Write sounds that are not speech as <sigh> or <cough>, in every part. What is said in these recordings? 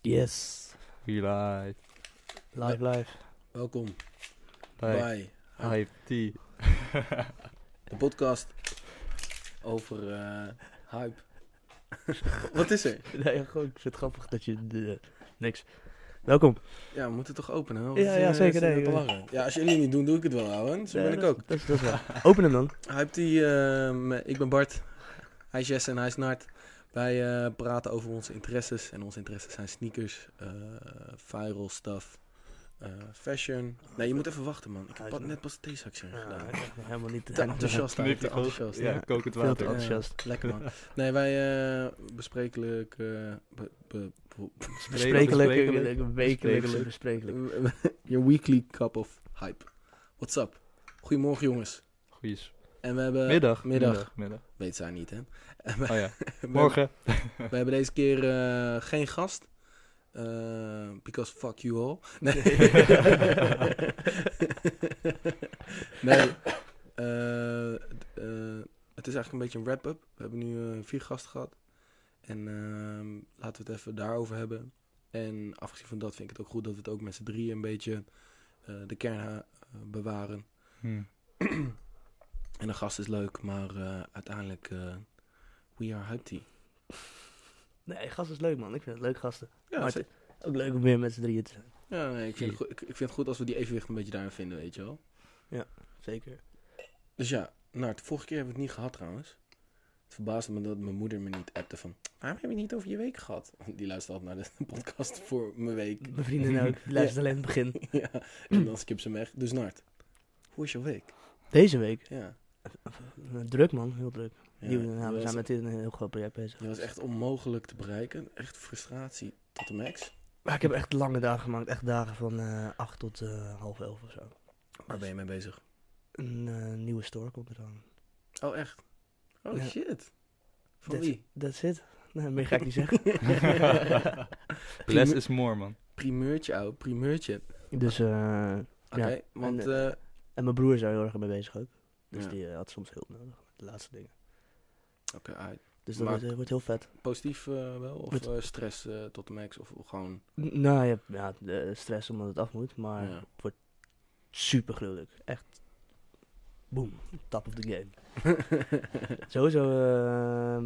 Yes. We live. Live, live. Welkom Hi. bij Hype T. de podcast over eh, hype. <laughs> Wat is er? <laughs> Nee, gewoon, ik vind het grappig dat je... eh, niks. Welkom. Ja, we moeten toch openen? hoor. Ja, Wat, ja, eh, zeker, zit er nee, te ik- lachen? Ja, als jullie het niet doen, doe ik het wel, ouwe. Zo ben Nee, ik Eh, dat- ook. Dat, is- dat is waar. <laughs> Open hem dan. Hype die, ehm, ik ben Bart. Hij is Jess en hij is Nart. Wij eh, praten over onze interesses. En onze interesses zijn sneakers, eh, viral stuff, eh, fashion. Nee, je moet even wachten, man. Ik Hij heb is pa- nog- net pas een theezakje gedaan. ik ben helemaal niet... Te enthousiast, Knip eigenlijk. die Te gewoon- enthousiast. Ja, ja. kokend Veel te water. enthousiast. Lekker man. Nee, wij eh, besprekelijk. eh, be- be- be- <laughs> Besprekelijk, wekelijks, Besprekelijk. besprekelijk. Your weekly cup of hype. What's up? Goedemorgen jongens. Goeies. En we hebben. Middag. Middag. Middag. Weet zij niet, hè? En we- Oh ja. we- Morgen. We, hebben deze keer eh, geen gast. Eh, because fuck you all. Nee. nee. Eh, eh, het is eigenlijk een beetje een wrap-up. We hebben nu eh, vier gasten gehad. En ehm, laten we het even daarover hebben. En afgezien van dat vind ik het ook goed dat we het ook met z'n drieën een beetje eh, de kern eh, bewaren. <laughs> Hm. En een gast is leuk, maar eh, uiteindelijk... eh, we are hype tea. Nee, gast is leuk, man. Ik vind het leuk, gasten. Ja, maar het is ook leuk om weer met z'n drieën te zijn. Ja, nee, ik, vind het goed, ik, ik vind het goed als we die evenwicht een beetje daarin vinden, weet je wel. Zeker. Dus ja, nou, de vorige keer hebben we het niet gehad trouwens. Het verbaasde me dat mijn moeder me niet appte van... Waarom heb je het niet over je week gehad? <laughs> Want Die luistert altijd naar de <laughs> podcast voor mijn <laughs> week. Mijn vrienden ook. Die luisteren alleen in het begin. ja, en dan skip ze hem weg. Dus Nart, hoe is jouw week? Deze week. Ja. eh, Druk, man. Heel druk. ja Nieuw- nou, je we was, zijn met dit een heel groot project bezig. je was echt onmogelijk te bereiken. Echt frustratie tot de max. Maar ik heb echt lange dagen gemaakt. Echt dagen van eh 8 tot eh, half 11 of zo. Waar ben je mee bezig? Een eh, nieuwe store komt er aan. Oh, echt? Oh, Ja. shit. Van Dit- wie? That's it. <laughs> Nee, meer ga ik niet zeggen. Less is more, man. Primeurtje, ouwe. Primeurtje. <laughs> Dus, eh, Oké, Ja. want... En, eh, en mijn broer is daar heel erg mee bezig ook. Dus Ja. die eh, had soms hulp nodig met de laatste dingen. Oké, ah, Dus dat Maar- wordt, eh, wordt heel vet. Positief eh, wel? Of Met- eh, stress eh, tot de max? Of gewoon... N- nou, je hebt ja, de stress omdat het af moet, maar Ja. <laughs> het wordt super gruwelijk. Echt, boom, top of the game. <laughs> Sowieso, eh,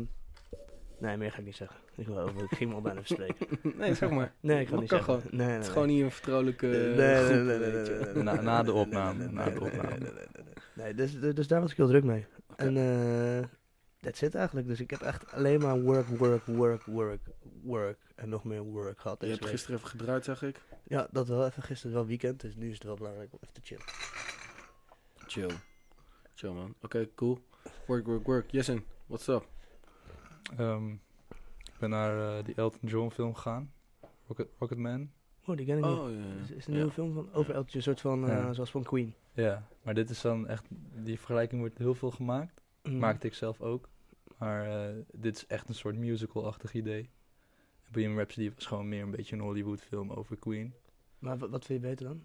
nee, meer ga ik niet zeggen. Ik, wou, ik ging me al bijna verspreken. nee, zeg maar. <laughs> Nee, ik ga <laughs> Dat niet kan zeggen. gewoon. Nee, nee, nee. Het is gewoon niet een vertrouwelijke Nee, eh, nee, groep, nee, nee, weet je. nee, <laughs> Nou, nee, Na- nee, na nee, de nee, opname, nee, na nee, de nee, opname. nee, nee, nee, nee. Nee, dus, dus dus daar was ik heel druk mee. En eh dat zit eigenlijk. Dus ik heb echt alleen maar work, work, work, work, work. En nog meer work gehad. Je deze hebt week. gisteren even gedraaid, zag ik. Ja, dat wel even gisteren wel weekend. Dus nu is het wel belangrijk om even te chillen. Chill. Chill, man. Oké, cool. Work, work, work. Jessen, what's up? Ehm, ik ben naar eh, die Elton John film gegaan. Rocket, Rocketman. Oh, die ken ik niet. Oh, ja. Is, is een ja. nieuwe film van over Elton John, een soort van, eh, Ja. zoals van Queen. Ja, maar dit is dan echt... Die vergelijking wordt heel veel gemaakt. Mm. Maakte ik zelf ook. Maar eh, dit is echt een soort musical-achtig idee. Bohemian Rhapsody was gewoon meer een beetje een Hollywood film over Queen. Maar wat, wat vind je beter dan?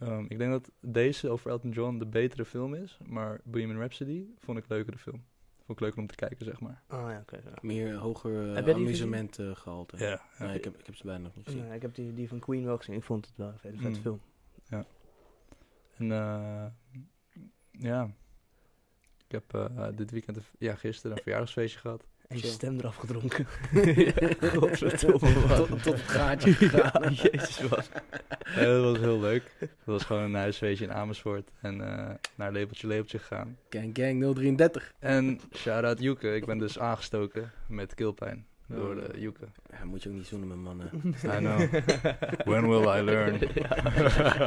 Ehm, ik denk dat deze over Elton John de betere film is. Maar Bohemian Rhapsody vond ik leukere film. Vond ik leuker om te kijken, zeg maar. Ah ja, oké. ja. Meer hoger Heb eh jij die amusement eh, gehalte. ja. Nee, ik heb, ik heb ze bijna nog niet <laughs> gezien. Nee, ik heb die, die van Queen wel gezien. Ik vond het wel een vette Mm. film. En eh, ja, ik heb eh, dit weekend, een v- ja gisteren, een verjaardagsfeestje <laughs> gehad. En je Chill. stem eraf <laughs> gedronken. Godverdomme, man. tot, tot het <laughs> gaatje gegaan. Ja, Oh, jezus <laughs> <laughs> was. Nee, dat was heel leuk. Dat was gewoon een huisfeestje in Amersfoort. En eh, naar Lepeltje Lepeltje gegaan. Gang, gang, 033. En shout-out Joeke. Ik ben dus aangestoken met keelpijn door de Joeke. Ja, moet je ook niet zoenen met mannen. <laughs> I know. When will I learn?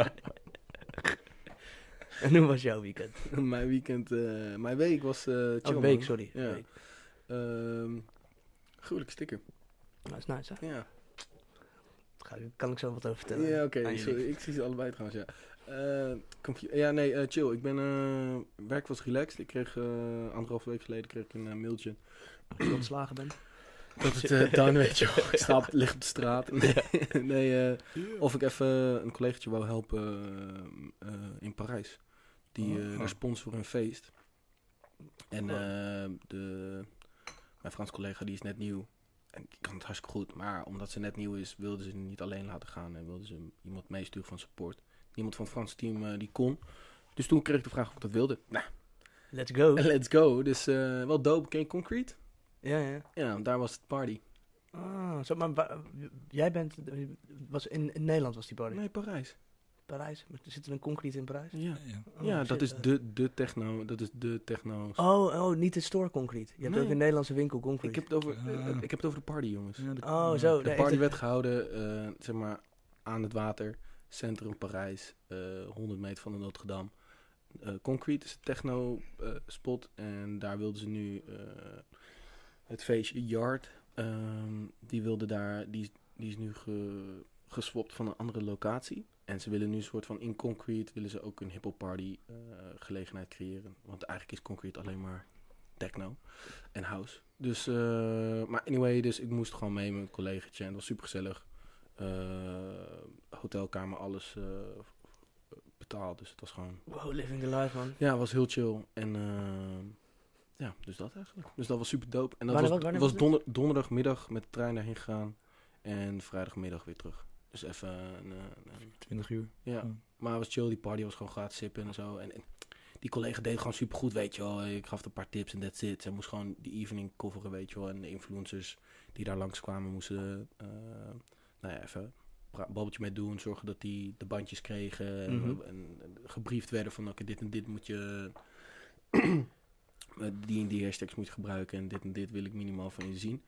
<laughs> <laughs> en hoe was jouw weekend? mijn weekend, eh, mijn week was eh chill, Oh, man. week, sorry. Ja. Week. Ehm gruwelijke sticker. Dat Nou, is nice, hè? Ja, Ga, kan ik zo wat over vertellen? ja oké. aan ik- jullie. ik zie ze allebei trouwens, ja. Eh, confu- ja, nee, eh, chill. Ik ben... eh, werk was relaxed. Ik kreeg eh anderhalf week geleden kreeg ik een eh, mailtje. Als je ontslagen bent. Dat het eh dan, weet je <laughs> wel. Ik sta op, lig op de straat. Nee, <laughs> nee eh, of ik even een collegaatje wou helpen eh, eh, in Parijs. Die eh Oh. daar spons voor een feest. En Oh. eh, de, mijn Frans collega die is net nieuw. en ik kan het hartstikke goed. Maar omdat ze net nieuw is, wilden ze hem niet alleen laten gaan. En wilden ze iemand meesturen van support. Niemand van het Franse team eh, die kon. Dus toen kreeg ik de vraag of ik dat wilde. Nou, <laughs> Let's go. let's go. Dus eh, wel dope. Ken je Concrete? Ja, ja. Ja, daar was het party. Ah, zo, maar wa- jij bent... Was in, in Nederland was die party. Nee, Parijs. Parijs? Maar Zit er een concrete in Parijs? Ja, Ja. Oh, ja shit. dat is de, de techno. Dat is de techno. Oh, oh, niet de store concrete. Je hebt Nee. ook een Nederlandse winkel concrete. Ik heb, het over, Ah. eh, ik heb het over de party, jongens. Ja, de- Oh, ja. zo. De Nee, party ik- werd gehouden, eh, zeg maar, aan het water, centrum Parijs, eh, 100 meter van de Notre Dame. Eh, Concrete is een techno-spot en daar wilden ze nu eh, het feestje Yard. ehm, die wilde daar, die, die is nu ge, geswapt van een andere locatie. En ze willen nu een soort van in Concrete willen ze ook een hip party eh, gelegenheid creëren. Want eigenlijk is Concrete alleen maar techno en house. Dus, eh, maar anyway, dus ik moest gewoon mee met een collegaatje en het was supergezellig. Eh hotelkamer, alles eh, betaald, dus het was gewoon... Wow, living the life, man. Ja, het was heel chill en eh, ja, dus dat eigenlijk. Dus dat was super dope. En dat Wanneer- was, wanneer was was dit? donder, donderdagmiddag met de trein daarheen gegaan en vrijdagmiddag weer terug. Dus even een, eh, een 20 uur. ja, Ja. maar het was chill. Die party was gewoon gratis sippen en zo. En, en die collega deed gewoon supergoed, weet je wel. Ik gaf een paar tips en that's it. Zij moest gewoon die evening coveren, weet je wel. En de influencers die daar langskwamen moesten, eh, nou ja, even pra- babbeltje mee doen. Zorgen dat die de bandjes kregen. En, Mhm. en- en gebriefd werden van, oké, dit en dit moet je... <clears throat> eh, die en die hashtags moet je gebruiken. En dit en dit wil ik minimaal van je zien.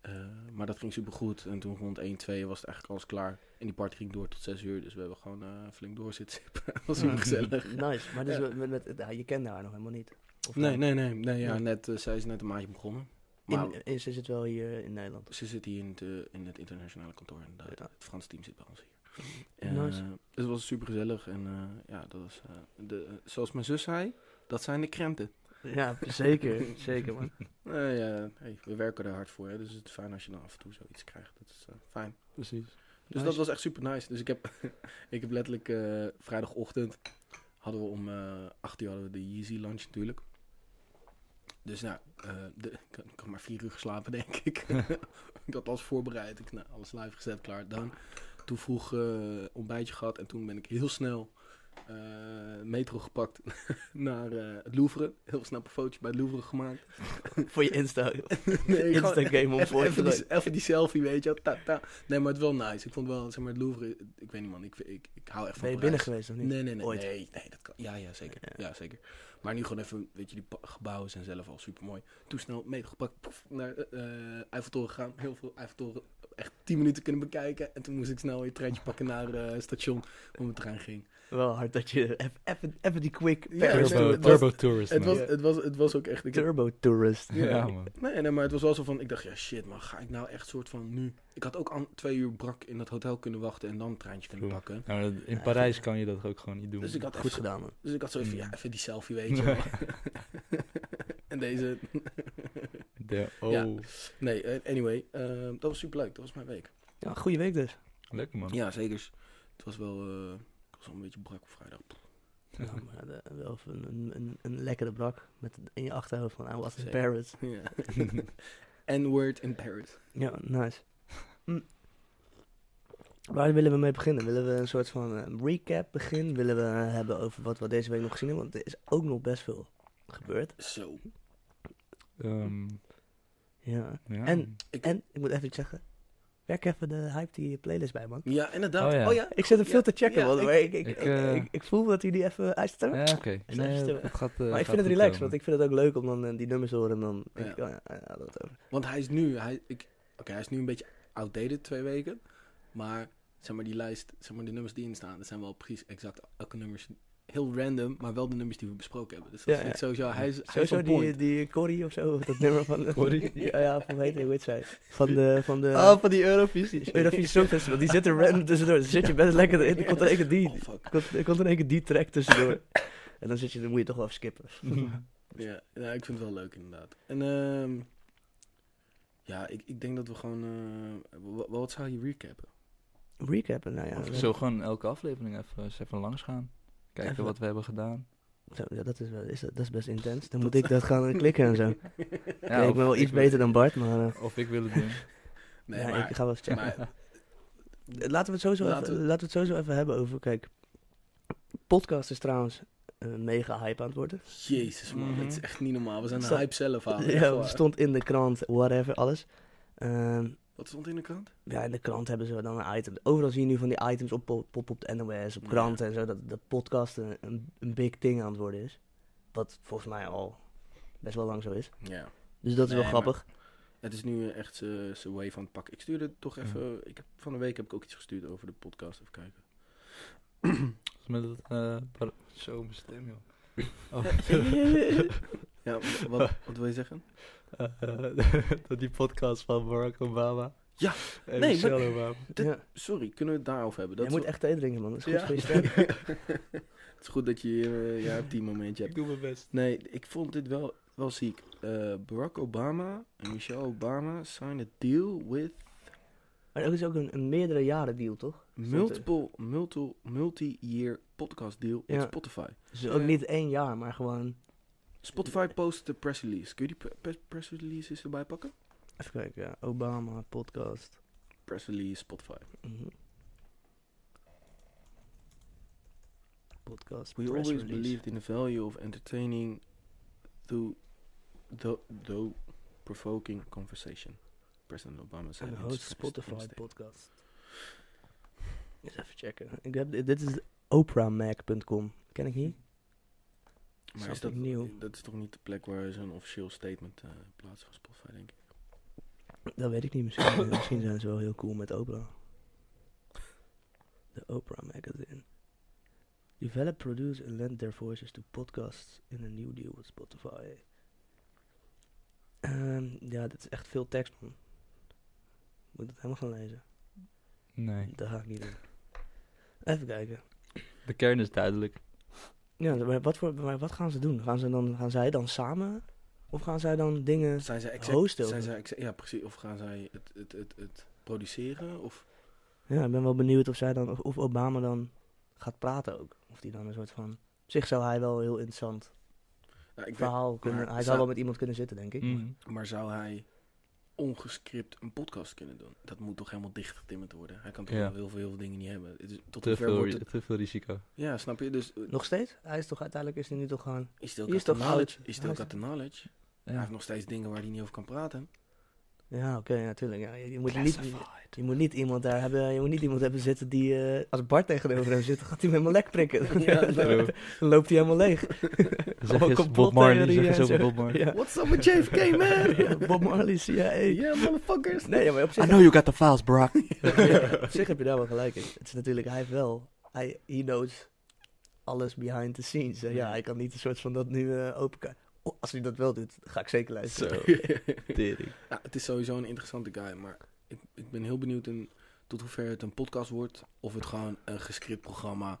Eh, maar dat ging supergoed. En toen rond 1, 2 was het eigenlijk alles klaar. En die party ging door tot 6 uur. Dus we hebben gewoon eh, flink doorzitten. <laughs> dat was super gezellig. Nice. Maar dus met, met, ja, je kende haar nog helemaal niet. Of Nee, wel? nee, nee. nee ja, Ja. net, eh, zij is net een maandje begonnen. Maar In, in- ze zit wel hier in Nederland. ze zit hier in het, eh, in het internationale kantoor. Inderdaad. Ja. Het Frans team zit bij ons hier. En, Nice. eh, dus het was super gezellig. En eh, ja, dat was, eh, de, eh, zoals mijn zus zei, dat zijn de krenten. Ja, zeker. zeker, man. Nou ja, hey, we werken er hard voor. Hè, dus het is fijn als je dan af en toe zoiets krijgt. Dat is eh, fijn. Precies. Dus dat was echt super nice. Dus ik heb, <laughs> ik heb letterlijk eh, vrijdagochtend hadden we om eh 8 uur hadden we de Yeezy lunch natuurlijk. Dus nou, eh, de, ik, had, ik had maar vier uur geslapen <laughs> denk ik. ik had alles voorbereid. Ik nou, alles live gezet, klaar. Dan toen vroeg eh, ontbijtje gehad en toen ben ik heel snel eh, metro gepakt <laughs> naar eh, het Louvre. Heel snel een fotootje bij het Louvre gemaakt. <laughs> Voor je Insta. <laughs> Nee, gewoon Insta-game om Even, voor te even, doen. die, even die selfie, weet je. wel, Ta, ta. Nee, maar het wel nice. Ik vond wel, zeg maar, het Louvre... Ik weet niet, man. Ik, ik, ik hou echt van Ben je binnen Parijs. geweest of niet? Nee, nee, nee. Ooit. Nee, nee, dat kan. Ja, ja, zeker. Ja. Ja. zeker. Maar nu gewoon even, weet je, die pa- gebouwen zijn zelf al super mooi. Toen snel meegepakt, poef, naar eh eh, Eiffeltoren gegaan. Heel veel Eiffeltoren, echt 10 minuten kunnen bekijken. En toen moest ik snel weer een treintje pakken naar eh, het station, waar mijn trein ging. Wel hard dat je even- even even die quick Ja, Paris nee, Turbo, doet. het was- turbo tourist. Het man. was, het was, het was ook echt... Ik heb- Turbo tourist. ja. ja. man. Nee, nee, maar het was wel zo van, ik dacht, ja shit man, ga ik nou echt soort van nu... Ik had ook aan twee uur brak in dat hotel kunnen wachten en dan een treintje kunnen Oeh. pakken. Nou, dat- in Parijs kan je dat ook gewoon niet doen. Dus ik had Goed even, gedaan, man. dus ik had zo even, ja, Mm. even die selfie, weet <laughs> je wel. <laughs> en deze... De, oh, Ja. Nee, eh, anyway, eh, dat was super leuk, dat was mijn week. Ja, goede week dus. lekker man. Ja, zeker. Het was wel, eh, ik was wel een beetje brak op vrijdag. <laughs> Ja, maar de- wel even een, een, een, een lekkere brak met in je achterhoofd van I was in Zeker. Paris. <laughs> Ja. N-word in Paris. Ja, nice. Hm. Waar willen we mee beginnen? Willen we een soort van eh, recap beginnen? Willen we eh, hebben over wat we deze week nog gezien hebben? Want er is ook nog best veel gebeurd. Zo. Ehm, Ja. ja. En- Ik- En, ik moet even iets zeggen. Werk even de hype die playlist bij, man. Ja, inderdaad. Oh Oh ja. ja. Ik zit hem veel Ja, te checken, ja, man. ik- maar ik, ik, ik, ik, eh, ik- ik voel dat jullie even uitstemmen. Ja, oké. even Nee, stil. het gaat, eh, maar ik gaat vind het goed relaxed, want komen. ik vind het ook leuk om dan eh, die nummers te horen. En dan denk Ja. ik, oh ja, ja, dat over. Want hij is nu, hij, ik, oké, hij is nu een beetje outdated twee weken. Maar zeg maar die lijst, zeg maar de nummers die in staan, dat zijn wel precies exact elke nummers heel random, maar wel de nummers die we besproken hebben. Dus dat Ja, vind ik sowieso, hij is, hij is Sowieso on die, point. die Corrie of zo, dat nummer van... de- Corrie? <laughs> Ja, ja, van hoe heet hij, hoe heet zij? Van de... Van de Ah, van die Eurovisie. eh, Eurovisie Songfestival, die <laughs> zit er random tussendoor. Dan zit je best lekker erin, dan komt er één keer die, Oh, fuck. komt, er komt in één keer die track tussendoor. En dan zit je, dan moet je toch wel even skippen. <laughs> Ja, nou, ik vind het wel leuk inderdaad. En ehm ja, ik, ik denk dat we gewoon, eh, wa- wa- wat zou je recappen? Recappen, nou ja. Of dat- zo gewoon elke aflevering even, eens even langs gaan. Kijken Even- wat we hebben gedaan. zo, ja, dat is, wel, is, dat, dat is best <laughs> intens. Dan moet ik dat gaan eh, klikken en zo. Ja, Kijk, ik ben of wel iets wil- beter dan Bart, maar... eh, Of ik wil het doen. <laughs> Nee, Ja, maar, ik ga wel eens checken. <laughs> maar- Laten we het sowieso, Laten even, we- laten we het sowieso even hebben over. Kijk, podcast is trouwens een mega hype aan het worden. jezus man, Mhm. het is echt niet normaal. We zijn de Zo- hype <laughs> zelf aan. Ja, het stond in de krant, whatever, alles. Ehm, Wat stond in de krant? ja, in de krant hebben ze dan een item. Overal zie je nu van die items op, op, op, op de NOS, op Ja. kranten en zo. Dat de podcast een, een, een big ding aan het worden is. Wat volgens mij al best wel lang zo is. Ja. Dus dat is Nee, wel maar- grappig. Het is nu eh, echt zijn wave aan het pakken. Ik stuurde toch even... Ik heb, van de week heb ik ook iets gestuurd over de podcast. Even kijken. Dus met het, eh, par- Zo, mijn stem, joh. <laughs> <laughs> Oh. <laughs> Ja, w- wat, wat wil je zeggen? Eh, dat die podcast van Barack Obama. Ja, en nee, Michelle maar- Obama. dit- ja. Sorry, kunnen we het daarover hebben? Je Dat moet is echt thee drinken, man. Dat is goed Ja. voor je stem. <laughs> <laughs> Het is goed dat je eh, ja, op die momentje Ik hebt. doe mijn best. Nee, ik vond dit wel, wel ziek. Eh, Barack Obama en Michelle Obama signed a deal with Maar dat is ook een, een meerdere jaren deal, toch? Stond er. multiple, multi, multi-year podcast deal Ja. met Spotify. Dus ook Ja. niet één jaar, maar gewoon... Spotify postte de press release. Kun je die pre- pre- press release eens erbij pakken? Even kijken, ja. Obama, podcast. Press release Spotify. Mhm. Podcast, We press always release. believed in the value of entertaining through though, though provoking conversation. President Obama said En in host his- his Spotify statement. podcast. Eens even checken. Ik heb, dit is oprahmac.com. Ken ik niet? Maar is Something dat, new. dat is toch niet de plek waar zo'n officieel statement eh plaats van Spotify, denk ik. Dat weet ik niet. Misschien, misschien zijn ze wel heel cool met Oprah. De Oprah Magazine. Develop, produce and lend their voices to podcasts in a new deal with Spotify. Ehm, ja, dit is echt veel tekst, man. Moet ik dat helemaal gaan lezen? Nee, Dat ga ik niet doen. Even kijken. de kern is duidelijk. Ja, maar wat, voor, maar wat gaan ze doen? Gaan, ze dan, gaan zij dan samen? Of gaan zij dan dingen... Zijn zij exact, host ook. zijn zij exact, ja precies, of gaan zij het, het, het, het produceren, of Ja, ik ben wel benieuwd of zij dan, of, of Obama dan gaat praten ook. Of die dan een soort van. Op zich zou hij wel een heel interessant nou, ik weet, verhaal kunnen. maar hij zou zou- wel met iemand kunnen zitten, denk ik. Mhm. maar zou hij ongescript een podcast kunnen doen? Dat moet toch helemaal dichtgetimmerd worden? Hij kan toch Ja. wel heel veel, heel veel dingen niet hebben. Het is- tot Te, hoever veel, wordt ri- het, te veel risico. ja, snap je? Dus eh, Nog steeds? Hij is toch uiteindelijk is hij nu toch gewoon. is still Hier is got the toch knowledge, oud. is Hij still is- got the knowledge. Hij Ja. heeft nog steeds dingen waar hij niet over kan praten. Ja, oké, natuurlijk. Ja, je, je moet niet, je moet niet iemand daar hebben. Je moet niet iemand hebben zitten die. eh, als Bart tegenover hem zit, gaat hij hem helemaal lek prikken. Ja, daarom. <laughs> dan loopt hij helemaal leeg. Zeg eens Bob complottheorieën Marley, zeg en eens over zo. Bob Marley. Ja. What's up with JFK, man? <laughs> Ja, Bob Marley, CIA. <laughs> Yeah, motherfuckers. Nee, ja, maar op zich. <laughs> you got the files, Brock. Ja, op zich heb je daar wel gelijk in. Het is natuurlijk, hij heeft wel, hij, he knows alles behind the scenes. En ja, hij kan niet een soort van dat nu eh, open kan. Oh, als hij dat wel doet, ga ik zeker <laughs> luisteren. Zo, tering. Ja, het is sowieso een interessante guy, maar ik, ik ben heel benieuwd in tot hoever het een podcast wordt of het gewoon een gescript programma, <laughs>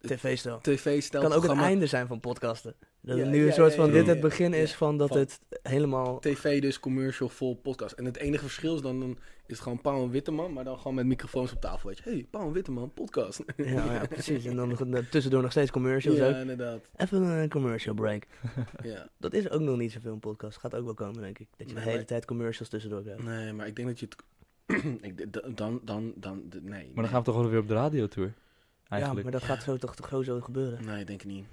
TV-stel. tv-stijl Kan ook het programma, einde zijn van podcasten. Dat het Ja, nu ja, een soort ja, van ja, dit ja, het begin ja. is van dat Van- het <laughs> helemaal... tv dus commercial vol podcast. En het enige verschil is dan, dan is het gewoon Paul en Witteman, maar dan gewoon met microfoons op tafel, weet je. Hey, Paul en Witteman podcast. Ja, ja, precies. En dan nog- eh, tussendoor nog steeds commercials ja, ook. inderdaad. Even een commercial break. Ja. Dat is ook nog niet zoveel een podcast. Gaat ook wel komen, denk ik. Dat je de Nee, hele maar- tijd commercials tussendoor krijgt. Nee, maar ik denk dat je het <clears throat> ik, d- dan dan dan, dan nee. <laughs> Maar dan gaan we toch wel weer op de radiotour. Ja, Eigenlijk. maar dat gaat zo toch toch gewoon zo gebeuren. Nee, ik denk het niet.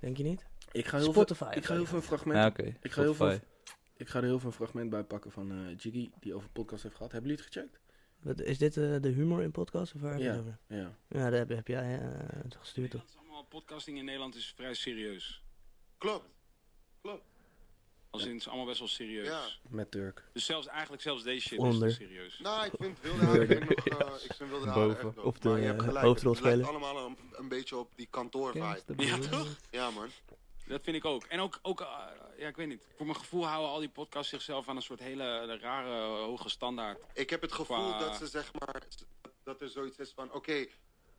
Denk je niet? Ik ga heel Spotify. veel ik ga zou heel je veel Ja, fragmenten oké. Ik ga heel Spotify. veel- ik ga er heel veel een fragment bij pakken van eh, Jiggy die over podcast heeft gehad. Hebben jullie het gecheckt? Wat, is dit eh, de humor in podcast? Of waar hebben we het over? Ja. Ja, dat heb, heb jij eh, het gestuurd toch? Nederlands allemaal podcasting in Nederland is vrij serieus. Klopt. Klopt. Als in het is allemaal best wel serieus. Ja. Met Turk. Dus zelfs eigenlijk zelfs deze shit Onder. is te serieus. Nou, ik vind Wilde Haren vind ik nog... eh, ik vind Wilde Haren Boven. echt dope. Of de, Maar je hebt eh, gelijk, hoofdrolspeler. Het lijkt allemaal een, een beetje op die kantoorvibe. Nou, Ja, toch? Ja, man. Dat vind ik ook. En ook, ook eh, ja, ik weet niet. Voor mijn gevoel houden al die podcasts zichzelf aan een soort hele eh, rare eh, hoge standaard. Ik heb het gevoel Qua- dat ze zeg maar... Dat er zoiets is van... Oké,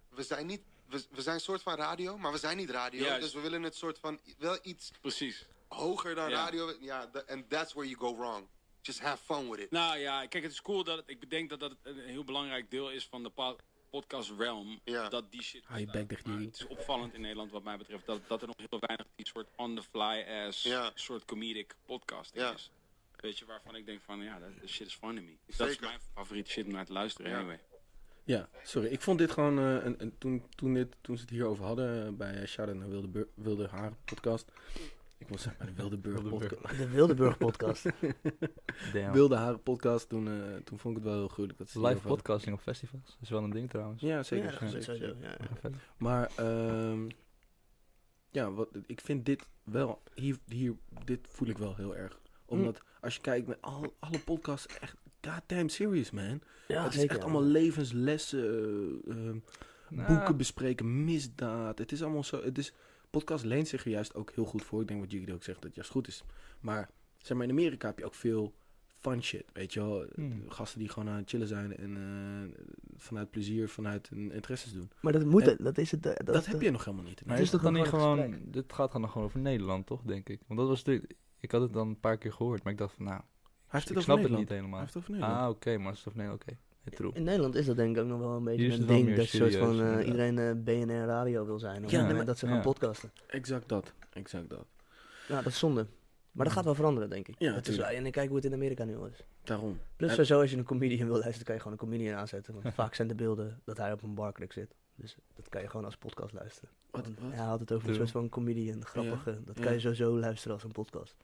we zijn niet... We, we zijn een soort van radio, maar we zijn niet radio. Juist. Dus we willen het soort van... i- Wel iets Precies. hoger dan Ja. radio. Ja, tha- and that's where you go wrong. Just have fun with it. Nou ja, kijk, het is cool dat het- ik bedenk dat dat een heel belangrijk deel is van de pa- podcast realm. Ja. Dat die shit. Hou je bek dicht, Maar Jiggy. het is opvallend in Nederland wat mij betreft dat, dat er nog heel weinig die soort on the fly ass Ja. soort comedic podcasting Ja. is. Weet je, waarvan ik denk van, ja, dat that shit is funny me. Dus Dat is Zeker. mijn favoriete shit om naar te luisteren, Ja. anyway. Ja, sorry. Ik vond dit gewoon, eh, een, een- toen, toen, dit, toen ze het hierover hadden eh, bij Sharon en Wilde, Bur- Wilde Haar podcast. Ik wil zeggen, bij de Wilde Burg Wildeburg. podcast. De Wildeburg podcast. Damn. Wilde Haar podcast, toen, eh, toen vond ik het wel heel gruwelijk. Dat ze het Live hierover podcasting op festivals. Dat is wel een ding trouwens. hadden. Ja, <laughs> zeker. Ja, dat is zeker, zeker. sowieso. Ja, ja. Maar verder. Maar ehm, ja, wat, ik vind dit wel, hier, hier, dit voel ik wel heel erg. Omdat als je kijkt naar al, alle podcasts, echt goddamn serious man. Ja, het is zeker, echt ja. allemaal levenslessen, eh, ehm, Nou, boeken bespreken, misdaad. Het is allemaal zo, het is, podcast leent zich er juist ook heel goed voor. Ik denk wat jullie ook zegt, dat het juist goed is. Maar zeg maar, in Amerika heb je ook veel fun shit, weet je wel. Hmm. Gasten die gewoon aan het chillen zijn en eh, vanuit plezier, vanuit hun interesses doen. Maar dat moet, het, dat is het. eh, Dat, Dat, dat- heb je nog helemaal niet. Maar Het is is het toch dan niet een gewoon gewoon... Dit gaat dan gewoon over Nederland, toch, denk ik? Want dat was natuurlijk... Ik had het dan een paar keer gehoord, maar ik dacht van, nou, Hij heeft ik het over snap het Nederland. niet helemaal. Hij heeft het over Nederland. Ah, oké, maar als het over Nederland, oké. Nee, <laughs> true. In Nederland is dat denk ik ook nog wel een beetje Hier is een het wel ding. meer Dat soort serieus, van eh, inderdaad. iedereen eh, BNR Radio wil zijn. Ja, Ja, nee, maar dat ze gaan ja. podcasten. Ah. Exact dat. Exact dat. Ja, dat is zonde. Maar dat gaat wel veranderen, denk ik. Ja, dat is wel, tuurlijk. en ik kijk hoe het in Amerika nu al is. Daarom. Plus, En- sowieso, als je een comedian wil luisteren, kan je gewoon een comedian aanzetten. Want vaak zijn de beelden dat hij op een barkruk zit. Dus dat kan je gewoon als podcast luisteren. Wat, Want wat? Hij had het over een True. soort van comedian, grappige. Dat ja. kan je sowieso luisteren als een podcast.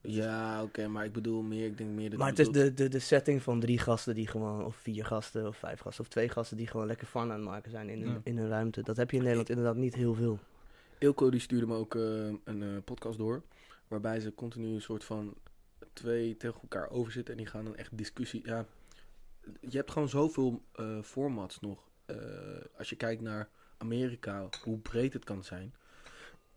Ja, oké, maar ik bedoel meer, ik denk meer dat maar het je is de, de, de setting van drie gasten die gewoon, of vier gasten, of vijf gasten, of twee gasten die gewoon lekker fun aan het maken zijn in, hun- Ja. in hun ruimte. Dat heb je in Nederland inderdaad niet heel veel. Ilko die stuurde me ook eh, een eh, podcast door. Waarbij ze continu een soort van twee tegen elkaar over zitten. En die gaan dan echt discussie. Ja, je hebt gewoon zoveel eh, formats nog. Eh, als je kijkt naar Amerika, hoe breed het kan zijn.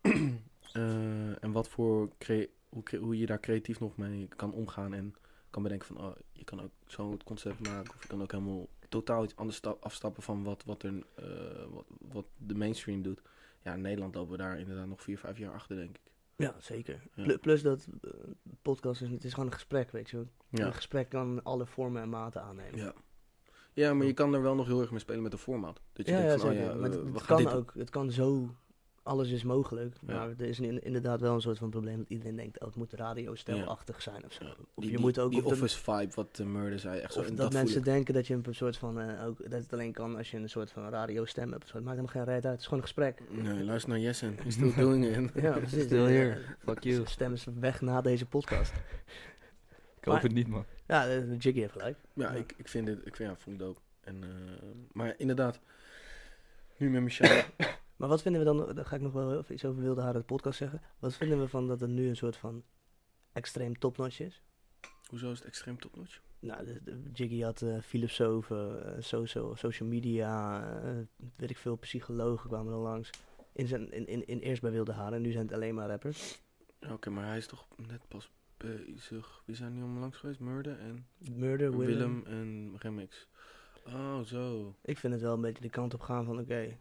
<clears throat> Eh, en wat voor cre- hoe, cre- hoe je daar creatief nog mee kan omgaan. En kan bedenken van oh, je kan ook zo het concept maken. Of je kan ook helemaal totaal iets anders sta- afstappen van wat, wat, er, eh, wat, wat de mainstream doet. Ja, in Nederland lopen we daar inderdaad nog vier, vijf jaar achter, denk ik. Ja, zeker. Ja. Plu- Plus dat eh, podcast is, het is gewoon een gesprek, weet je. wel. Een Ja. gesprek kan alle vormen en maten aannemen. ja. Ja, maar je kan er wel nog heel erg mee spelen met de format. Dat je Ja, ja, denkt van, zeker. oh ja, maar eh, het, we het gaan kan dit doen. ook, het kan zo, alles is mogelijk. Ja. Maar er is in- inderdaad wel een soort van probleem dat iedereen denkt, oh, het moet radiostelachtig zijn of zo. Ja. Of Die- je die- moet ook... Die of dat- office vibe, wat de murder zei. Echt zo. Of en dat, dat voel mensen ik. denken dat je een soort van, eh, ook, dat het alleen kan als je een soort van radiostem hebt. of zo. Het maakt helemaal geen reet uit, het is gewoon een <laughs> gesprek. Nee, luister naar <laughs> Jessen. He's still doing it. Ja, precies. Still Ja, here. Fuck you. Zijn Stem is weg na deze podcast. Ik hoop Maar- het niet, man. Ja, eh, Jiggy heeft gelijk. Ja, Ja. ik, ik vind dit, ik vind, ja, vond ik dope. En, eh, maar inderdaad, nu met Michelle. Maar wat vinden we dan, daar ga ik nog wel heel even iets over Wilde Haren de podcast zeggen. Wat vinden we van dat er nu een soort van extreem topnotch is? <coughs> Hoezo is het extreem topnotch? Nou, de, de- Jiggy had eh Philips over, eh, social, social media, eh, weet ik veel, psychologen kwamen er langs. In zijn, in, in, in, eerst bij Wilde Haren, nu zijn het alleen maar rappers. Ja, Oké, maar hij is toch net pas bezig. Wie zijn nu om langs geweest? Murder en Murder, Willem, Willem en Remix. Oh, zo. Ik vind het wel een beetje de kant op gaan van oké.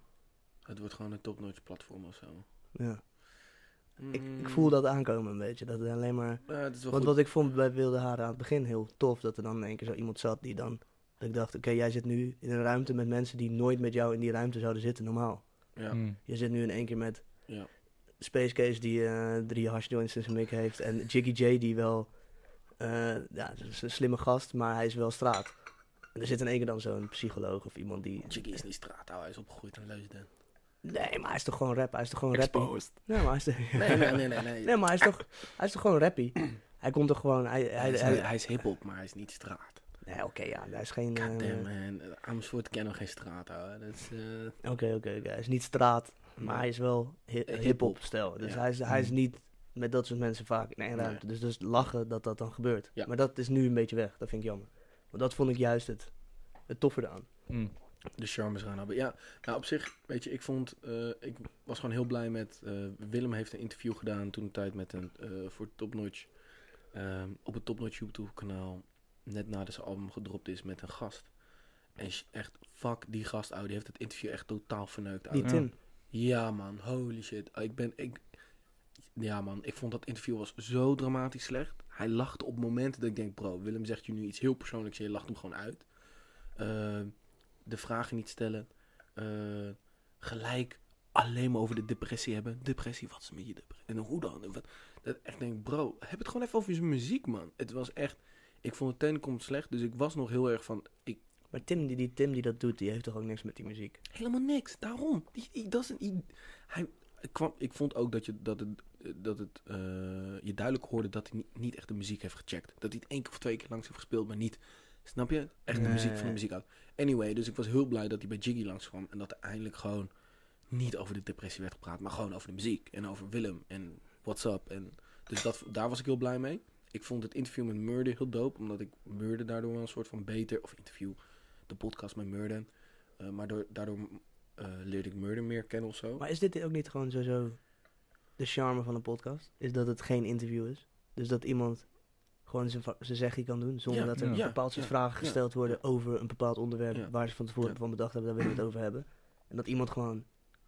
Het wordt gewoon een topnotch platform of zo. ja. ik, ik voel dat aankomen een beetje. Dat het alleen maar. Mm. Ja, het is wel Want goed. wat ik vond bij Wilde Haren aan het begin heel tof, dat er dan in één keer zo iemand zat die dan. Dat ik dacht, oké, jij zit nu in een ruimte met mensen die nooit met jou in die ruimte zouden zitten, normaal. Ja. Mm. Je zit nu in één keer met Ja. Space Case die eh, drie hash joints in zijn mik heeft. En Jiggy J die wel. eh, ja, dat is een slimme gast, maar hij is wel straat. En er zit in één keer dan zo'n psycholoog of iemand die. Jiggy is niet straat, ouwe. hij is opgegroeid in Leusden. Nee, maar hij is toch gewoon rap. Hij is toch gewoon rappie. Nee, maar hij is toch- Nee, nee, nee, nee. <laughs> nee. Nee, maar hij is toch, hij is toch gewoon rappie? Hij komt toch gewoon... Hij, hij, hij, is, hij- hij is hiphop, maar hij is niet straat. nee, oké, ja. Hij is geen... eh, Goddamn, Oké, man. Amersfoort kennen we geen straat, ouwe. Dat is... eh, oké, oké. Hij is niet straat, maar hij is wel hi- Eh, hip-hop hip-hop. stijl. Dus Ja. hij, is, hij is Mm. niet met dat soort mensen vaak in één Nee. ruimte. Dus dus lachen dat dat dan gebeurt. Ja. Maar dat is nu een beetje weg. Dat vind ik jammer. Want dat vond ik juist het, het toffe eraan. Mm. de charmes gaan hebben. Ja, nou op zich, weet je, ik vond, eh, ik was gewoon heel blij met, eh, Willem heeft een interview gedaan toen de tijd met een, eh, voor Topnotch, ehm, op het Topnotch YouTube kanaal, net nadat zijn album gedropt is met een gast. En sh- echt, fuck die gast, ouwe, die heeft het interview echt totaal verneukt, ouwe. Die Ja. Tim. Ja man, holy shit. Ah, Ik ben, ik, ja man, ik vond dat interview was zo dramatisch slecht. Hij lachte op momenten dat ik denk, bro, Willem zegt je nu iets heel persoonlijks en je lacht hem gewoon uit. Ehm, Eh, de vragen niet stellen. Eh, Ehm, gelijk alleen maar over de depressie hebben. Depressie, wat is met je depressie? En hoe dan? En wat- dat ik echt denk, bro, heb het gewoon even over je muziek, man. Het was echt, ik vond het ten komt slecht, dus ik was nog heel erg van, ik, Maar Tim die, die Tim die dat doet, die heeft toch ook niks met die muziek? helemaal niks. Daarom, Die- die- dat is een, i- hij ik kwam, ik vond ook dat je, dat het, dat het eh, je duidelijk hoorde dat hij niet, niet echt de muziek heeft gecheckt. Dat hij het één keer of twee keer langs heeft gespeeld, maar niet, snap je? Echt de Nee. muziek van de muziek uit. Anyway, dus ik was heel blij dat hij bij Jiggy langs kwam en dat er eindelijk gewoon niet over de depressie werd gepraat, maar gewoon over de muziek en over Willem en what's up. En, dus dat, daar was ik heel blij mee. Ik vond het interview met Murder heel dope, omdat ik Murder daardoor wel een soort van beter, of interview, de podcast met Murder. eh, maar door, daardoor eh, leerde ik Murder meer kennen of zo. Maar is dit ook niet gewoon sowieso de charme van een podcast? Is dat het geen interview is? Dus dat iemand gewoon zijn, va- zijn zegje kan doen zonder Ja, dat er ja, een bepaald soort ja, vragen ja, gesteld worden ja. over een bepaald onderwerp Ja. waar ze van tevoren Ja. van bedacht hebben, daar willen we het over hebben. En dat iemand gewoon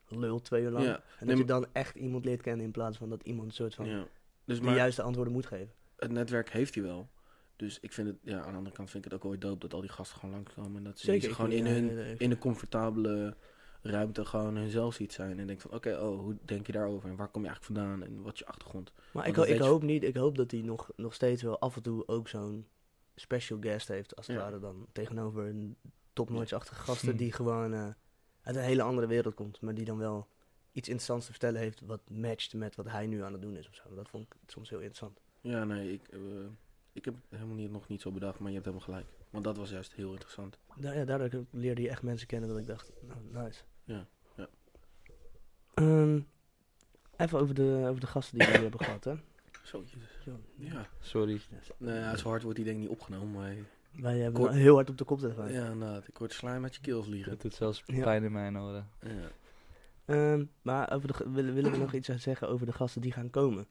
lult twee uur lang. Ja, En Nee, dat je dan echt iemand leert kennen in plaats van dat iemand een soort van ja. Dus de maar juiste antwoorden moet geven. het netwerk heeft hij wel. Dus ik vind het, ja, aan de andere kant vind ik het ook wel dope dat al die gasten gewoon langskomen. En dat ze Zeker. die gewoon ik in bedoel, hun, ja, ja, ja, in een comfortabele ruimte gewoon hunzelf ziet zijn. En denkt van, oké, oh, hoe denk je daarover? En waar kom je eigenlijk vandaan? En wat is je achtergrond? Maar Want ik, dat ik weet je- hoop niet, ik hoop dat hij nog, nog steeds wel af en toe ook zo'n special guest heeft, als het Ja. Hm. ware dan tegenover een topnotch-achtige gasten die gewoon eh, uit een hele andere wereld komt, maar die dan wel iets interessants te vertellen heeft wat matcht met wat hij nu aan het doen is of zo. Dat vond ik soms heel interessant. Ja, nee, ik, eh, ik heb het helemaal niet, nog niet zo bedacht, maar je hebt helemaal gelijk. Want dat was juist heel interessant. Nou ja, daardoor leerde je echt mensen kennen dat ik dacht, nou, nice. Ja, ja. Ehm, even over de, over de gasten die we hier hebben gehad, hè. Zo, jezus. Zo. Ja. Sorry. Nou ja, zo hard wordt die denk ik niet opgenomen, maar... Wij hebben Kort- heel hard op de kop gedaan. Ja, inderdaad. Ik hoorde slime uit je keels <laughs> liggen. Het doet zelfs Ja. pijn in mijn oren. Ja. Ehm, maar over de, g- willen, willen we nog iets zeggen over de gasten die gaan komen?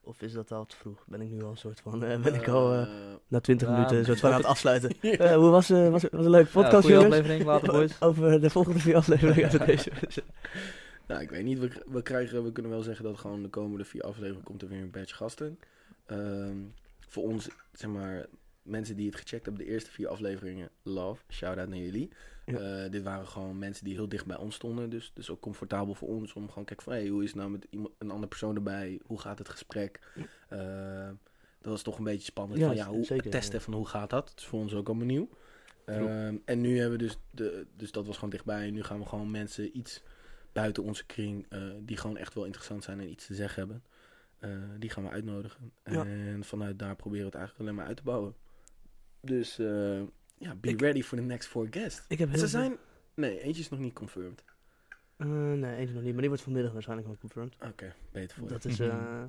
Of is dat al te vroeg? Ben ik nu al een soort van. eh, ben ik al eh, Eh, <laughs> na 20 ja, minuten een soort van aan het afsluiten? <laughs> Ja. Eh, hoe was, eh was, was een leuke ja, podcast, goeie jongens? aflevering, <laughs> Waterboys. Over de volgende vier <laughs> afleveringen uit deze. Nou, ik weet niet. We, we, krijgen, we kunnen wel zeggen dat gewoon de komende vier afleveringen komt er weer een batch gasten. Ehm, voor ons, zeg maar, mensen die het gecheckt hebben, de eerste vier afleveringen, love, shout-out naar jullie. Ja. Eh, dit waren gewoon mensen die heel dicht bij ons stonden, dus, dus ook comfortabel voor ons om gewoon kijken van, hey, hoe is het nou met iemand, een andere persoon erbij? Hoe gaat het gesprek? Eh, dat was toch een beetje spannend. Ja, van, ja, hoe, zeker, testen ja. van hoe gaat dat? Dat is voor ons ook allemaal nieuw. Ehm, en nu hebben we dus, de, dus dat was gewoon dichtbij. En nu gaan we gewoon mensen iets buiten onze kring, eh, die gewoon echt wel interessant zijn en iets te zeggen hebben. eh, die gaan we uitnodigen. Ja. En vanuit daar proberen we het eigenlijk alleen maar uit te bouwen. Dus eh, ja, be Ik- ready for the next four guests. Ik heb heel Ze veel- zijn... Nee, eentje is nog niet confirmed. Eh, nee, eentje nog niet. Maar die wordt vanmiddag waarschijnlijk wel confirmed. Oké, beter Ah, voor Dat <laughs> is. Mhm. eh,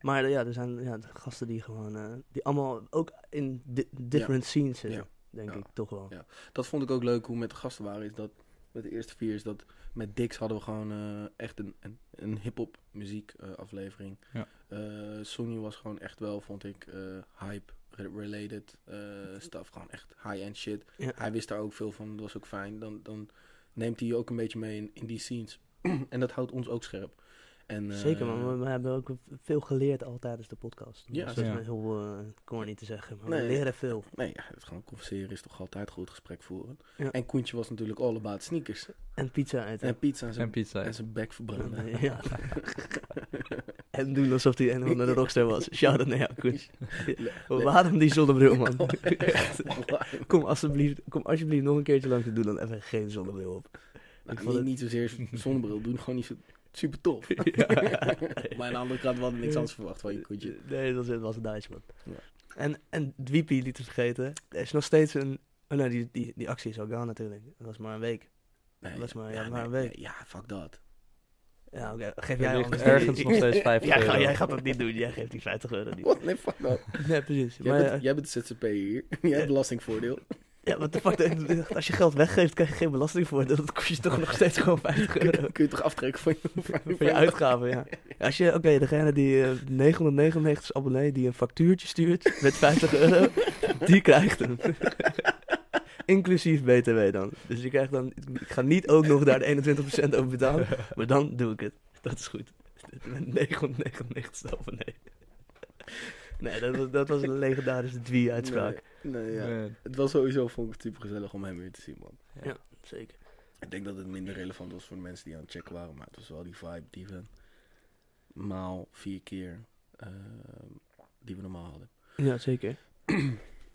maar eh, ja, er zijn ja, de gasten die gewoon. eh, die allemaal ook in di- different scenes zitten. Ja. Denk Ja. ik toch wel. Ja. Dat vond ik ook leuk hoe met de gasten waren. Is dat met de eerste vier is dat met Dix hadden we gewoon eh, echt een, een, een hip-hop muziek eh, aflevering. Ja. Eh, Sony was gewoon echt wel, vond ik, eh, hype re- related eh stuff. Gewoon echt high-end shit. Ja. Hij wist daar ook veel van. Dat was ook fijn. Dan, dan neemt hij je ook een beetje mee in, in die scenes. <clears throat> en dat houdt ons ook scherp. En, eh, Zeker, maar we, we hebben ook veel geleerd al tijdens de podcast. Ja, Dus dat is ja. wel heel eh corny te zeggen, maar we Nee. leren veel. Nee, ja, het gewoon converseren is toch altijd goed gesprek voeren. Ja. En Koentje was natuurlijk all about sneakers. En pizza eten. <laughs> En pizza en zijn, En pizza. en zijn bek verbranden. <laughs> En, eh, ja. en doen alsof hij een of andere rockster was. Shout-out naar jou, Koens. Waarom die zonnebril, <laughs> man? Echt. kom, alsjeblieft, kom alsjeblieft nog een keertje langs en doe dan even geen zonnebril op. Nou, Ik vond niet, het- niet zozeer z- zonnebril doen, gewoon niet zo super <laughs> tof. <laughs> Maar aan de andere kant, we hadden niks anders verwacht van je koetje. Nee, dat was, was een Duits, man. Ja. En, en Dwiepie niet te vergeten. Er is nog steeds een... Oh nee, die, die, die actie is al gaan natuurlijk. Dat was maar een week. Nee, was maar- ja, nee, maar een nee, week. ja, fuck dat. Ja, oké. Geef Er jij ligt anders <laughs> ergens nog steeds 50 Jij, euro. gaat- jij gaat dat niet doen. Jij geeft die 50 euro <laughs> niet. Wat? Nee, fuck dat. Nee, precies. Jij, Maar, bent, jij bent de ZZP hier. <laughs> Jij hebt <laughs> belastingvoordeel. ja, wat de <laughs> fuck. Als je geld weggeeft, krijg je geen belasting voor. Dat kost je toch nog steeds gewoon 50 euro. Kun, kun je toch aftrekken van je, van je- Voor je uitgaven, <laughs> ja. Als je, oké, degene die eh, 999 abonnee die een factuurtje stuurt met 50 <laughs> euro, die krijgt <laughs> hem. Inclusief BTW dan. Dus je krijgt dan, ik ga niet ook nog daar de 21% over <laughs> betalen, maar dan doe ik het. Dat is goed. Met 999 abonnee. Nee, dat was, dat was een legendarische dwie-uitspraak. Nee, nee, ja. Nee. Het was sowieso, vond ik het super gezellig om hem weer te zien, man. Ja, zeker. Ik denk dat het minder relevant was voor de mensen die aan het checken waren, maar het was wel die vibe die we maal vier keer eh, die we normaal hadden. Ja, zeker. <clears throat>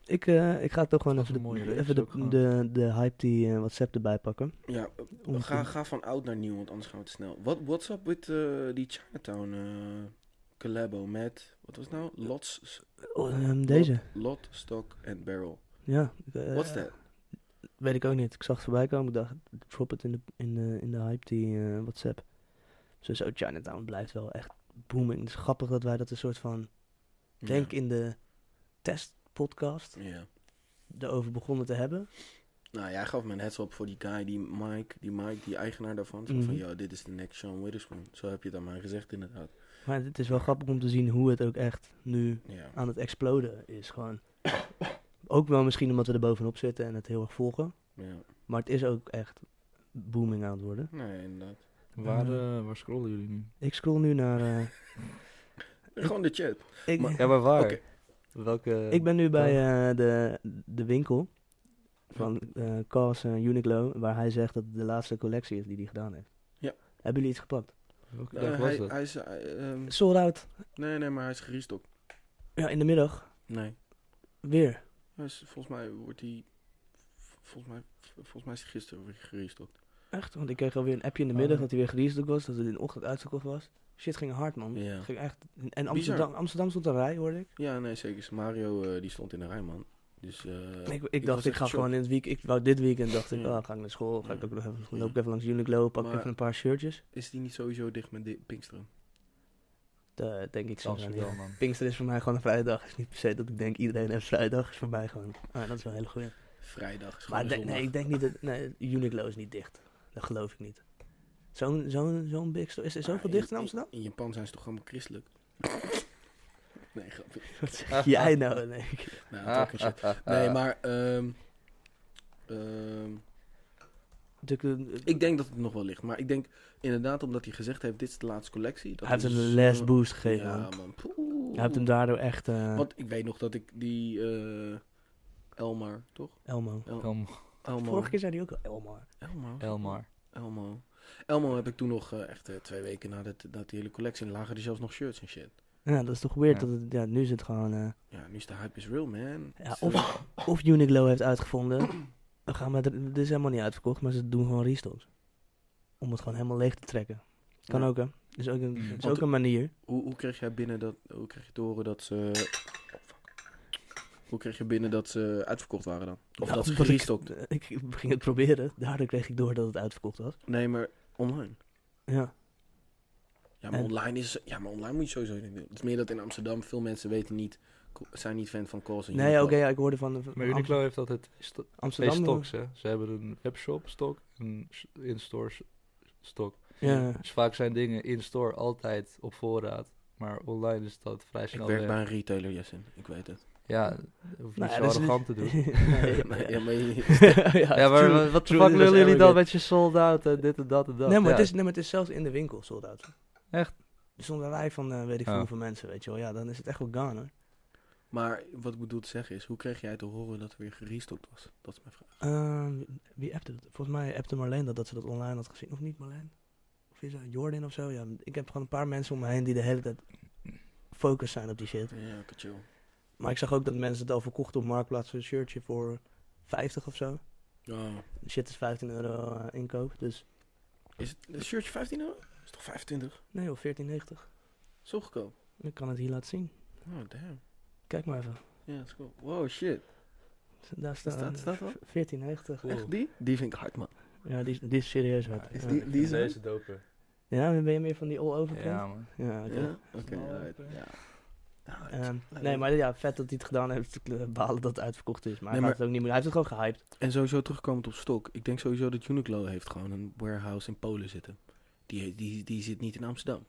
ik, eh, ik ga toch gewoon Dat even, was een de, mooie reeks even de, ook gewoon. de, de hype die eh, WhatsApp erbij pakken. Ja, Om ga, te- ga van oud naar nieuw, want anders gaan we te snel. Wat what's up met eh, die Chinatown eh collabo met, wat was het nou? Lots, Oh, ehm, deze. Lot, Lot, Stock en Barrel. Ja. ik, eh, What's that? Weet ik ook niet. Ik zag het voorbij komen. Ik dacht, drop het in de, in de, in de hype die eh, WhatsApp. Sowieso, Chinatown blijft wel echt booming. Het is grappig dat wij dat een soort van... Denk in de testpodcast Ja. Ja. erover begonnen te hebben. Nou, jij gaf me een heads up voor die guy, die Mike, die Mike, die eigenaar daarvan. Zo Van, Mhm. yo, dit is de next Sean Witherspoon. Zo heb je het aan mij gezegd, inderdaad. Maar het is wel grappig om te zien hoe het ook echt nu Ja. aan het exploden is. Gewoon. ook wel misschien omdat we er bovenop zitten en het heel erg volgen. ja. Maar het is ook echt booming aan het worden. Nee, inderdaad. Waar, Eh. eh, waar scrollen jullie nu? Ik scroll nu naar... <laughs> eh, Gewoon de chat. <laughs> ik, Maar- Ja, maar waar? Oké. Welke... ik ben nu bij eh, de, de winkel van eh Cars en Uniqlo. Waar hij zegt dat het de laatste collectie is die hij gedaan heeft. Ja. Hebben jullie iets gepakt? Welke Eh, dag was hij, dat? hij is, eh, ehm, Sold out. nee, nee, maar hij is gerestock. Ja, in de middag. Nee. Weer. Hij is, volgens mij wordt hij, volgens mij, volgens mij is hij gisteren weer gerestockt. Echt? Want ik kreeg alweer een appje in de Oh. middag dat hij weer gerestock was. Dat het in de ochtend uitverkocht was. Shit ging hard, man. Ja. Ging echt... En Amsterdam, Bizar. Amsterdam stond een rij, hoorde ik. Ja, nee, zeker. Mario, eh, die stond in de rij, man. Dus, eh, Ik, ik ik was dacht, ik echt ga shocked. gewoon in het week. Ik wou dit weekend dacht ik, Ja. oh, ga ik naar school, ga ik Ja. ook nog even, Ja. loop ik even langs Uniqlo, pak Maar- even een paar shirtjes. is die niet sowieso dicht met de Pinksteren? Dat denk ik zo. Amsterdam, ja. man. Pinkster is voor mij gewoon een vrijdag. Is niet per se dat ik denk iedereen heeft vrijdag. Is voor mij gewoon. Ah, dat is wel een hele goeie. Vrijdag is Maar gewoon de- zondag. nee, ik denk niet dat. Nee, Uniqlo is niet dicht. Dat geloof ik niet. Zo'n zo'n zo'n big store. Is er Maar zoveel dicht in Amsterdam? Ah, <laughs> In Japan zijn ze toch allemaal <laughs> christelijk? nee, grapje. Wat zeg jij nou? Nee. ik- Nou, talking shit. Nee, maar ehm, ehm, natuurlijk, eh, ik denk dat het nog wel ligt. Maar ik denk inderdaad omdat hij gezegd heeft, dit is de laatste collectie. Dat hij heeft is hem een zo- last boost gegeven. Ja, man. man. Poeh. Hij heeft hem daardoor echt. eh, Want ik weet nog dat ik die eh, Elmar, toch? Elmo. El- Elm- Elmo. Vorige keer zei hij ook al Elmo. Elmo. Elmar. Elmo. Elmo heb ik toen nog eh, echt eh, twee weken nadat dat die hele collectie en lagen er zelfs nog shirts en shit. Ja, dat is toch weird Ja. dat het. Ja, nu is het gewoon. eh, Ja, nu is de hype is real, man. Dus, eh, Ja, of, of Uniqlo heeft uitgevonden. <clears throat> We gaan met, dit is helemaal niet uitverkocht, maar ze doen gewoon restocks. Om het gewoon helemaal leeg te trekken. Kan Ja. ook, hè? Is ook een, Mm. is Want- ook een manier. Hoe, hoe kreeg jij binnen dat... Hoe kreeg je te horen dat ze... oh, fuck. Hoe kreeg je binnen dat ze uitverkocht waren dan? Of Nou, dat ze omdat ik- gerestockt? <laughs> Ik, ging het proberen. Daardoor kreeg ik door dat het uitverkocht was. Nee, maar online. Ja. Ja, maar En- online is... Ja, maar online moet je sowieso niet doen. Het is meer dat in Amsterdam veel mensen weten niet... Zijn niet fan van calls en Nee, oké, Uniqlo. ja, ik hoorde van, van Maar Am- Uniqlo heeft altijd sto- twee Amsterdam. stocks, hè. Ze hebben een webshop stok en een s- in-store s- stok. Ja. Dus vaak zijn dingen in-store altijd op voorraad. Maar online is dat vrij Ik snel werk weg. bij een retailer, Jessen. Ik weet het. Ja, dat hoef je Nou, niet ja, zo dat is- arrogant te doen. <laughs> Nee, Nee, <laughs> ja. ja, maar je- <laughs> Ja, maar true. wat- True, wat de fuck dit was willen jullie arrogant. dan met je sold out en dit en dat en dat? Nee, maar, Ja, het is, nee, maar het is zelfs in de winkel sold out. Echt? Er stond een rij van eh, weet ik veel Ja. hoeveel mensen, weet je wel. Ja, dan is het echt wel gone, hoor. Maar wat ik bedoel te zeggen is... Hoe kreeg jij te horen dat er weer gerestockt was? Dat is mijn vraag. Ehm, wie- wie appte het? Volgens mij appte Marleen dat, dat ze dat online had gezien. Of niet Marleen? Of is dat Jordan of zo? Ja, ik heb gewoon een paar mensen om me heen die de hele tijd focus zijn op die shit. Ja, oké, chill. Maar ik zag ook dat mensen het al verkochten op Marktplaats. Een shirtje voor 50 of zo. Oh. De shit is 15 euro eh, inkoop. Dus Is het een shirtje 15 euro? Is toch 25? nee joh, 14,90. Zo goedkoop. Ik kan het hier laten zien. Oh, damn. Kijk maar even. Ja, dat is cool. Wow, shit. Daar staat, staat- staat dat? 14,90. cool. Echt die? Die vind ik hard, man. Ja, die, is- die is serieus hard. Is ja. die- Ik die vind zijn- Deze doper. Ja, ben je meer van die all-over print? Ja, man. Ja, oké. Ja? Oké, Small alright. open. Ja. Nou, het- Ehm, Leuk. nee, maar ja, vet dat hij het gedaan heeft. Ik, eh, Balen dat het uitverkocht is. Maar hij Nee, gaat het ook niet meer. Hij heeft het gewoon gehyped. En sowieso terugkomend op stok. Ik denk sowieso dat Uniqlo heeft gewoon een warehouse in Polen zitten. Die, die, die zit niet in Amsterdam.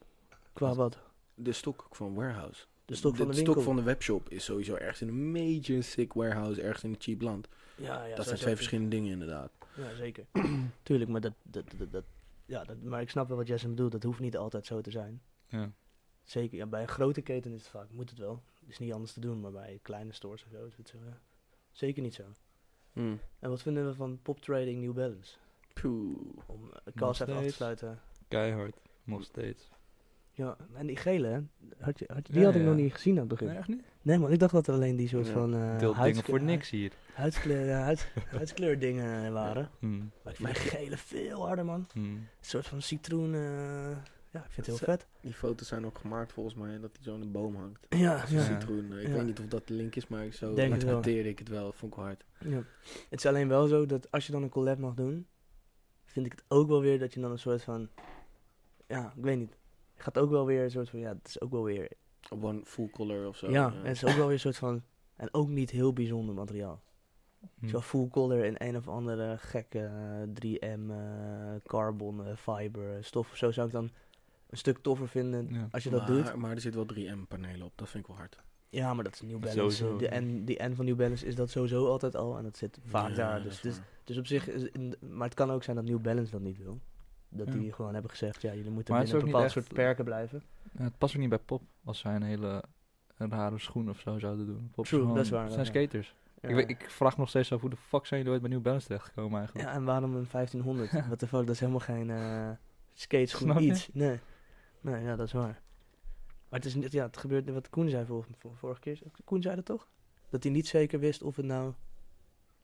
Qua Wat? wat? De stok van warehouse. De stok van de winkel. stok van de webshop is sowieso ergens in een major sick warehouse, ergens in een cheap land. Ja, ja, dat sowieso. zijn twee verschillende dingen inderdaad. Ja, zeker. <clears throat> Tuurlijk, maar dat, dat, dat, dat- ja, dat... Maar ik snap wel wat Jesse bedoelt. Dat hoeft niet altijd zo te zijn. Ja. Zeker, ja, bij een grote keten is het vaak. Moet het wel. is niet anders te doen. Maar bij kleine stores of zo is het zo, ja. Zeker niet zo. En wat vinden we van poptrading New Balance? Poeh. Om eh, Carl even af te steeds. sluiten. Keihard. Nog steeds. Ja, en die gele, hè? Had je, had je- die Ja, had ik ja. nog niet gezien aan het begin. Nee, Nee, echt niet? man, ik dacht dat er alleen die soort Ja. van... eh Deelt dingen huidskleur- voor niks hier. Huidskleur, eh, <laughs> huid, huidskleurdingen eh, waren. Hm, Maar ik vind die gele veel harder, man. hm. Een soort van citroen... eh, ja, ik vind het Zo. heel vet. Die foto's zijn ook gemaakt volgens mij dat hij zo in een boom hangt. Ja, Zo'n ja. citroen. eh, Ik Ja. weet niet of dat de link is, maar zo Denk het wel. interpreteer ik het wel. Vond ik wel hard. ja. Het is alleen wel zo dat als je dan een collab mag doen... vind ik het ook wel weer dat je dan een soort van... Ja, ik weet niet. Het gaat ook wel weer een soort van... Ja, het is ook wel weer... One full color of zo. ja, en het is ook wel weer een soort van... En ook niet heel bijzonder materiaal. Hm. Zo full color in een of andere gekke eh, 3M eh, carbon eh, fiber eh, stof of zo zou ik dan een stuk toffer vinden Ja. als je dat maar, doet. Maar er zit wel 3M-panelen op. Dat vind ik wel hard. Ja, maar dat is New Balance. Sowieso. De N, die N van New Balance is dat sowieso altijd al en dat zit vaak Ja, daar. dat Dus, is dus, waar. dus op zich, is- in- maar het kan ook zijn dat New Balance dat niet wil. Dat Ja. die gewoon hebben gezegd, ja, jullie moeten Maar het is binnen een ook bepaald niet soort echt- perken blijven. Ja, het past ook niet bij Pop als zij een hele rare schoen of zo zouden doen. Pop True, gewoon- dat is waar, zijn ja. skaters. Ja. Ik, weet- ik vraag me nog steeds af hoe de fuck zijn jullie ooit bij New Balance terechtgekomen eigenlijk. ja, en waarom een <laughs> 1500? Wat de fuck, dat is helemaal geen eh Snap skateschoen je? iets. Nee. nee, ja, dat is waar. Maar het is net, ja, het gebeurt wat Koen zei vor, vor- vorige keer. Koen zei dat toch? Dat hij niet zeker wist of het nou,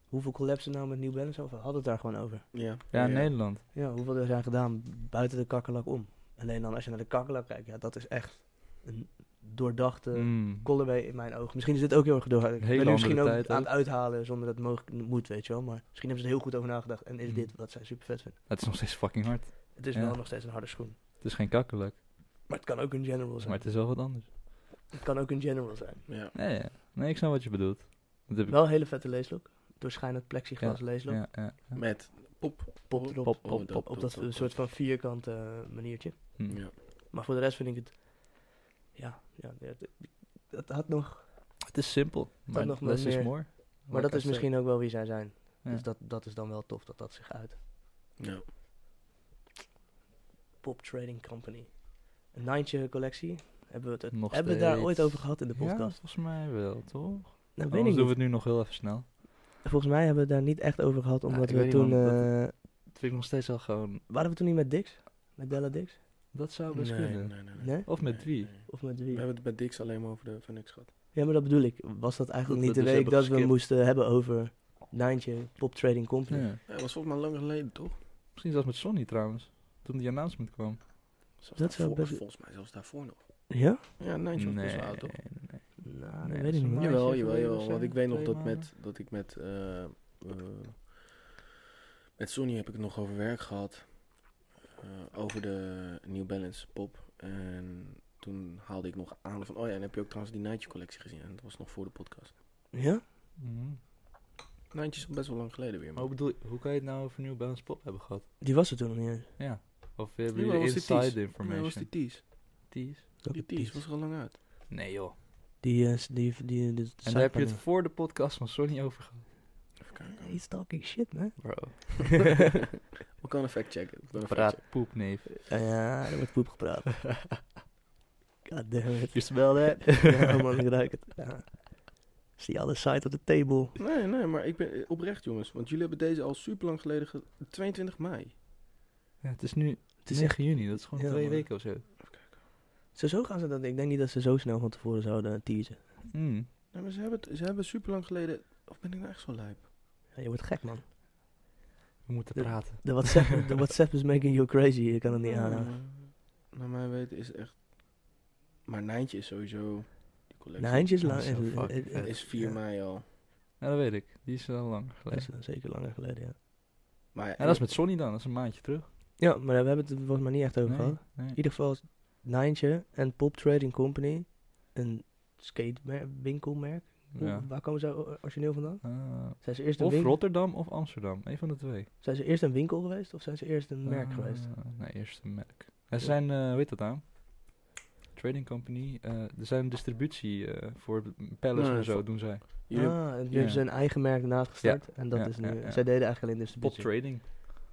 hoeveel collabs er nou met New Balance over hadden het daar gewoon over. Ja, Ja, in Nederland. Ja, hoeveel er zijn gedaan buiten de kakkelak om. Alleen dan als je naar de kakkelak kijkt, ja, dat is echt een doordachte Mm. colorway in mijn ogen. Misschien is dit ook heel erg doorgaan. Ik Hele ben nu misschien ook andere tijd aan ook. het uithalen zonder dat het mogelijk moet, weet je wel. Maar misschien hebben ze er heel goed over nagedacht en is Mm. dit wat zij super vet vinden. Het is nog steeds fucking hard. Het is Ja. wel nog steeds een harde schoen. Het is geen kakkelak, Maar het kan ook een general zijn. maar het is wel wat anders. Het kan ook een general zijn. Ja. Nee, ja. nee ik snap wat je bedoelt. Dat heb ik- Wel een hele vette leeslook. Doorschijnend plexiglas leeslook. ja, ja, ja. Met pop. Pop erop. Pop, Oh, pop, pop. Op dat pop, pop. soort van vierkante eh, maniertje. Hm. Ja. Maar voor de rest vind ik het... Ja, ja, ja, het, het had nog... Het is simpel, maar nog wel less is meer. more. Maar dat is misschien ook wel wie zij zijn. eh, Ja. Dus dat, dat is dan wel tof dat dat zich uit. Ja. Pop Trading Company. Een Nintje collectie. Hebben we, het, Nog hebben we het daar steeds. ooit over gehad in de Ja, podcast? volgens mij wel, toch? Nou, weet Anders ik niet. doen we het nu nog heel even snel. Volgens mij hebben we het daar niet echt over gehad, omdat ik we weet niet, toen... man, eh, Dat vind ik nog steeds wel gewoon... waren we toen niet met Dix? Met Della Dix? Dat zou best nee, kunnen. nee, nee, nee. Nee? Of met wie? Nee, nee. Of met We wie? hebben het bij Dix alleen maar over de Phoenix gehad. Ja, maar dat bedoel ik. Was dat eigenlijk Dat niet de we dus week hebben dat we geskipt. moesten hebben over Nijntje Pop Trading Company? Ja. Ja, dat was volgens mij lang geleden, toch? Misschien zelfs met Sonny trouwens. Toen die announcement kwam. Zelfs Dat zou daarvoor- best- Volgens mij zelfs daarvoor nog. Ja? Ja, Nijntje was best wel oud, toch? nee. Nou, Nee, dat weet dat ik is niet. een meer. maandje Jawel, jawel, geleden jawel. of zo, Want ik weet nog twee dat, maanden. met, dat ik met, eh, eh, met Sony heb ik het nog over werk gehad. eh, over de New Balance pop. En toen haalde ik nog aan van, oh ja, en heb je ook trouwens die Nijntje collectie gezien? En dat was nog voor de podcast. Ja? Mhm. Nijntje is al best wel lang geleden weer. Maar hoe, bedoel, je- hoe kan je het nou over New Balance Pop hebben gehad? Die was er toen nog niet eens. Ja. Of we hebben Jawel, jullie was die inside tease? Nee, was information? die tease. Tease? Welke Die tease Piet? was er al lang uit. Nee joh. Die, eh, die, die, die, die En daar heb je zakpaneel. het voor de podcast van Sony over gehad. Even kijken. He's talking shit, man. Bro. <laughs> We kan een fact checken. Praat poep, neef. Ja, er wordt poep gepraat. God damn it. Je smelde. <laughs> Ja, man, ik ruik het. Ja. Zie alle side op de table. Nee, nee, maar ik ben eh, oprecht jongens. Want jullie hebben deze al super lang geleden, ge- 22 mei. Ja, het is nu Het is echt... 9 juni, dat is gewoon Ja, twee man. weken of zo. Zo gaan ze dat... Ik denk niet dat ze zo snel van tevoren zouden teasen. Mm. Nee, maar ze hebben, het- ze hebben super lang geleden. Of ben ik nou echt zo lijp? Ja, je wordt gek, man. We moeten Ja. praten. De WhatsApp, de WhatsApp is making you crazy. Je kan het niet aanhouden. Eh, Naar mijn weten is het echt. Maar Nijntje is sowieso. Die collectie. Nijntje is Ja, lang. dat is wel eh, eh, fucking eh, vet. is 4 ja, mei al. Ja, dat weet ik. Die is al lang Dat geleden. is eh, zeker langer geleden, ja. Maar ja, En dat is met Sony dan, dat is een maandje terug. Ja, maar we hebben het er volgens mij niet echt over gehad. nee. In ieder geval is Nijntje en Pop Trading Company een skatewinkelmerk. Hoe- Ja. Waar komen ze o- origineel vandaan? Ah, Zijn ze, eerst een of winkel, Rotterdam of Amsterdam, een van de twee. zijn ze eerst een winkel geweest of zijn ze eerst een merk Ah, geweest? Nee, eerst een merk. Er zijn, eh, hoe heet dat nou? Trading company. eh, er zijn distributie eh, voor Palace Nee, en zo, voor- doen zij. jullie- ah, en die hebben ze ja. een eigen merk naast gestart. En dat ja, is nu. ja, ja. Zij deden eigenlijk alleen Pop distributie. trading.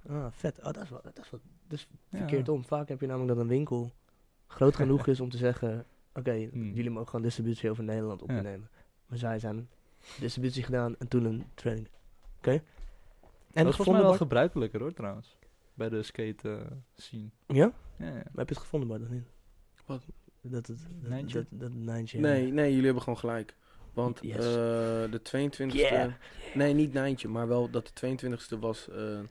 Ah, vet. Oh, dat is wel. Dat is wel dat is Ja. verkeerd om. Vaak heb je namelijk dat een winkel <laughs> groot genoeg is om te zeggen: Oké, Hmm. jullie mogen gewoon distributie over Nederland ondernemen. Maar zij zijn distributie gedaan en toen een trading. Oké. En dat is volgens mij wel gevonden, Bart? gebruikelijker hoor trouwens. Bij de skate eh, scene. Ja? Ja, ja. Maar heb je het gevonden, Bart, of niet? Wat? Dat het... Dat, Nijntje? dat, dat Nijntje, ja. Nee, nee, jullie hebben gewoon gelijk. Want Yes. eh, de 22e... Yeah. Nee, niet Nijntje, maar wel dat de 22e was... eh, De,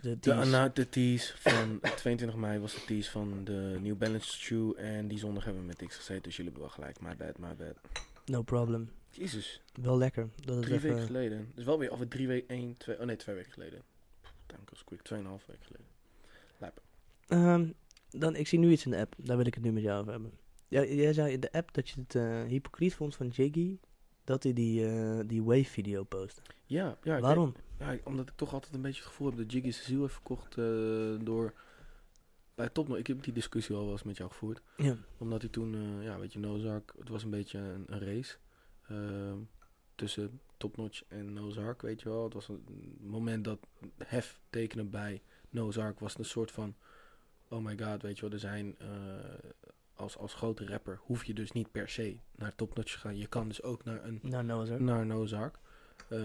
de, die is- nou, de tease van... 22 mei was de tease van de New Balance shoe. En die zondag hebben we met X gezeten, dus jullie hebben wel gelijk. My bad, my bad. No problem. Jezus, Wel lekker. Dat is drie even... weken geleden. Dus wel weer over drie weken... één, twee... Oh nee, twee weken geleden. Pff, Time goes quick. Tweeënhalf weken geleden. Ehm, dan, ik zie nu iets in de app. Daar wil ik het nu met jou over hebben. Ja, jij zei in de app dat je het eh, hypocriet vond van Jiggy... dat hij die, eh, die Wave-video postte. Ja, ja. ik Waarom? Ja, ik- omdat ik toch altijd een beetje het gevoel heb dat Jiggy zijn ziel heeft verkocht eh, door... Bij Topno, ik heb die discussie al wel eens met jou gevoerd. Ja. Omdat hij toen, eh, ja, weet je, Nozark, het was een beetje een, een race. ehm, tussen Topnotch en Nozark, weet je wel. Het was een moment dat hef tekenen bij Nozark was een soort van... Oh my god, weet je wel, er zijn... eh, als, als grote rapper hoef je dus niet per se naar Topnotch te gaan. Je kan dus ook naar een Nou, nou is er. naar Nozark. Eh,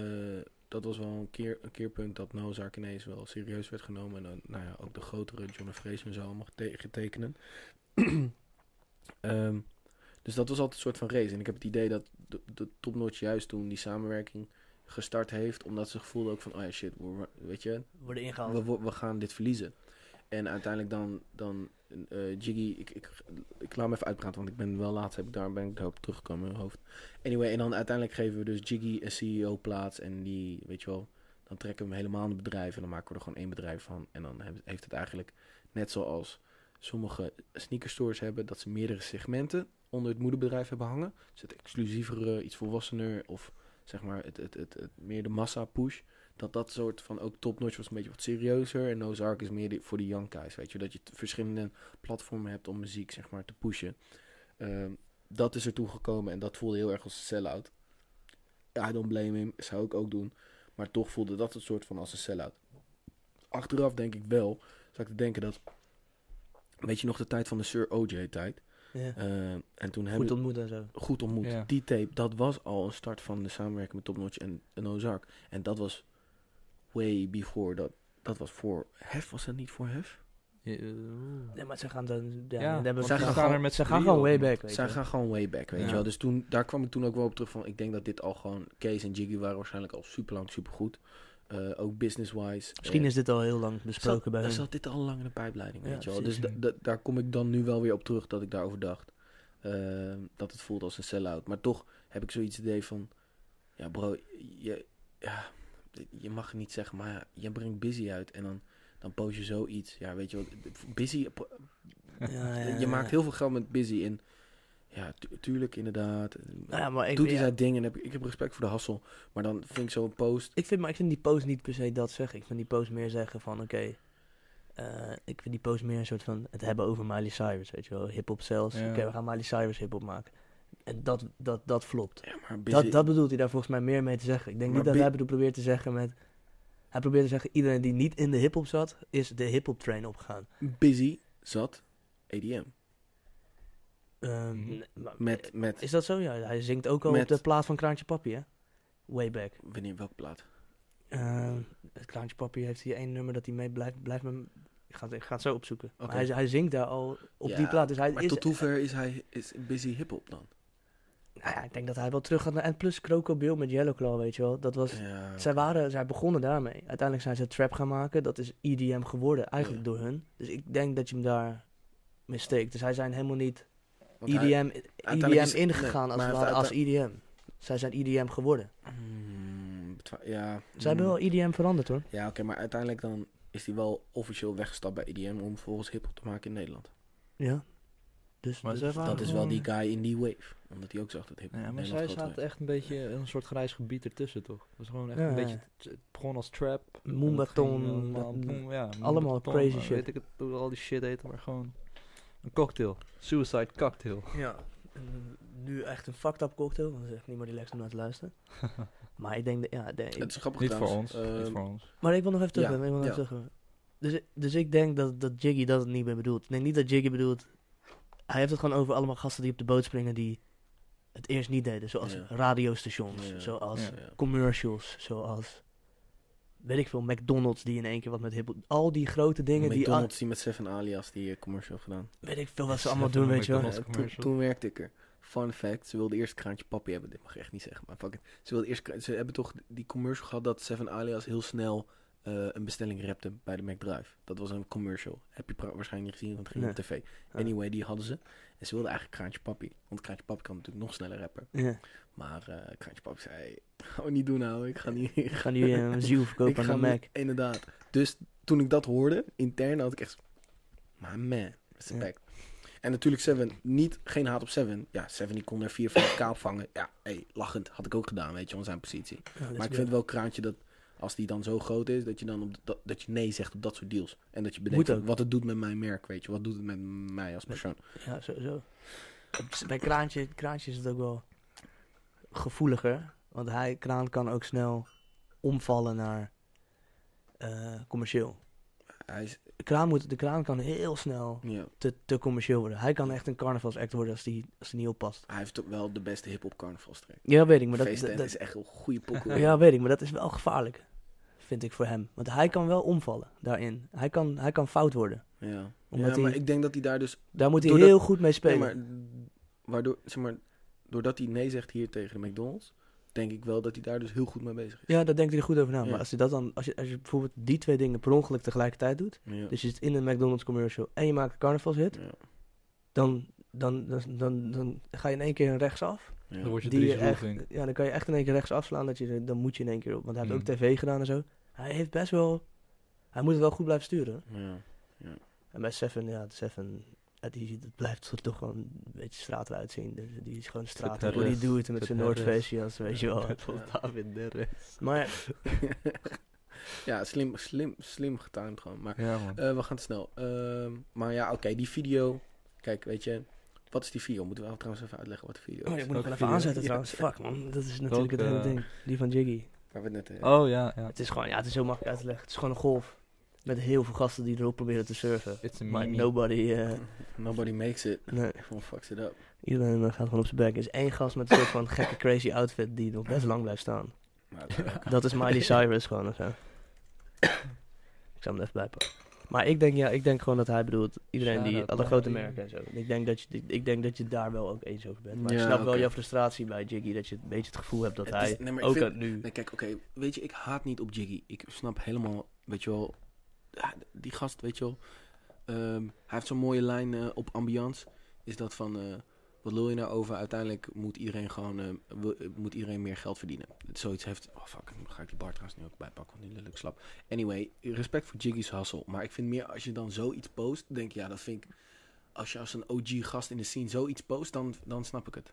dat was wel een, keer, een keerpunt dat Nozark ineens wel serieus werd genomen. En dan, nou ja, ook de grotere John Fraser en zo allemaal gete- getekenen. <clears throat> Ehm, dus dat was altijd een soort van race. En ik heb het idee dat de, de topnotch juist toen die samenwerking gestart heeft. Omdat ze gevoelden ook van, oh ja shit, we- weet je, Worden ingehaald. we, we- we gaan dit verliezen. En uiteindelijk dan, dan eh, Jiggy, ik, ik, ik laat me even uitpraten, want ik ben wel laatst, heb ik daar, ben ik daarop teruggekomen in mijn hoofd. Anyway, en dan uiteindelijk geven we dus Jiggy een CEO-plaats en die, weet je wel, dan trekken we hem helemaal aan het bedrijf en dan maken we er gewoon één bedrijf van. En dan heb- heeft het eigenlijk, net zoals sommige sneakerstores hebben, dat ze meerdere segmenten onder het moederbedrijf hebben hangen. Dus het exclusievere, iets volwassener of zeg maar het, het, het, het meer de massa-push dat dat soort van ook topnotch was een beetje wat serieuzer. En Nozark is meer die- voor de young guys, weet je. Dat je t- verschillende platformen hebt om muziek, zeg maar, te pushen. Ehm, dat is ertoe gekomen en dat voelde heel erg als een sell-out. I don't blame him, zou ik ook doen. Maar toch voelde dat een soort van als een sell-out. Achteraf denk ik wel, zou ik te denken dat... Weet je nog de tijd van de Sir OJ-tijd? Ja. Ehm, en toen hebben Goed ontmoet en zo. goed ontmoet. Ja. Die tape, dat was al een start van de samenwerking met Top Notch en, en Ozark. En dat was way before dat. Dat was voor Hef, was dat niet voor Hef? Je- eh, oeh. Nee, maar ze gaan dan... Ja, dan Ja, hebben we- want zij ze gaan gaan, er met ze z'n gaan drieën gewoon op. way back, weet Zij je. gaan gewoon way back, weet Ja. je wel. Dus toen, daar kwam ik toen ook wel op terug van, ik denk dat dit al gewoon, Kees en Jiggy waren waarschijnlijk al super lang super goed. ook business-wise. Misschien Eh, is dit al heel lang besproken zat, bij daar hun. zat dit al lang in de pijpleiding, Ja, weet je wel. Dus precies. da- da- daar kom ik dan nu wel weer op terug dat ik daarover dacht. Ehm, dat het voelt als een sell-out. Maar toch heb ik zoiets idee van... Ja bro, je, ja, je mag het niet zeggen, maar ja, je brengt Busy uit en dan, dan post je zoiets. Ja, weet je wel. Busy, Ja, ja, ja, je ja. maakt heel veel geld met Busy en... Ja, tu- tuurlijk inderdaad. Nou Ja, maar ik, Doet hij ja, zijn ding en heb, ik heb respect voor de hassel. Maar dan vind ik zo'n post... ik vind, maar ik vind die post niet per se dat zeggen. Ik vind die post meer zeggen van, oké... eh, ik vind die post meer een soort van het hebben over Miley Cyrus, weet je wel. Hip-hop zelfs. Ja. Oké, we gaan Miley Cyrus hip-hop maken. En dat, dat, dat flopt. Ja, maar Busy, Dat, dat bedoelt hij daar volgens mij meer mee te zeggen. Ik denk Maar niet dat bi- hij bedoelt, probeert te zeggen met... Hij probeert te zeggen, iedereen die niet in de hip-hop zat, is de hip-hop train opgegaan. busy zat EDM. Ehm, Mhm. nee, maar- Met, met Is dat zo? Ja, hij zingt ook al Met- op de plaat van Kraantje Papi, hè? Way back. Wanneer welk plaat? Ehm, het Kraantje Papi heeft hier één nummer dat hij mee blijft. blijft met, ik, ga het, ik ga het zo opzoeken. Maar Oké. hij, hij zingt daar al op Ja, die plaat. Dus hij Maar is, tot hoever is hij is busy hip-hop dan? Nou ja, ik denk dat hij wel terug gaat naar... En plus Crocobile met Yellow Claw, weet je wel. Dat was... Ja, Zij, waren, zij begonnen daarmee. Uiteindelijk zijn ze trap gaan maken. Dat is EDM geworden, eigenlijk Ja. door hun. Dus ik denk dat je hem daar misteekt. Dus zij zijn helemaal niet E want hij- EDM, uiteindelijk EDM is- ingegaan als, nee, maar het hij ware, als heeft EDM. Zij zijn EDM geworden. Hmm, betwa- ja, Ze hebben hmm. wel EDM veranderd hoor. Ja, oké, maar uiteindelijk dan is hij wel officieel weggestapt bij EDM om volgens hip-hop te maken in Nederland. Ja. Dus Maar dus- zij waren Dat is wel die gewoon- guy in die wave, omdat hij ook zag dat hip-hop. Ja, in maar zij Nederland groot zaten werd. echt een beetje in een soort grijs gebied ertussen, toch? Het was gewoon echt Ja, een ja. beetje... Het begon als trap. en het Moombaton, ging helemaal- dat- boom, ja, allemaal Moombaton, crazy eh, shit. Weet ik het, hoe al die shit heette, maar gewoon... Een cocktail. Suicide cocktail. Ja, en eh, nu echt een fucked up cocktail. Want dat is echt niet meer relaxed om naar te <laughs> luisteren. maar ik denk dat... Ja, de- Het is grappig Niet voor trouwens. ons. Niet Ehm, voor ons. Maar ik wil nog even terug. Ja, ik wil nog even ja. terug. Dus, dus ik denk dat, dat Jiggy dat niet meer bedoelt. Ik denk niet dat Jiggy bedoelt. Hij heeft het gewoon over allemaal gasten die op de boot springen die het eerst niet deden. Zoals Ehm, Ja. radiostations, Ja, zoals ja. ja. commercials, zoals weet ik veel, McDonald's die in één keer wat met hip Al die grote dingen die... al- McDonald's die met Seven Alias die eh, commercial heeft gedaan. weet ik veel wat ze allemaal doen, weet je wel. McDonald's. <laughs> Ja, toen- commercial. Eh, toen werkte ik er. Fun fact, ze wilde eerst kraantje papi hebben. Dit mag ik echt niet zeggen, maar fuck it. Ze, wilde eerst, kra- ze hebben toch die commercial gehad dat Seven Alias heel snel eh, een bestelling repte bij de McDrive. Dat was een commercial. Heb je pra- waarschijnlijk niet gezien, want het ging op tv. Ah. Anyway, die hadden ze. En ze wilden eigenlijk kraantje papi. Want kraantje papi kan natuurlijk nog sneller rappen. Ja. Maar eh kraantje papi zei, gaan we niet doen nou. Ik ga niet... Ik ga nu <laughs> eh, een ziel Ik verkopen ga aan de Mac. niet- Inderdaad. Dus toen ik dat hoorde, intern had ik echt... Maar man, respect. En natuurlijk Seven, niet, geen haat op Seven. Ja, Seven die kon er 4, 5 k vangen. Ja, hey, lachend. Had ik ook gedaan, weet je, om zijn positie. maar ik vind wel kraantje dat als die dan zo groot is, dat je dan op dat, dat je nee zegt op dat soort deals. En dat je bedenkt Moet ook. wat het doet met mijn merk, weet je. Wat doet het met mij als persoon. Ja, sowieso. Op- Bij Kraantje, Kraantje is het ook wel gevoeliger. Want hij, Kraan kan ook snel omvallen naar eh, commercieel. Hij is, De Kraan, moet, de kraan kan heel snel ja, te, te commercieel worden. Hij kan echt een carnavalsact worden als die, als die niet oppast. hij heeft toch wel de beste hip-hop carnavalstrek. Ja, weet ik. Maar dat, Feesten dat- is echt een goede pokoe. <laughs> ja, weet ik. Maar dat is wel gevaarlijk, vind ik, voor hem. Want hij kan wel omvallen daarin. Hij kan, hij kan fout worden. ja. Omdat ja, maar hij- ik denk dat hij daar dus Daar moet hij Doordat- heel goed mee spelen. Nee, maar, waardoor, zeg maar, doordat hij nee zegt hier tegen de McDonald's, denk ik wel dat hij daar dus heel goed mee bezig is. Ja, daar denkt hij er goed over na. Ja. Maar als je, dat dan, als, je, als je bijvoorbeeld die twee dingen per ongeluk tegelijkertijd doet... Ja. Dus je zit in een McDonald's commercial en je maakt een carnavalshit. Ja. Dan, dan, dan, dan, dan ga je in één keer rechtsaf. Dan word je Die je drie echt, Roelvink. ja, dan kan je echt in één keer rechts afslaan. Dat je, dan moet je in één keer op. Want hij heeft Mm. ook tv gedaan en zo. Hij heeft best wel... Hij moet het wel goed blijven sturen. Ja. En bij Seven, ja, Seven... ja, Die, dat blijft zo toch gewoon een beetje straat eruit zien. Dus die is gewoon straat. Zit Die Perez. doet het met Zit zijn Perez. Noordfeestje. als- Weet je <laughs> wel. Net als David Derres. Maar ja, slim, slim, slim getimed gewoon. Maar Ja, man. eh, we gaan te snel. Ehm, maar ja, oké, die video. Kijk, weet je, wat is die video? Moeten we wel trouwens even uitleggen wat de video Oh, is. ik moet nog Welke wel even video? aanzetten Ja. trouwens. Fuck man, dat is natuurlijk het Welke? hele ding. Die van Jiggy. Waar we het net eh, Oh, ja, ja. Het is gewoon, ja, het is heel makkelijk uit te leggen. Het is gewoon een golf. Met heel veel gasten die erop proberen te surfen. It's a Maar meme. nobody, <laughs> eh, Nobody makes it. nee. Everyone fucks it up. Iedereen eh, gaat gewoon op zijn bek. Er is één gast met een soort van gekke crazy outfit die nog best lang blijft staan. Maar, eh, Dat is Miley Cyrus gewoon of zo. Ik zal hem er even bijpakken. Maar ik denk, ja, ik denk gewoon dat hij bedoelt, iedereen die, Shout-out alle grote Miley. merken en zo. Ik denk, dat je, ik, ik denk dat je daar wel ook eens over bent. Maar ik Ja, snap wel oké. jouw frustratie bij Jiggy, dat je een beetje het gevoel hebt dat Het hij is- nee, maar ik ook vind- aan nu... Nee, kijk, oké, weet je, ik haat niet op Jiggy. Ik snap helemaal, weet je wel, ja, die gast, weet je wel. ehm, hij heeft zo'n mooie lijn eh, op ambiance. Is dat van, eh, wat lul je nou over? Uiteindelijk moet iedereen gewoon, eh, wil- eh, moet iedereen meer geld verdienen. Zoiets heeft, oh fuck, dan ga ik die bar trouwens nu ook bijpakken, want die lelijk slap. Anyway, respect voor Jiggy's hustle. Maar ik vind meer, als je dan zoiets post, denk ik, ja, dat vind ik... Als je als een OG-gast in de scene zoiets post, dan, dan snap ik het.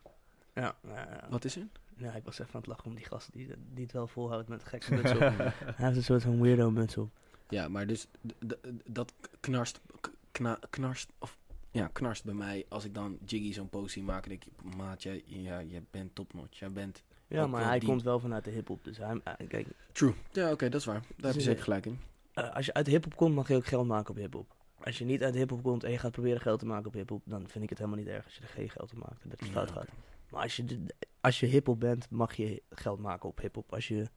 Ja, nou ja. Wat is er? Ja, Nou, ik was even aan het lachen om die gast die, die het wel volhoudt met een gekke muts <laughs> op. Hij heeft een soort van weirdo muts op. Ja, maar dus d- d- d- dat k- knarst, k- kna, knarst, of, ja, knarst bij mij als ik dan Jiggy zo'n post zie maken. Denk ik, maat, jij, ja, jij bent topnotch. Jij bent... Ja, Ook maar wel hij diep. komt wel vanuit de hip-hop. Dus hij, eh, kijk, True. Ja, oké, dat is waar. Daar heb je Dus, zeker eh, gelijk in. eh, als je uit de hip-hop komt, mag je ook geld maken op hip-hop. Als je niet uit de hip-hop komt en je gaat proberen geld te maken op hip-hop, dan vind ik het helemaal niet erg als je er geen geld op maakt en dat het Ja, fout oké. gaat. Maar als je, de- als je hip-hop bent, mag je geld maken op hip-hop. Als je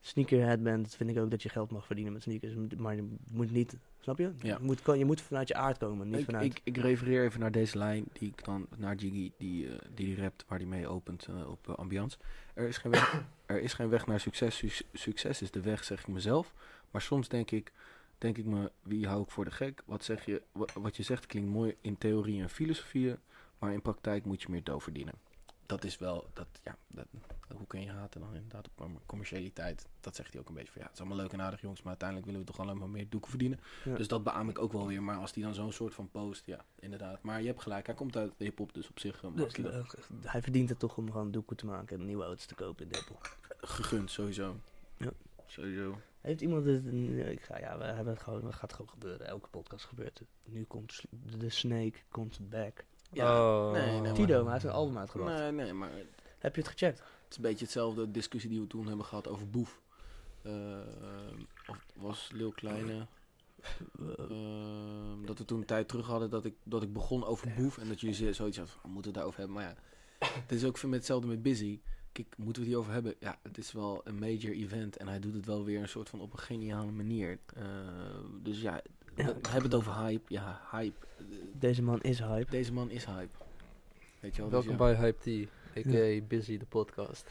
sneakerhead bent, vind ik ook dat je geld mag verdienen met sneakers. Maar je moet niet, snap je? Ja. Je, moet, je moet vanuit je aard komen, niet Ik, vanuit. ik, ik refereer even naar deze lijn die ik dan naar Jiggy die, eh, die die rapt waar die mee opent eh, op eh, Ambiance. Er is, geen weg, er is geen weg naar succes. Suc- succes is de weg, zeg ik mezelf. Maar soms denk ik, denk ik me, wie hou ik voor de gek? Wat, zeg je, wa- wat je zegt klinkt mooi in theorie en filosofieën, maar in praktijk moet je meer dough verdienen. Dat is wel, dat, ja, dat, hoe kun je haten dan inderdaad op comm- commercialiteit? Dat zegt hij ook een beetje van ja, het is allemaal leuk en aardig jongens, maar uiteindelijk willen we toch allemaal meer doeken verdienen. Ja. Dus dat beaam ik ook wel weer. Maar als die dan zo'n soort van post, ja, inderdaad. Maar je hebt gelijk, hij komt uit de hip-hop, dus op zich eh, mag Dus, je dat. eh, hij verdient het toch om gewoon doeken te maken en nieuwe auto's te kopen in de Apple. gegund, sowieso. Ja. Sowieso. Heeft iemand het... nee, Ik ga, ja, we hebben het gewoon, het gaat gewoon gebeuren. Elke podcast gebeurt het. Nu komt Sl- de Snake, komt back. Ja. Oh. nee, nee, maar- Tido, maar hij heeft een album uitgebracht. Nee, nee, maar het Heb je het gecheckt? is een beetje hetzelfde discussie die we toen hebben gehad over Boef. Eh, of was Lil Kleine... Ehm, dat we toen een tijd terug hadden dat ik, <laughs> dat ik begon over Boef. En dat jullie ze- zoiets hadden van, we moeten het daarover hebben. Maar ja, het is ook veel met hetzelfde met Busy. kijk, moeten we het hierover hebben? Ja, het is wel een major event en hij doet het wel weer een soort van op een geniale manier. Eh, dus ja, we, we hebben het over hype. Ja, hype. Deze man is hype. Deze man is hype. Weet je wel, Welkom dus ja. bij Hype T, a.k.a. Busy, de podcast.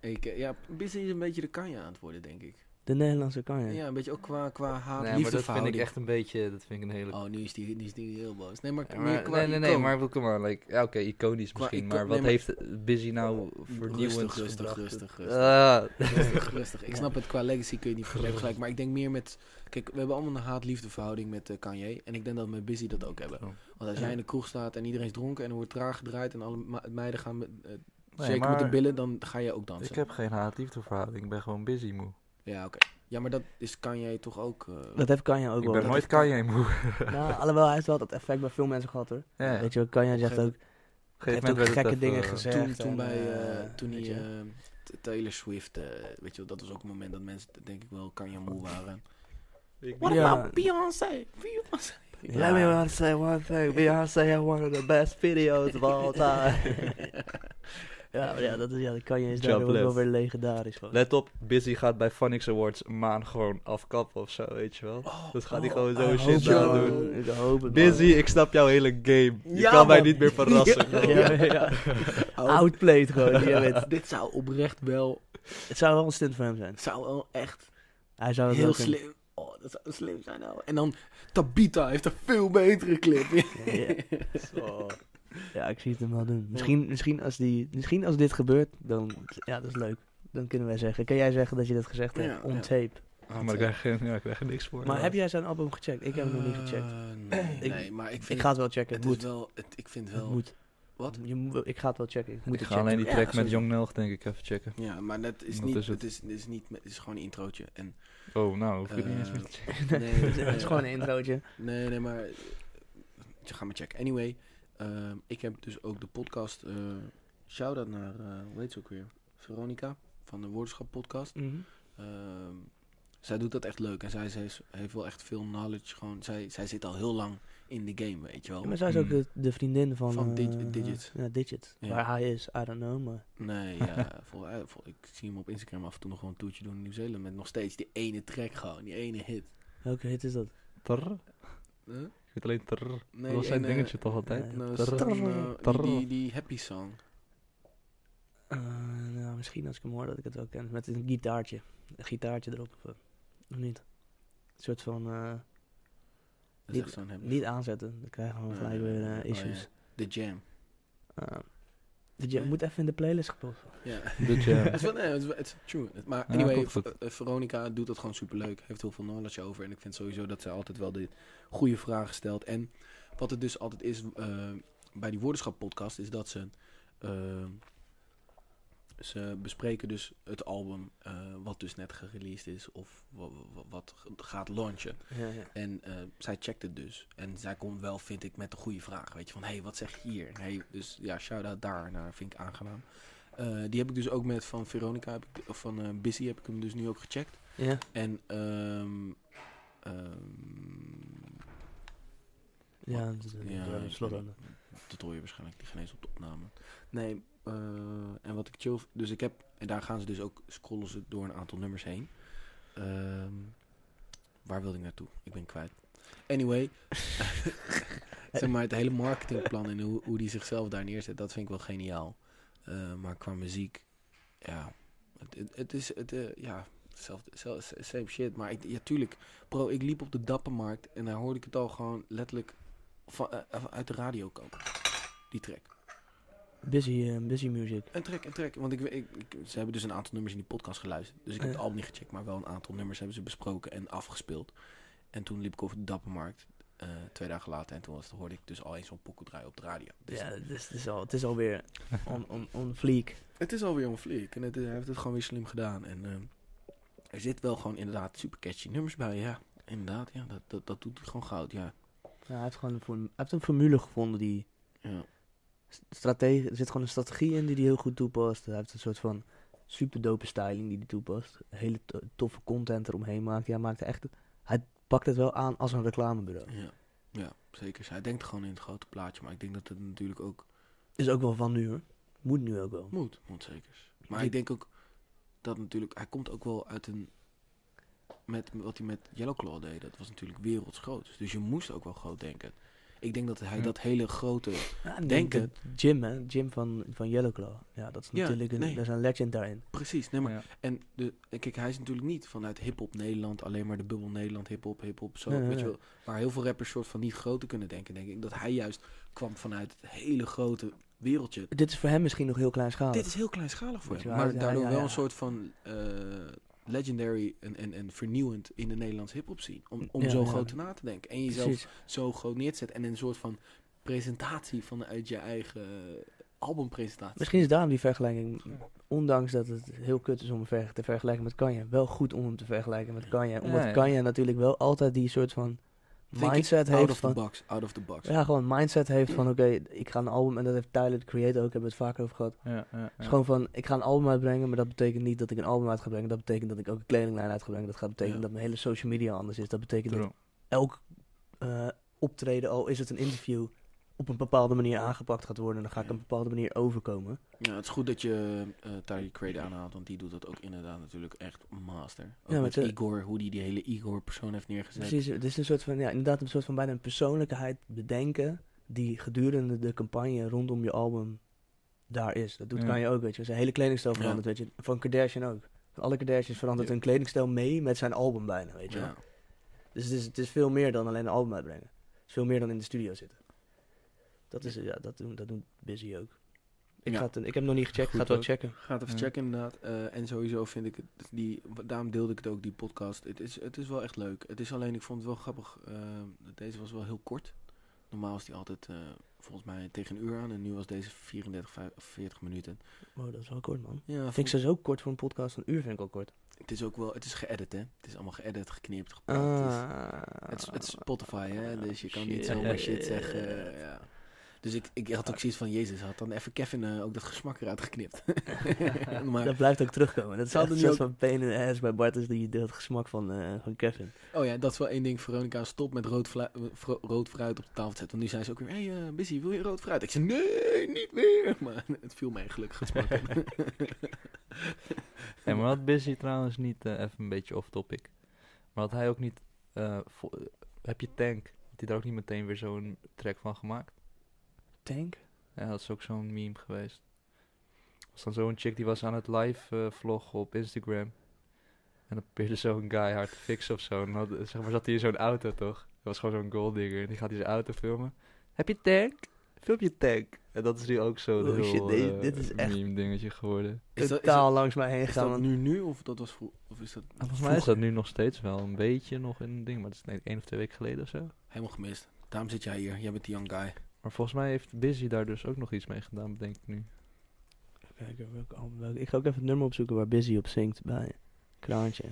Ik, eh, ja, Busy is een beetje de kanja aan het worden, denk ik. De Nederlandse kan je. Ja, een beetje ook qua, qua nee, maar haat dat vind ik liefdeverhouding. echt een beetje, dat vind ik een hele... Oh, nu is, die, nu is die heel boos. Nee, maar, Ja, meer maar- qua nee, nee, nee, icoon. maar ik bedoel, come on, like, ja, oké, iconisch Qua misschien, ico- maar wat nee, maar- heeft Busy nou vernieuwend Rustig, rustig, gebracht? rustig, rustig. Ah, Rustig, rustig. Ik snap het, qua legacy kun je niet vergelijken. Maar ik denk meer met... Kijk, we hebben allemaal een haat-liefde verhouding met eh, Kanye. En ik denk dat we met Busy dat ook hebben. Oh. Want als jij in de kroeg staat en iedereen is dronken en er wordt traag gedraaid... en alle ma- meiden gaan met, eh, Nee, zeker met de maar- billen, dan ga je ook dansen. ik heb geen haat-liefdeverhouding, ik ben gewoon Busy moe. Ja, oké. Ja, maar dat is Kanye toch ook... eh, Dat heeft Kanye ook Ik wel. ben Dat nooit heeft- Kanye moe. <laughs> Nou, alhoewel, hij heeft wel dat effect bij veel mensen gehad hoor. Ja, Weet je wel, Kanye zegt ook, op een heeft gegeven moment ook werd het gekke even- dingen gezegd. toen, en, toen, bij, eh, eh, toen weet hij, je. eh, t- Taylor Swift, eh, weet je wel, dat was ook een moment dat mensen denk ik wel Kanye moe waren. What Ja. about Beyoncé? Beyoncé. Ja. Let me wanna say one thing. Beyoncé had one of the best videos of <laughs> all time. ja, maar ja, dat is, ja, dat Kanye is daar Jump ook wel left. weer legendarisch van. Let op, Busy gaat bij Phonics Awards een maan gewoon afkappen of zo, weet je wel. dat gaat hij gewoon zo Ik shit hoop aan het, doen. man. Ik hoop het. Busy, man. ik snap jouw hele game. Je Ja, kan mij man. niet meer verrassen. Ja, <laughs> <laughs> bro. ja, ja. Outplayed <laughs> gewoon, die weet. Dit zou oprecht wel, Het zou wel een stunt voor hem zijn. het zou wel echt Hij zou het heel wel kunnen. slim. Oh, dat zou slim zijn nou. En dan Tabita heeft een veel betere clip. Ja. Ja, ik zie het hem wel doen. Misschien, misschien, als, die, misschien als dit gebeurt, dan... Ja, dat is leuk. Dan kunnen wij zeggen. Kan jij zeggen dat je dat gezegd hebt? Ja, on ja. tape. Oh, Maar ik krijg, geen- ja, ik krijg er niks voor. Maar heb jij zijn album gecheckt? Ik heb hem nog niet gecheckt. Ah, Eh, nee, Ik- nee, maar ik vind Ik ga het wel checken. het Het is moet. wel, het, ik vind Het wel, moet. wat? Je moet- ik ga het wel checken. Ik moet Ik ga het checken. alleen die Ja, track met sowieso. Young Nelg denk ik even checken. Ja, maar dat is Wat niet, is het? het is, het is niet, het is gewoon een introotje. <laughs> En Oh, nou, hoef ik niet eens Eh, meer te checken. nee, Het is gewoon een introotje. Nee, nee, maar eh, je ga maar checken. Anyway, ehm, ik heb dus ook de podcast. eh shout-out naar, eh, hoe heet ze ook weer? Veronica van de Woordenschap Podcast. Mhm. Ehm, zij doet dat echt leuk en zij, zij is- heeft wel echt veel knowledge. Gewoon, zij, zij zit al heel lang in de game, weet je wel. Ja, maar zij is ook Mm. de, de vriendin van... Mhm. Van Dig- eh, Digit. Ja, Digit. Ja. Waar hij is, I don't know, maar... Nee, <laughs> ja, vol, eh, vol- ik zie hem op Instagram af en toe nog gewoon een toertje doen in Nieuw-Zeeland. Met nog steeds die ene track gewoon, die ene hit. Welke hit is dat? Trrr. Huh? Ik weet alleen trrr. Nee, Dat was die zijn ene- dingetje toch altijd? nou, Trrr. staan, eh, die- Trrr. die, die happy song. Eh, nou, misschien als ik hem hoor dat ik het wel ken. Met een gitaartje. Een gitaartje erop. Of, eh, of niet? Een soort van... eh, Dat is Niet- echt zo'n happy niet aanzetten. Dan krijgen we Nee. gelijk weer eh, Oh, issues. The Jam. Eh, dus je moet even in de playlist gepost worden. <laughs> Ja. De jam. <laughs> het is wel, nee, het is, wel- het is true. Het- Maar Ja, anyway, komt goed. Ver- eh, Veronica doet dat gewoon superleuk. Heeft heel veel knowledge over. En ik vind sowieso dat ze altijd wel de goede vragen stelt. En wat het dus altijd is eh, bij die woordenschap podcast, is dat ze... eh, ze bespreken dus het album eh, wat dus net gereleased is of wa- wa- wat ge- gaat launchen. Ja, ja. En eh, zij checkt het dus. En zij komt wel, vind ik, met de goede vraag. Weet je, van hé, hey, wat zeg je hier? Hey, dus ja, shout-out daar naar, vind ik aangenaam. Eh, die heb ik dus ook met van Veronica, heb ik, of van eh Busy heb ik hem dus nu ook gecheckt. ja. En ehm ehm Ja, dat is een- Ja, dat is een ik- slotronde. dat hoor je waarschijnlijk die genees op de opname. Nee, eh, en wat ik chill... v- Dus ik heb... En daar gaan ze dus ook, scrollen ze door een aantal nummers heen. Ehm, waar wilde ik naartoe? Ik ben kwijt. Anyway, <laughs> zeg maar het hele marketingplan en hoe, hoe die zichzelf daar neerzet, dat vind ik wel geniaal. Eh, maar qua muziek, ja, het, het, het is, het, eh, ja, hetzelfde- zel- same shit. Maar ik, ja, tuurlijk, bro, ik liep op de Dappermarkt en daar hoorde ik het al gewoon letterlijk van, eh, uit de radio komen. Die track. Busy, eh, busy music. Een track, een track. Want ik, we- ik, ik- ze hebben dus een aantal nummers in die podcast geluisterd. Dus ik heb Ja. het album niet gecheckt, maar wel een aantal nummers hebben ze besproken en afgespeeld. En toen liep ik over de Dappermarkt eh, twee dagen later. En toen was, hoorde ik dus al eens zo'n pokoe draaien op de radio. Dus Ja, het is, het is, al, het is alweer eh, on, on, on fleek. het is alweer een flik. En het is- hij heeft het gewoon weer slim gedaan. En eh, er zit wel gewoon inderdaad super catchy nummers bij. Ja, inderdaad. Ja, dat, dat, dat doet hij gewoon goud. Ja. Ja, hij heeft gewoon een, form- hij heeft een formule gevonden die ja. s- strategie, er zit gewoon een strategie in die hij heel goed toepast. Hij heeft een soort van superdope styling die hij toepast. Hele to- toffe content eromheen maakt. Ja, hij maakt echt, hij pakt het wel aan als een reclamebureau. ja. Ja, zeker. Hij denkt gewoon in het grote plaatje. Maar ik denk dat het natuurlijk ook Is ook wel van nu hoor. Moet nu ook wel. moet. Moet zeker. Maar ik denk ook dat natuurlijk... Hij komt ook wel uit een... Met wat hij met Yellowclaw deed, dat was natuurlijk wereldsgroot. Dus je moest ook wel groot denken. Ik denk dat hij Ja. dat hele grote... Ja, en Denk de- Jim, hè? Jim van, van Yellowclaw. Ja, dat is Ja, natuurlijk een, nee. dat is een legend daarin. Precies, nee maar... Ja. En de, en kijk, hij is natuurlijk niet vanuit hip-hop Nederland, alleen maar de bubbel Nederland, hip-hop, hip-hop, zo. Nee, nee, weet nee. Je wel, waar heel veel rappers soort van niet groter kunnen denken, denk ik. Dat hij juist kwam vanuit het hele grote wereldje. Dit is voor hem misschien nog heel kleinschalig. Dit is heel kleinschalig voor Weet hem. Oh, je wel, Maar ja, daardoor ja, wel ja. een soort van eh, legendary en, en, en vernieuwend in de Nederlandse hip-hop scene. Om, om Ja, zo ja. groot na te denken. En jezelf Precies. zo groot neer te zetten. En een soort van presentatie vanuit je eigen albumpresentatie. Misschien is daarom die vergelijking, ondanks dat het heel kut is om hem ver- te vergelijken met Kanye, wel goed om hem te vergelijken met Kanye. Omdat ja. Kanye natuurlijk wel altijd die soort van Thinking mindset out heeft of the van... box, out of the box. Ja, gewoon mindset heeft van, oké, ik ga een album, en dat heeft Tyler, de creator ook, hebben we het vaker over gehad. Ja, ja, Het ja. is gewoon van, ik ga een album uitbrengen, maar dat betekent niet dat ik een album uit ga brengen. Dat betekent dat ik ook een kledinglijn uit ga brengen. Dat gaat betekenen Ja. dat mijn hele social media anders is. Dat betekent dat True. elk eh, optreden, al is het een interview, op een bepaalde manier aangepakt gaat worden. En dan ga ik op een bepaalde manier overkomen. Ja, het is goed dat je eh Tyler Creator aanhaalt, want die doet dat ook inderdaad natuurlijk echt master. Ook Ja, met met de- Igor, hoe die die hele Igor-persoon heeft neergezet. Precies, het is een soort van, ja, inderdaad een soort van bijna een persoonlijkheid bedenken die gedurende de campagne rondom je album daar is. Dat doet Ja. kan je ook, weet je. Zijn hele kledingstijl Ja. verandert, weet je. Van Kardashian ook. Alle Kardashians verandert Ja. hun kledingstijl mee met zijn album bijna, weet je. wel. Ja. Dus het is, het is veel meer dan alleen een album uitbrengen. Het is veel meer dan in de studio zitten. Dat, is, ja, dat, doen, dat doet Busy ook. Ik, Ja. ga het, ik heb hem nog niet gecheckt, ik ga het Goed wel ook. checken. Ga het even Ja. checken inderdaad. Eh, en sowieso vind ik, het, die, daarom deelde ik het ook, die podcast. Het is, het is wel echt leuk. Het is alleen, ik vond het wel grappig, eh, deze was wel heel kort. Normaal is die altijd eh, volgens mij tegen een uur aan en nu was deze 34, 40 minuten. Wow, Oh, dat is wel kort, man. Ja, Vind ik vond- ze zo kort voor een podcast. Een uur vind ik al kort. het is ook wel, het is geëdit hè. Het is allemaal geëdit, geknipt, gepraat. Het is- Het is, het is Spotify, hè? Dus je kan niet Ah. Oh, Shit. zomaar shit zeggen. eh, ja. Dus ik, ik had ook zoiets van, Jezus, had dan even Kevin eh, ook dat gesmak eruit geknipt. <laughs> maar, dat blijft ook terugkomen. Dat is Ze altijd hadden een nu soort van pain in the ass bij Bart. Is die, dat gesmak van, eh, van Kevin. oh ja, dat is wel één ding. Veronica, stop met rood, vla- eh, vro- rood fruit op de tafel te zetten. Want nu zei ze ook weer, hey, eh, Busy, wil je rood fruit? Ik zei, nee, niet meer. <laughs> Maar het viel mij gelukkig <laughs> het smak in. Ja, maar had Busy trouwens niet, eh, even een beetje off-topic, maar had hij ook niet, eh, vo- heb je Tank, had hij daar ook niet meteen weer zo'n track van gemaakt? Tank? Ja, dat is ook zo'n meme geweest. was dan zo'n chick die was aan het live eh, vloggen op Instagram. En dan probeerde zo'n guy haar te fixen of zo. En dan had- zeg maar, zat hij in zo'n auto, toch? Dat was gewoon zo'n golddigger. En die gaat in zijn auto filmen. Heb je tank? Film je tank. En dat is nu ook zo'n Oh, heel, shit, deze- eh, dit is echt- meme dingetje geworden. Is dat, is Totaal dat, langs mij heen is dat gegaan. want- nu nu of dat was vroeger? Of is dat Volgens mij is dat nu nog steeds wel een beetje nog een ding. Maar dat is denk ik één of twee weken geleden of zo. helemaal gemist? Daarom zit jij hier. Jij bent die young guy. Maar volgens mij heeft Busy daar dus ook nog iets mee gedaan, bedenk ik nu. Kijken welk album- welk- Ik ga ook even het nummer opzoeken waar Busy op zingt bij Kraantje.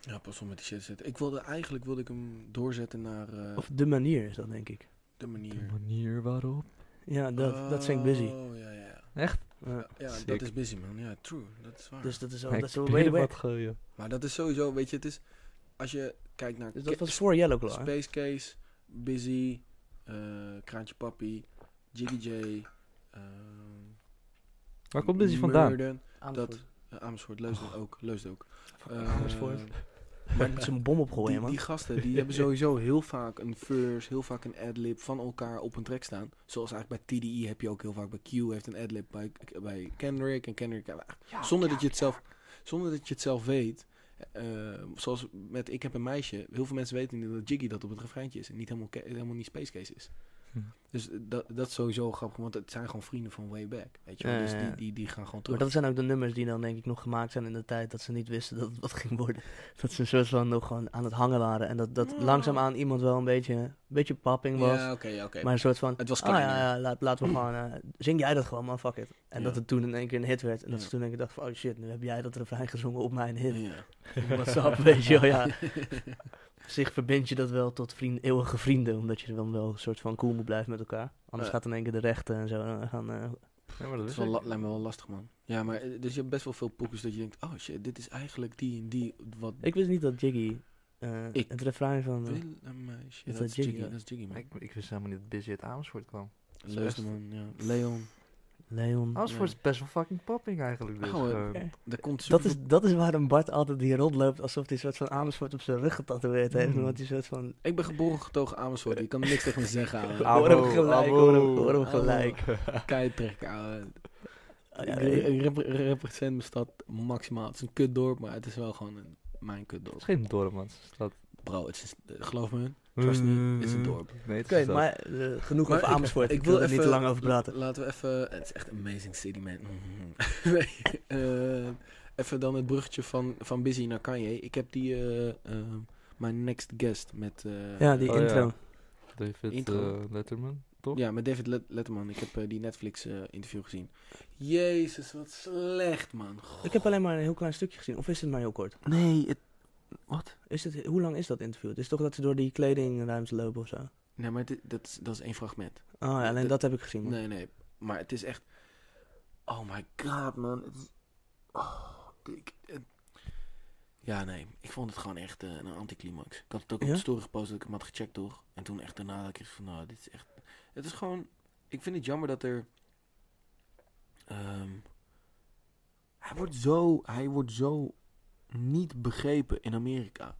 Ja, pas op met die shit zitten. Ik wilde, eigenlijk wilde ik hem doorzetten naar eh, Of De Manier is dat, denk ik. de De manier. manier waarop. Ja, dat, dat zingt Busy. Oh, ja, ja. Echt? Ja. Ja, ja Sick. dat is busy, man. Ja, true. Dat is waar. Dus dat is al... Hij Dat is al way probeerde back. wat gooien. maar dat is sowieso, weet je, het is... Als je kijkt naar Dus dat Ca- was voor Yellowclaw. hè? Space Case, Busy, eh, Kraantje Papi, Jiggy J... ehm, Waar komt Busy vandaan? Murden, Amersfoort. eh, Amersfoort, Leusden ook. Leusden ook. Eh, Amersfoort. Maar <laughs> Ik moet zo'n bom opgooien, die, man. die <laughs> gasten, die hebben sowieso heel vaak een verse, heel vaak een adlib van elkaar op een track staan. Zoals eigenlijk bij TDI heb je ook heel vaak bij Q heeft een adlib bij, bij Kendrick en Kendrick. zonder dat je het zelf, zonder dat je het zelf weet. eh, zoals met Ik heb een meisje. Heel veel mensen weten niet dat Jiggy dat op het refreintje is en niet helemaal, ke- helemaal niet Space Case is. Hm. Dus dat, dat is sowieso grappig, want het zijn gewoon vrienden van way back. Weet je? Ja, wel. ja, dus ja. die, die, die gaan gewoon Maar terug. dat zijn ook de nummers die dan denk ik nog gemaakt zijn in de tijd dat ze niet wisten dat het wat ging worden. <laughs> Dat ze een soort van nog gewoon aan het hangen waren. En dat, dat Ja. langzaamaan iemand wel een beetje, een beetje papping was. ja, oké, ja, oké. Maar een soort van, Het was ah kleiner. ja, ja laat, <clears throat> laten we gewoon, eh, zing jij dat gewoon man, fuck it. En Ja. dat het toen in één keer een hit werd. En dat Ja. ze toen denk ik dachten van, oh shit, nu heb jij dat refrein gezongen op mijn hit. Ja. <laughs> What's up, weet je <laughs> wel, ja. Op zich verbind je dat wel tot vriend, eeuwige vrienden, omdat je dan wel een soort van cool moet blijven met elkaar. Anders Ja. gaat in één keer de rechten en zo eh, gaan... eh, Ja, maar dat Dat is wist wel, ik. la- lijkt me wel lastig, man. Ja, maar eh, dus je hebt best wel veel poekjes dat je denkt... Oh shit, dit is eigenlijk die en die... Wat Ik wist niet dat Jiggy eh, Ik- het refrein van... eh, wil een meisje. dat dat is Jiggy, Jiggy, ja. dat is Jiggy, man. Ik, ik wist helemaal niet dat Busy uit Amersfoort kwam. Leusden, man, ja. Leon. Leon. Amersfoort is best wel fucking popping eigenlijk. Dus, Oh, eh, gewoon. <laughs> <laughs> eh, Er komt Dat super... is, dat is waarom Bart altijd hier rondloopt alsof hij een soort van Amersfoort op zijn rug getatoeëerd heeft. Hmm. Mm. Want hij een soort van... Ik ben geboren getogen Amersfoort. Je kan er niks tegen me <laughs> zeggen, ouwe. Abo, hoor hem gelijk, abo. hoor hem, hoor hem Abo. gelijk. Kan je trekken, ouwe. Ah, Ik ja, re- nee. ik rep- represent mijn stad maximaal. Het is een kutdorp, maar het is wel gewoon een, mijn Het is kutdorp. geen dorp, man. Het is een stad. Mm. Bro, het is, eh, geloof me, trust me, het is Mm. een dorp. Nee, het Oké, is een stad. maar eh, genoeg Maar over ik- Amersfoort. ik Ik, wil wil er niet te even- lang over praten. Laten we even... Het is echt een amazing city, man. Mhm. <laughs> nee, eh, even dan het bruggetje van, van Busy naar Kanye. Ik heb die... eh, eh, My Next Guest met... eh, Ja, die Oh, ja. intro. David intro. eh, Letterman, toch? Ja, met David Let- Letterman. Ik heb eh, die Netflix-interview gezien. Jezus, wat slecht, man. Ik heb alleen maar een heel klein stukje gezien. Of is het maar heel kort? Nee, het... Is het, hoe lang is dat interview? Het is toch dat ze door die kledingruimte lopen of zo? Oh Nee, maar dit, dat, is, dat is één fragment. ja, alleen Dat- dat heb ik gezien. man. Nee, nee. Maar het is echt... Oh my god, man. Het is- Oh, ik- het- Ja, nee. Ik vond het gewoon echt eh, een anticlimax. Ik had het ook op Ja? de story gepost dat ik hem had gecheckt, toch? En toen echt daarna dat ik echt van, nou, dit is echt... Het is gewoon... Ik vind het jammer dat er... ehm, hij wordt zo... Hij wordt zo niet begrepen in Amerika.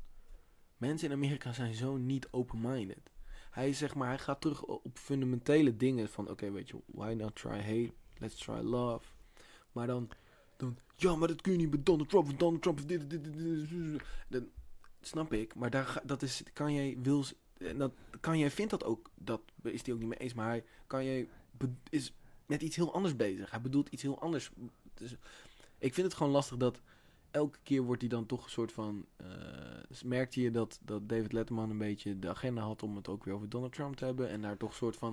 Mensen in Amerika zijn zo niet open-minded. Hij, is, zeg maar, hij gaat terug o- op fundamentele dingen. Van oké, weet je, why not try hate? Let's try love. Maar dan, dan ja, maar dat kun je niet met Donald Trump. want Donald Trump is dit, dit, dit, dit, dit. Dan, snap ik. Maar daar, ga- dat is, kan jij, wil, en dat, kan jij vindt dat ook, dat is hij ook niet mee eens. Maar hij, kan jij, be- is met iets heel anders bezig. Hij bedoelt iets heel anders. Dus, ik vind het gewoon lastig dat elke keer wordt hij dan toch een soort van. eh, dus merkte je dat, dat David Letterman een beetje de agenda had om het ook weer over Donald Trump te hebben. En daar toch een soort van.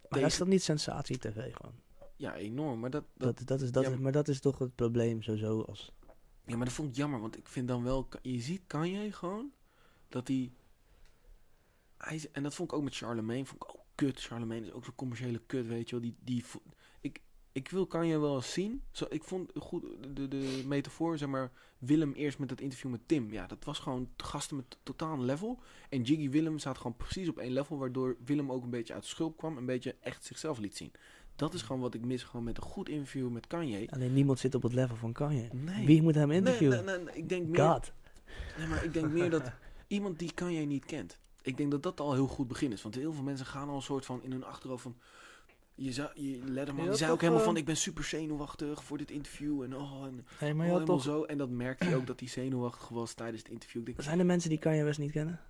Maar tegen- is dat niet sensatie-tv gewoon? Ja, enorm. Maar dat, dat, Dat, dat is, dat ja, is, maar- maar dat is toch het probleem sowieso als... Ja, maar dat vond ik jammer, want ik vind dan wel... Je ziet Kanye gewoon, dat hij... hij is- en dat vond ik ook met Charlemagne, vond ik ook kut. Charlemagne is ook zo'n commerciële kut, weet je wel. Die, die, vo- ik, ik wil Kanye wel eens zien. Zo, ik vond goed de, de metafoor, zeg maar... Willem eerst met dat interview met Tim. Ja, dat was gewoon gasten met totaal een level. En Jiggy Willem zaten gewoon precies op één level... waardoor Willem ook een beetje uit de schulp kwam... een beetje echt zichzelf liet zien. Dat is gewoon wat ik mis, gewoon met een goed interview met Kanye. Alleen niemand zit op het level van Kanye. Nee. Wie moet hem Nee, interviewen? nee, nee, nee, ik denk meer, God. Nee, maar ik denk meer <laughs> dat iemand die Kanye niet kent. Ik denk dat dat al heel goed begin is. Want heel veel mensen gaan al een soort van in hun achterhoofd van... Je zou, je, Letterman, Ja, die zei ook toch, helemaal eh, van... Ik ben super zenuwachtig voor dit interview. En oh, en Hey, oh, maar je had helemaal toch... zo. En dat merkte je ook dat hij zenuwachtig was tijdens het interview. Ik denk, Zijn er mensen die Kanye West niet kennen?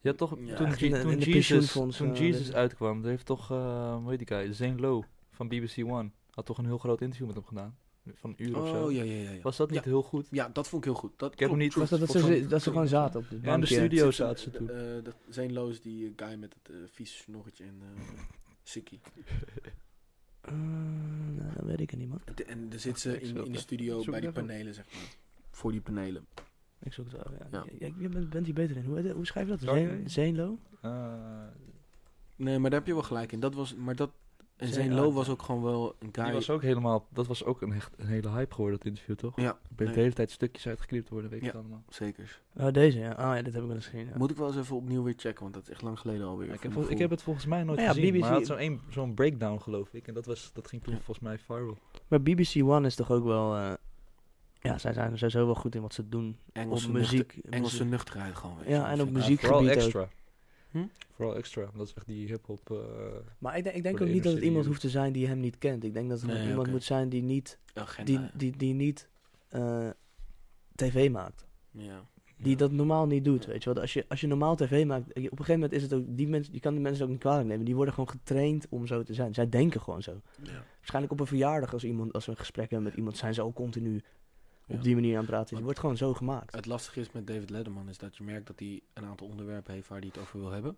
Je had toch Ja, toen, echt Je- in de- toen in de Jesus, pensioenfonds, toen eh, Jesus dit- uitkwam, daar heeft toch, eh hoe heet die guy, Zane Lowe van BBC One, had toch een heel groot interview met hem gedaan. Van een uur of zo. oh, ja, ja, ja, ja. Was dat niet heel <laughs> goed? Ja, dat vond ik heel goed. Dat Ik heb hem klopt, niet- Was true. dat, dat, volgens ze, mij- dat ze gewoon zaten op de Ja, in de bankje? studio Zit- zaten ze toen. eh, dat zijn Loos, die guy met het eh, vieze snorretje en eh <laughs> Sikkie. Eh, nou, dat weet ik het niet, man. De- En daar zit ze Ik in, zoek in de het. studio Ik zoek bij die het even. panelen, zeg maar. Voor die panelen. Ik zoek het over. Ja. Ja. Ja, je bent, bent hier beter in. Hoe, hoe schrijf je dat? Sorry? Zen- Zenlo? Eh, Nee, maar daar heb je wel gelijk in. Dat was, maar dat, en Zijn zijn aard, low ja. was ook gewoon wel een guy. die was ook helemaal, dat was ook een, echt, een hele hype geworden, dat interview, toch? Ja, Er bleef de nee. hele tijd stukjes uitgeknipt worden, weet je Ja. het allemaal. Zeker. Oh, deze, ja. Oh ja, dit heb ik wel eens gezien. ja. Moet ik wel eens even opnieuw weer checken, want dat is echt lang geleden alweer. Ja, ik, voor heb, mijn vol- ik heb gevoel. het volgens mij nooit Maar ja, gezien, BBC maar hij had zo'n één- zo'n breakdown, geloof ik. En dat, was, dat ging toen Ja. volgens mij viral. Maar BBC One is toch ook wel... eh, ja, zij zijn sowieso wel goed in wat ze doen. Engelse op muziek. nuchter- Engelse nuchterheid gewoon. Weet je Ja, wel. en op Vind ik- muziek. Ja, vooral Muziekgebied extra. Hm? Vooral extra, dat is echt die hip-hop... eh, Maar ik, denk- ik denk Voor ook de niet dat het inner iemand city. hoeft te zijn die hem niet kent. Ik denk dat het Nee, iemand oké. moet zijn die niet, Agenda, die, die, die niet eh, tv maakt. ja. Die dat normaal niet doet, weet je wel. Als je, als je normaal tv maakt, op een gegeven moment is het ook... Die mensen, je kan die mensen ook niet kwalijk nemen. Die worden gewoon getraind om zo te zijn. Zij denken gewoon zo. Ja. Waarschijnlijk op een verjaardag, als, iemand, als we een gesprek hebben met iemand... zijn ze al continu op Ja. die manier aan het praten. Je Want- wordt gewoon zo gemaakt. Het lastige is met David Letterman is dat je merkt dat hij een aantal onderwerpen heeft waar hij het over wil hebben.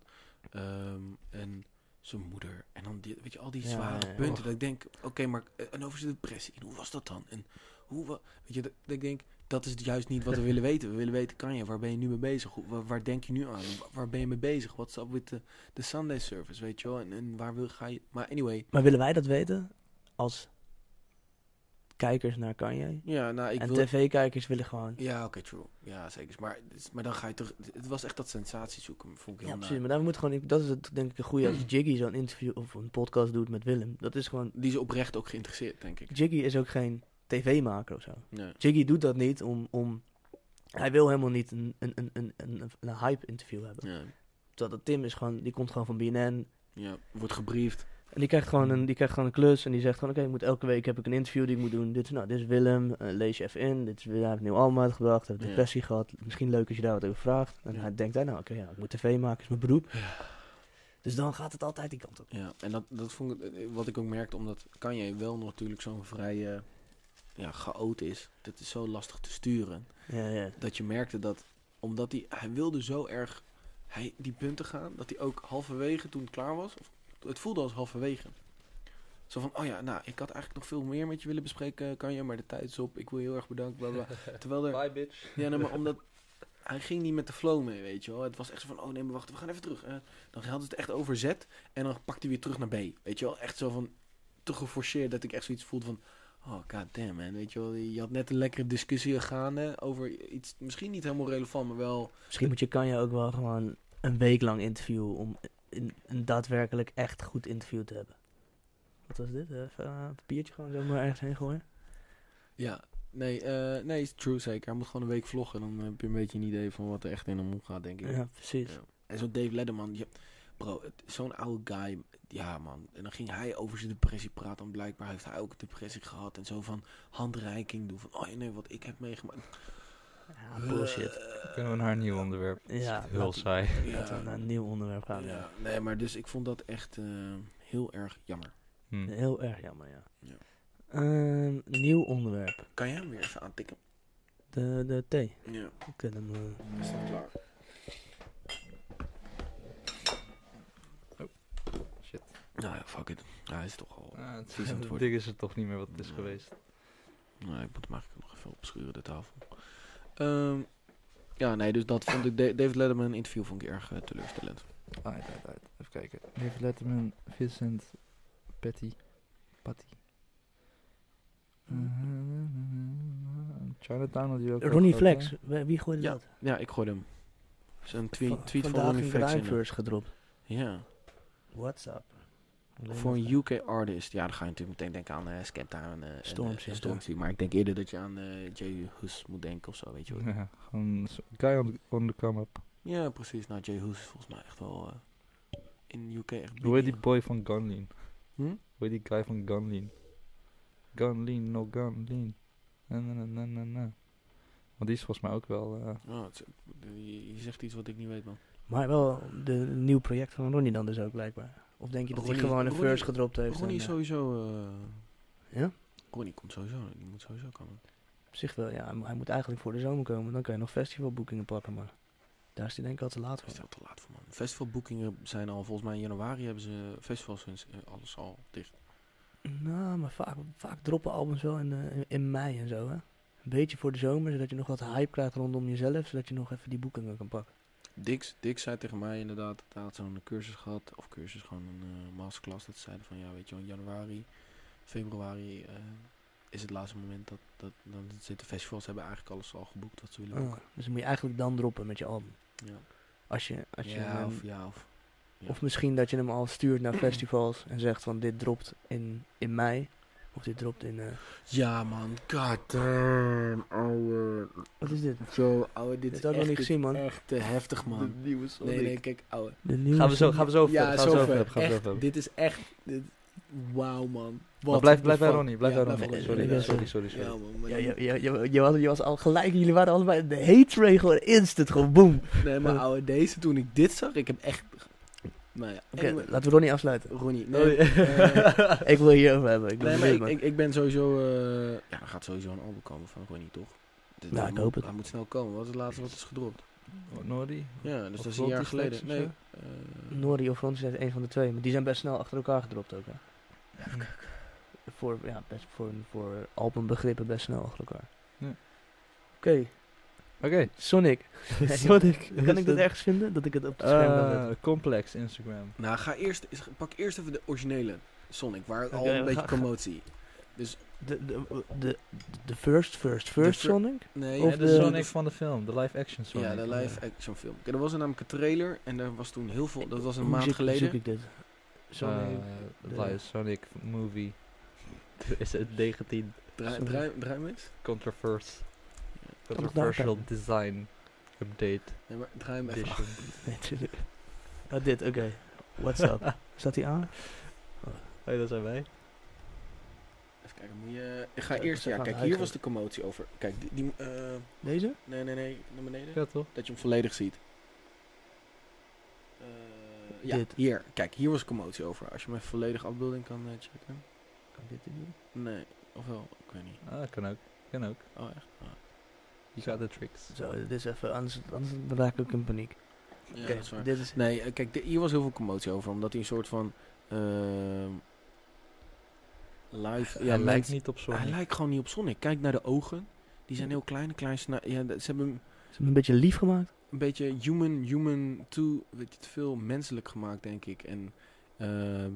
Ehm, en zijn moeder. En dan die, weet je, al die Ja, zware ja, ja. punten. Och. Dat ik denk, oké, maar eh, en over zijn depressie. En hoe was dat dan? En hoe wa- Weet je, dat, dat ik denk, dat is juist niet wat we <laughs> willen weten. We willen weten, kan je, waar ben je nu mee bezig? Hoe- Waar, waar denk je nu aan? Wa- Waar ben je mee bezig? What's up with the, the Sunday service, weet je wel? En, en waar wil, ga je... Maar anyway, Maar willen wij dat weten als kijkers naar Kanye. Ja, nou, ik en wil... tv-kijkers willen gewoon... Ja, oké, true. Ja, zeker. Maar, het is- maar dan ga je toch... Het was echt dat sensatie zoeken, vond ik Ja, heel precies. naar. Maar daar moet gewoon... Dat is het, denk ik een goede als Jiggy zo'n interview of een podcast doet met Willem. Dat is gewoon... Die is oprecht ook geïnteresseerd, denk ik. Jiggy is ook geen tv-maker of zo. Nee. Jiggy doet dat niet om... om hij wil helemaal niet een, een, een, een, een, een hype-interview hebben. Ja. Terwijl dat Tim is gewoon... Die komt gewoon van BNN. ja, wordt gebriefd. En die krijgt gewoon een, die krijgt gewoon een klus. En die zegt gewoon, oké, ik moet elke week heb ik een interview die ik moet doen. Dit, is- nou, dit is Willem, eh, lees je even in. Dit is, hij heeft een nieuw album uitgebracht, hij heeft Ja. depressie gehad. Misschien leuk als je daar wat over vraagt. En Ja. hij denkt, hij, nou oké, ja, ik moet tv maken, is mijn beroep. Dus dan gaat het altijd die kant op. Ja, en dat, dat vond ik, eh, wat ik ook merkte, omdat Kanye wel natuurlijk zo'n vrij eh, ja, chaot is. Dat is zo lastig te sturen. Ja, ja. Dat je merkte dat, omdat hij, hij wilde zo erg hij, die punten gaan, dat hij ook halverwege toen het klaar was, of, het voelde als halverwege. Zo van, oh ja, nou, ik had eigenlijk nog veel meer met je willen bespreken, Kanye, maar de tijd is op. Ik wil je heel erg bedanken, bla bla. Terwijl er, Bye, bitch. ja, nee, maar omdat hij ging niet met de flow mee, weet je wel. Het was echt zo van, oh nee, maar wacht, we gaan even terug. Eh, dan hadden ze het echt over Z en dan pakte hij weer terug naar B, weet je wel. Echt zo van, te geforceerd dat ik echt zoiets voelde van, oh god damn man, weet je wel. Je had net een lekkere discussie gaande over iets, misschien niet helemaal relevant, maar wel... Misschien moet je Kanye ook wel gewoon een week lang interviewen om een, een daadwerkelijk echt goed interview te hebben. Wat was dit? Even eh, een papiertje gewoon zomaar ergens heen gooien? Ja, nee, eh, nee, is true zeker. Hij moet gewoon een week vloggen, dan heb je een beetje een idee van wat er echt in hem omgaat, denk ik. Ja, precies. Ja. En zo'n Dave Letterman, je- bro, het- zo'n oude guy, ja man. En dan ging hij over zijn depressie praten, en blijkbaar heeft hij ook een depressie gehad. En zo van handreiking doen, van, oh ja, nee, wat ik heb meegemaakt. Eh, Ja, <laughs> bullshit. Kunnen we naar een nieuw onderwerp? Ja, Heel laten, <laughs> saai. laten we naar een nieuw onderwerp gaan. ja. ja. Nee, maar dus ik vond dat echt eh, heel erg jammer. Hm. Heel erg jammer, ja. Ja. Ehm, nieuw onderwerp. Kan jij hem weer even aantikken? De, de thee. Ja, Ik vind hem, eh, is dat klaar? Shit. Nou ja, fuck it. Ja, hij is toch al... Ah, het Vies aan <laughs> het het worden. ding is het toch niet meer wat het is Nee. geweest. Nou, ik moet hem eigenlijk nog even opschuren, de tafel. Ehm, ja, nee, dus dat vond ik... Da- David Letterman een interview vond ik erg eh, teleurstellend. Uit, uit, uit. Even kijken. David Letterman, Vincent, Patty. Patty. Mhm. Chinatown had je ook. Ronnie Flex. Wie wie gooide Ja, dat? ja, ik gooi hem. Zo'n tweet, Va- tweet van vandaag Ronnie een Flex. in hem. Rijmverse gedropt. Ja, What's up? Alleen voor dat- een UK artist. Ja, dan ga je natuurlijk meteen denken aan eh Skepta en, eh, en, Stormzy, eh, ja. Stormzy. Maar ik denk eerder dat je aan eh, Jay Hus moet denken of zo, weet je wel. Ja, gewoon zo- guy on the, on the come up. Ja, precies. Nou, Jay Hus is volgens mij echt wel eh, in de UK echt Hoe heet die big. boy van Gunlean? Hm? Hoe heet die guy van Gunlean? Gunlean, no Gunlean. Na na na na na na. Want die is volgens mij ook wel... eh, Oh, het is- je, je zegt iets wat ik niet weet, man. Maar wel de een nieuw project van Ronnie dan dus ook blijkbaar. Of denk je dat Ronnie- hij gewoon een Ronnie- verse gedropt heeft? Ronnie is en, eh, sowieso... eh, Ja? Ronnie komt sowieso. Die moet sowieso komen. Op zich wel, ja. Hij mo- Hij moet eigenlijk voor de zomer komen. Dan kan je nog festivalboekingen pakken, maar... Daar is hij denk ik al te laat Dat is voor. al te laat voor, man. Festivalboekingen zijn al... Volgens mij in januari hebben ze festivals hun, alles al dicht. Nou, maar vaak, vaak droppen albums wel in, eh, in- in mei en zo, hè. Een beetje voor de zomer, zodat je nog wat hype krijgt rondom jezelf. Zodat je nog even die boekingen kan pakken. Dix, Dix zei tegen mij inderdaad, dat hij had zo'n cursus gehad, of cursus, gewoon een eh, masterclass, dat ze zeiden van, ja, weet je wel, in januari, februari eh, is het laatste moment dat, dat dan zitten festivals, hebben eigenlijk alles al geboekt wat ze willen Oh, boeken. dus dan moet je eigenlijk dan droppen met je album. Ja, Als je, als je ja hem- of ja, of... ja. of misschien dat je hem al stuurt naar festivals en zegt van dit dropt in, in mei. Of dit dropt in... eh, Ja, man, god damn, ouwe, wat is dit? zo, ouwe, dit Dit is heb ik nog echt, niet dit is gezien, man. echt te heftig, man. nieuwe Nee, nee, kijk, ouwe. De nieuwe Gaan we zo, single. gaan we zo over ja, hebben, gaan we zo over hebben, gaan we zo echt, over hebben. dit is echt, dit, wauw, man. Wat Maar blijf, de blijf bij fuck. Ronnie, blijf Ja, bij Ronnie. bij Sorry, Ronnie. sorry, sorry. sorry. Ja, man, maar Ja, dan- je, je, je, je was, je was al gelijk, jullie waren allebei de hate gewoon instant, gewoon boom. Nee, maar Eh. ouwe, deze toen ik dit zag, ik heb echt... Nou ja, Oké, anyway, laten we Ronnie afsluiten. Ronnie. Oh, Nee, ja. <laughs> eh, ik wil hierover hebben, ik ben nee, maar benieuwd, ik, man. ik, ik ben sowieso... eh, ja, er gaat sowieso een album komen van Ronnie, toch? Dit- Nou, hij ik moet- hoop het. Hij moet snel komen, wat is het laatste wat is gedropt? Oh, Nordi? Ja, dus Of dat is een jaar Rotterdam geleden. Flex of Nee, eh, Nori of Ron zijn een van de twee, maar die zijn best snel achter elkaar gedropt ook. Hè? Hm. Voor, ja, best voor, voor albumbegrippen best snel achter elkaar. Ja. Oké, Oké. <laughs> Sonic. Sonic. Kan ik dat ergens vinden? Dat ik het op het scherm kan zetten? Eh, Complex Instagram. nou, ga eerst, is- pak eerst even de originele Sonic, waar al Oké, een we beetje gaan- commotie. Dus de, de, de, de first, first, first fir- Sonic? Nee, Of ja, de, de- Sonic van de film, de live action Sonic. Ja, de live action film. Kijk, er was namelijk een trailer en daar was toen heel veel. Dat was een Hoe maand zoek- geleden. zoek ik dit? Sonic. Eh, de- live Sonic movie. <laughs> is het 19 Draai, Sorry. draai, draai hem eens. controvers Kan nog controversial daar design update Nee, maar draai hem even. edition. Nee, tuurlijk. Oh, dit, oké. What's up? Staat die aan? <laughs> Hey, dat zijn wij. Even kijken, moet je... Ik ga Ja, eerst... ze Ja, gaan kijk, hier huilen. was de commotie over. Kijk, die... die eh, Deze? nee, nee, nee, naar beneden. Ja, toch? Dat je hem volledig ziet. Eh, ja, Dit. hier. Kijk, hier was commotie over. Als je mijn volledige afbeelding kan eh, checken. Kan dit doen? Nee, ofwel, ik weet niet. Ah, kan ook. Kan ook. Oh, echt? Ah. You got the tricks. Zo, dit is even, anders, anders raak ik in paniek. Ja, Oké, dat is waar. dit is... Nee, eh, kijk, di- hier was heel veel commotie over. Omdat hij een soort van... ehm, live... hij lijkt mensen- niet op Sonic. Hij lijkt gewoon niet op Sonic. Kijk naar de ogen. Die zijn heel klein, een klein sna- Ja, dat- ze hebben hem Is hem een beetje lief gemaakt? een beetje human, human to, weet je, te veel menselijk gemaakt, denk ik. En ehm,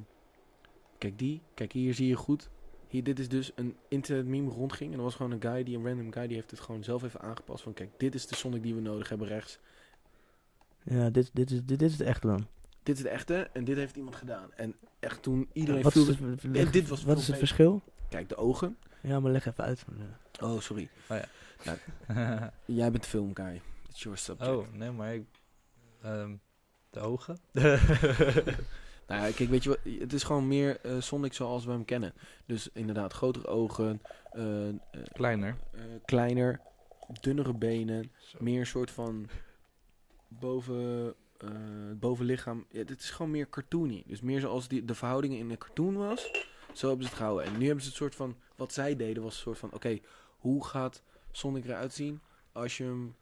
kijk die, kijk hier zie je goed. Hier, dit is dus een internet meme rondging. En er was gewoon een guy, die een random guy, die heeft het gewoon zelf even aangepast. Van kijk, dit is de Sonic die we nodig hebben rechts. Ja, dit, dit, is, dit, dit is het echte dan. Dit is de echte en dit heeft iemand gedaan. En echt toen iedereen Wat viel... is, het- leg- dit was wat veel is het beter. verschil? Kijk, de ogen. Ja, maar leg even uit. Oh, sorry. <laughs> lijkt... Jij bent filmguy. It's your subject. oh, nee, maar... ik- ehm, de ogen? Nou, ja, kijk, weet je wat? Het is gewoon meer eh, Sonic zoals we hem kennen. Dus inderdaad, grotere ogen, eh, eh, Kleiner. eh, kleiner, dunnere benen, Zo. meer een soort van boven, eh, het bovenlichaam. Ja, dit is gewoon meer cartoony. Dus meer zoals die, de verhoudingen in een cartoon was, zo hebben ze het gehouden. En nu hebben ze het soort van, wat zij deden was een soort van, oké, hoe gaat Sonic eruit zien als je hem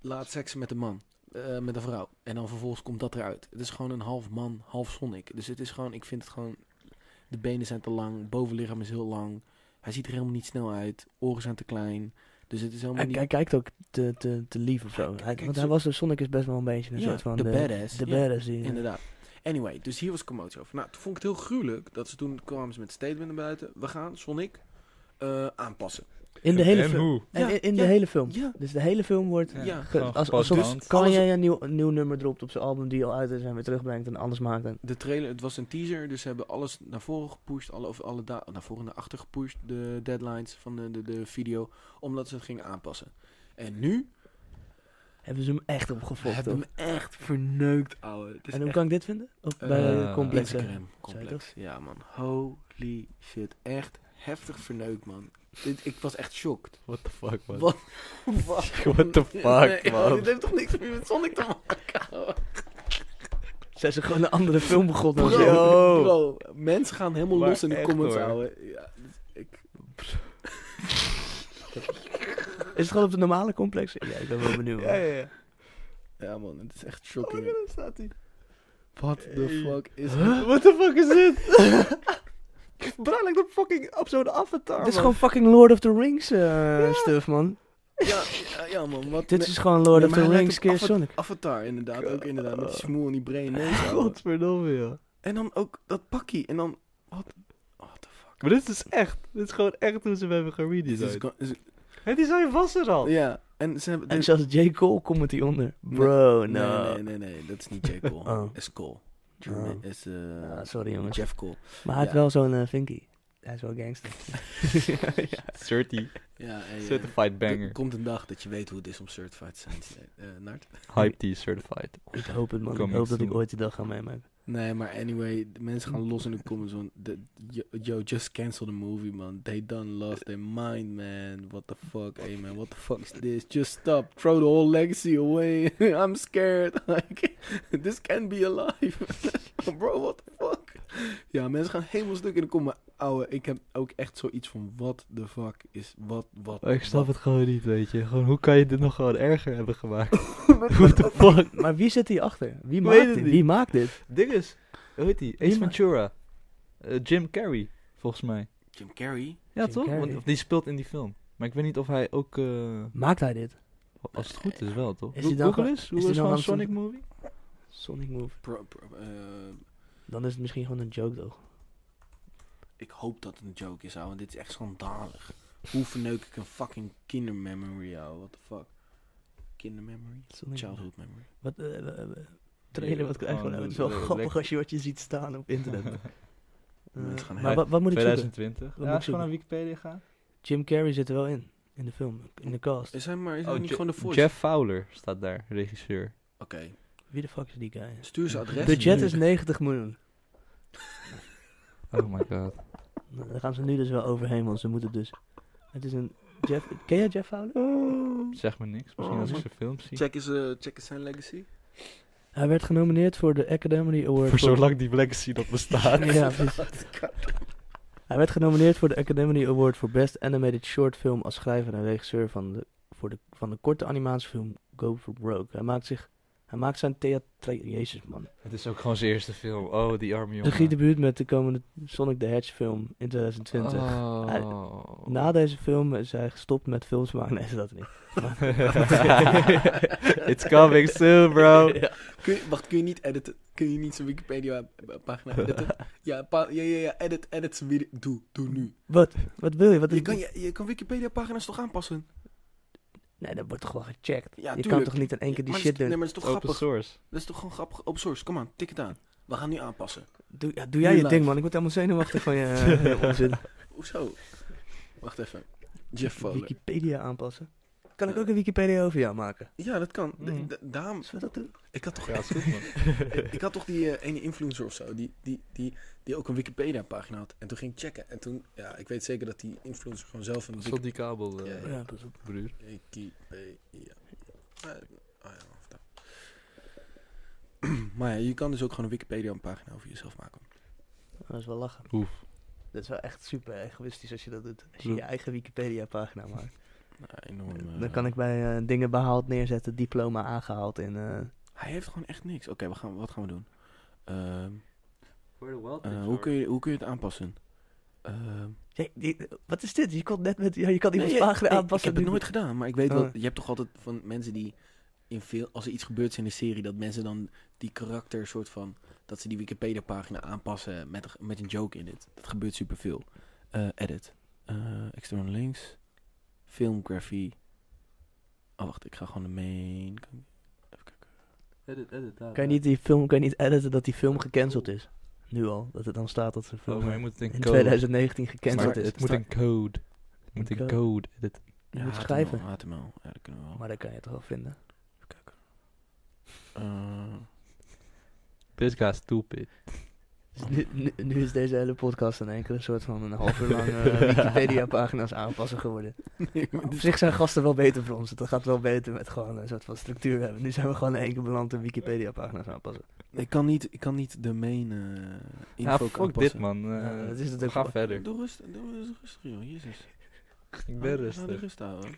laat seksen met een man? eh, met een vrouw. En dan vervolgens komt dat eruit. Het is gewoon een half man, half Sonic. Dus het is gewoon, ik vind het gewoon... De benen zijn te lang, bovenlichaam is heel lang. Hij ziet er helemaal niet snel uit. Oren zijn te klein. Dus het is helemaal Hij, niet... hij kijkt ook te, te, te lief of zo. Hij- Hij, kijk, want zo- hij was, de Sonic is best wel een beetje een Ja, soort van... de badass, De ja. badass. die- Inderdaad. Anyway, dus hier was commotie over. Nou, toen vond ik het heel gruwelijk dat ze toen kwamen ze met een statement naar buiten. We gaan Sonic eh, aanpassen. In de hele en film. hoe? En Ja, in, in de ja, hele film. Ja, Dus de hele film wordt... ja. Ja. Ge- Gewoon als, als, gepast, soms want- kan alles- jij een nieuw, een nieuw nummer dropt op zijn album die al uit is en weer terugbrengt en anders maakt. En, De trailer, het was een teaser, dus ze hebben alles naar voren gepusht, alle, of alle da- naar voren en naar achter gepusht, de deadlines van de, de, de video, omdat ze het gingen aanpassen. En nu hebben ze hem echt opgefokt. hebben hoor. we hem echt verneukt, ouwe. Het is En hoe echt kan ik dit vinden? Op, Eh, bij eh, Complex. hè? Instagram complex. Ja, man. Holy shit. Echt heftig verneukt, man. Dit, ik was echt shocked. What the fuck, man? Wat? <laughs> Wat? <laughs> What the fuck, <laughs> man? Dit heeft toch niks meer met Sonic te maken, ouwe? Zijn ze gewoon een andere film begonnen? of Bro, zo? bro, mensen gaan helemaal Maar los in de echt, comments, hoor. ouwe. Ja, dus ik... Is het gewoon op de normale complex? Ja, ik ben wel benieuwd. hoor. ja. Ja, man, het is echt shocking. Oh, daar staat hij. What the Hey. fuck is What the fuck is <laughs> dit? Bro, lijkt op fucking op zo'n avatar, Dit is gewoon fucking Lord of the Rings eh, stuff, man. dit? Ja, ja, ja, man, wat... Dit is gewoon Lord Nee, of maar the hij lijkt Rings op keer Ava- Sonic. Avatar, inderdaad. Ook inderdaad, met die smoel en die <laughs> brede neus. ouwe. Godverdomme, joh. En dan ook dat pakkie. En dan... Wat? What the fuck? Maar dit is echt. Dit is gewoon echt hoe ze hem hebben Dit is geredesigned. gewoon- is- Hé, die zijn was er al. Ja, en ze hebben... Oh. En dit- zelfs J. Cole comment hieronder. Bro, nee, no. nee, nee, nee, dat is niet J. Cole. <laughs> Oh. Is Cole. Oh. Is eh, Ah, sorry jongens. Jeff Cole. Maar hij heeft Ja. wel zo'n eh, vinkie. Hij is wel gangster. <laughs> Certi. Ja, en, eh, Certified Er banger. komt een dag dat je weet hoe het is om certified te zijn, eh, Nart. Hype T certified. ik hoop het man. Kom ik hoop eens dat ik doen. ooit die dag ga meemaken. Nee, maar anyway, de mensen gaan los in <laughs> de comments. Want de, yo, yo, just cancel the movie, man. They done lost their mind, man. What the fuck, hey man, what the fuck is this? Just stop. Throw the whole legacy away. <laughs> I'm scared. <laughs> Like, this can be alive. <laughs> Bro, what the fuck? Ja, mensen gaan helemaal stuk in de comments. Ouwe, ik heb ook echt zoiets van, what the fuck is, wat, wat, Ik snap wat? het gewoon niet, weet je. Gewoon, hoe kan je dit nog gewoon erger hebben <laughs> gemaakt? What the fuck? Maar wie zit hier achter? Wie Weet maakt het dit? niet. Wie maakt dit? Ding is, hoe heet die? Wie Ace ma- Ventura. Eh, Jim Carrey, volgens mij. Jim Carrey? Ja, Jim toch? Carrey. Want die speelt in die film. Maar ik weet niet of hij ook, eh, Maakt hij dit? als het goed is wel, toch? Is Go- die dan Google gewoon- eens, hoe die is dan gewoon een aan het- Sonic movie? Sonic Move. Pro, pro- eh, Dan is het misschien gewoon een joke toch? ik hoop dat het een joke is, ouwe. want Dit is echt schandalig. Hoe verneuk ik een fucking kindermemory, ouwe? What the fuck? Kindermemory? Childhood memory. Wat, eh, eh, eh, trailer, wat krijgen we nou? Het is wel Gewoon, eh, grappig lekker. als je wat je ziet staan <laughs> op internet. Mensen gaan Eh, maar helpen. wat, wat moet ik zoeken? 2020. Wat Ja, moet als ik je gewoon naar zoeken? Wikipedia gaan. Jim Carrey zit er wel in, in de film, in de cast. Is hij maar is Oh, hij niet Je- gewoon de voice? Jeff Fowler staat daar, regisseur. Oké, Wie de fuck is die guy? stuur zijn adres. Budget nu. is 90 miljoen. Oh my god. Nou, Daar gaan ze nu dus wel overheen, want ze moeten dus... Het is een... Jeff, ken jij Jeff Fowler? Zeg me niks. Misschien Oh, als ik man. zijn film zie. Check eens, eh, check eens zijn legacy. Hij werd genomineerd voor de Academy Award Voor zolang die legacy dat bestaat. <laughs> Ja, <laughs> precies. Hij werd genomineerd voor de Academy Award voor Best Animated Short Film als schrijver en regisseur van de, voor de, van de korte animatiefilm Go For Broke. Hij maakt, zich, hij maakt zijn theater... Jezus, man. Het is ook gewoon zijn eerste film. Oh, die arme jongen. Regie debuut met de komende Sonic the Hedge film in 2020. Hij- Oh. Na deze film is hij gestopt met films maken. Nee, dat niet. Maar- <laughs> It's coming soon, bro. Ja. Kun je, wacht, kun je niet editen? Kun je niet zijn <laughs> Wikipedia-pagina editen? ja, pa- ja, ja, ja, edit, edit zijn video. Doe, doe nu. Wat? Wat wil je? Wat is Je kan, je, je kan Wikipedia-pagina's toch aanpassen? Nee, dat wordt toch wel gecheckt. Ja, je kan tuurlijk. toch niet in één keer die Maar dat shit is- doen? Nee, maar dat is toch Open grappig? source. Dat is toch gewoon grappig? Open source, kom aan, tik het aan. We gaan nu aanpassen. Doe, ja, doe jij je Live. ding, man. Ik word helemaal zenuwachtig van je <laughs> eh, onzin. Hoezo? Wacht even. Jeff Fowler. Wikipedia aanpassen. Kan ik ook een Wikipedia over jou maken? Ja, dat kan. De- Mm. de- Daarom, Zullen we dat doen? ik had toch, Ja, is goed, man. <laughs> ik had toch die eh, ene influencer of zo, die, die, die, die ook een Wikipedia-pagina had. En toen ging ik checken. En toen, ja, ik weet zeker dat die influencer gewoon zelf een Stop die kabel, eh, Ja, Ja, pas op. broer. Wikipedia. Eh, ah ja, of dat. <clears throat> Maar ja, je kan dus ook gewoon een Wikipedia-pagina over jezelf maken. Dat is wel lachen. Oef. Dat is wel echt super egoïstisch als je dat doet. Als je Hm. je eigen Wikipedia-pagina maakt. Nou, Oh, enorm. eh, Dan kan ik bij eh, dingen behaald neerzetten, diploma aangehaald in... eh, Hij heeft gewoon echt niks. Oké, we gaan, wat gaan we doen? Ehm, Where the wild eh, hoe, kun je, hoe kun je het aanpassen? Ehm, Jij- die- wat is dit? Je kon net met... Ja, je kan iemands nee, pagina nee, aanpassen. Ik heb het nu- nooit gedaan, maar ik weet wel... Oh. Je hebt toch altijd van mensen die... In veel, als er iets gebeurt is in de serie, dat mensen dan die karakter soort van... Dat ze die Wikipedia-pagina aanpassen met, een- met een joke in het. Dat gebeurt superveel. Eh edit. Eh, externe links. Filmgrafie. Oh, wacht. Ik ga gewoon de main... Even kijken. Edit, edit, Kan je daar, eh. daar. niet die film... Kan je niet editen dat die film gecanceld is? Nu al. Dat het dan staat dat ze Oh, film maar je moet in een code. 2019 Maar gecanceld is. het moet een code. Het moet Een een code. code. Edit. Je moet HTML, schrijven. HTML. Ja, dat kunnen we wel. Maar dat kan je het toch wel vinden. Even kijken. Eh, This guy's stupid. Dus nu, nu, nu is deze hele podcast een enkele soort van een half <laughs> uur lang eh, Wikipedia-pagina's aanpassen geworden. Op zich zijn gasten wel beter voor ons. Het gaat wel beter met gewoon een soort van structuur hebben. Nu zijn we gewoon in één keer beland in Wikipedia-pagina's aanpassen. ik, kan niet, ik kan niet de main eh Ja, info Ah, fuck aanpassen. dit, man. Eh, Ja, dat is het ook ga wel. verder. Doe rustig, doe rustig, rustig, joh. Jezus. Ik ben Hou- hou de rustig. rust houden.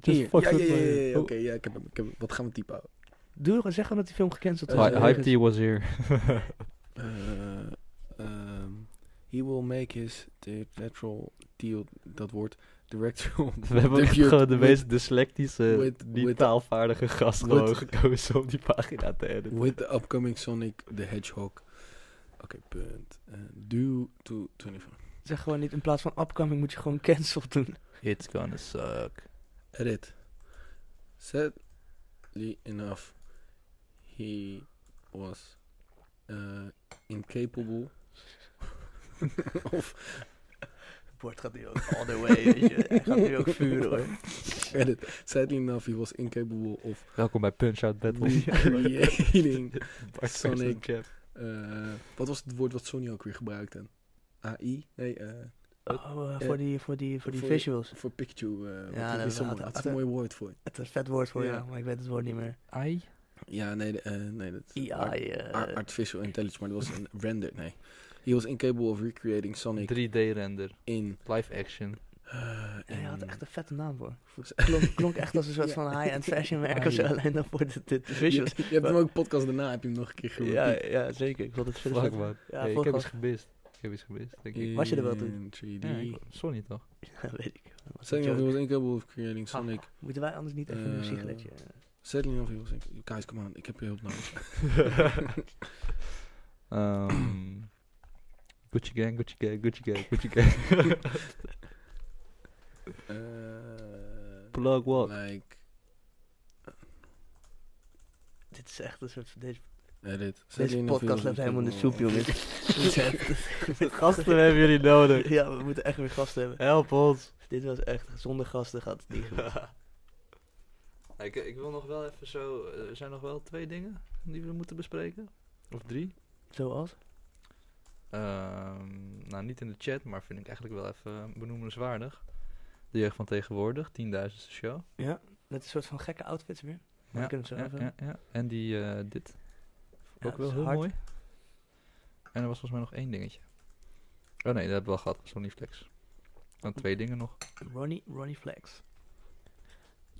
Just Hier. fuck Ja, ja, with ja, my- ja, ja, Oh. Oké, ja, ik heb hem. Ik heb hem. Wat gaan we typen? ouwe? Doe gewoon zeggen dat die film gecanceld is. Hi- Eh, Hype T was <laughs> here. Eh, ehm, he will make his the natural deal, dat woord, directorial <laughs> We hebben ook echt debut gewoon de with- meest dyslectische, with- niet with- taalvaardige gast with- gewoon gekozen om die pagina te editen. With the upcoming Sonic the Hedgehog. Oké, punt. Eh, due to 24. Zeg gewoon niet, in plaats van upcoming moet je gewoon cancel doen. <laughs> It's gonna suck. Edit. Sadly enough, he was uh, incapable <laughs> of Het bord gaat nu ook all the way, weet je. Hij gaat nu ook vuren, <laughs> hoor. edit. Sadly enough, he was incapable of Welkom bij Punch Out Battle. creating. <laughs> Bart Sonic. versus Jeff. eh, wat was het woord wat Sony ook weer gebruikte? AI? Nee, eh, Oh, eh, Ja. voor, die, voor, die, voor die Voor- visuals. voor Pikachu. eh, Ja, wat dat is zo had- mooi. Dat had- is een mooi woord voor. Het is een vet woord voor Ja. jou, maar ik weet het woord niet meer. Ai. Ja, nee, de- eh, nee dat AI. eh, Ar- artificial intelligence, maar dat was een render. Nee. He was incapable of recreating Sonic 3D render. in. Live action. eh, Ja, je had in- echt een vette naam voor. <laughs> Klonk, klonk echt als een soort Ja. van high-end fashion merk of zo, Ja. alleen dan voor de, de, de Je, visuals. je hebt hem ook podcast daarna, heb je hem nog een keer gehoord. Ja, ja, zeker. Ik vond het vet. <laughs> Fuck man. Ja, Hey, ik fuck, heb man. iets gemist. Ik heb iets gemist, denk ik. Was je er wel toen? In 3D. Ja, ik- Sony <laughs> <laughs> toch? Ja, weet ik. Dat was een Setting of he joke. was incapable of Ah. creating Sonic. Moeten wij anders niet even een Eh, sigaretje... Setting of he was incapable. Guys, <laughs> come on, ik heb je hulp nodig. Ehm, Gucci gang, Gucci gang, Gucci gang, Gucci gang. Eh, Plug what? like, Dit is echt een soort... Deze, edit. Zet deze die in de podcast film. loopt helemaal in de soep, jongens. Dit is <laughs> echt- Gasten hebben jullie nodig. Ja, we moeten echt weer gasten hebben. Help ons. Dit was echt... Zonder gasten gaat het niet goed. Nou, ik, ik wil nog wel even zo... eh, Er zijn nog wel twee dingen die we moeten bespreken. Of drie. Zoals? Ehm, nou, niet in de chat, maar vind ik eigenlijk wel even benoemenswaardig. De jeugd van tegenwoordig, 10.000ste show. Ja, met een soort van gekke outfits weer. Maar Ja, ik kunnen we ja, zo even... ja, ja. En die, eh, dit. Vond ik Ja, dat ook wel is heel hard. mooi. En er was volgens mij nog één dingetje. Oh nee, dat hebben we al gehad. Sony Flex. Dan twee dingen nog. Ronnie, Ronnie Flex.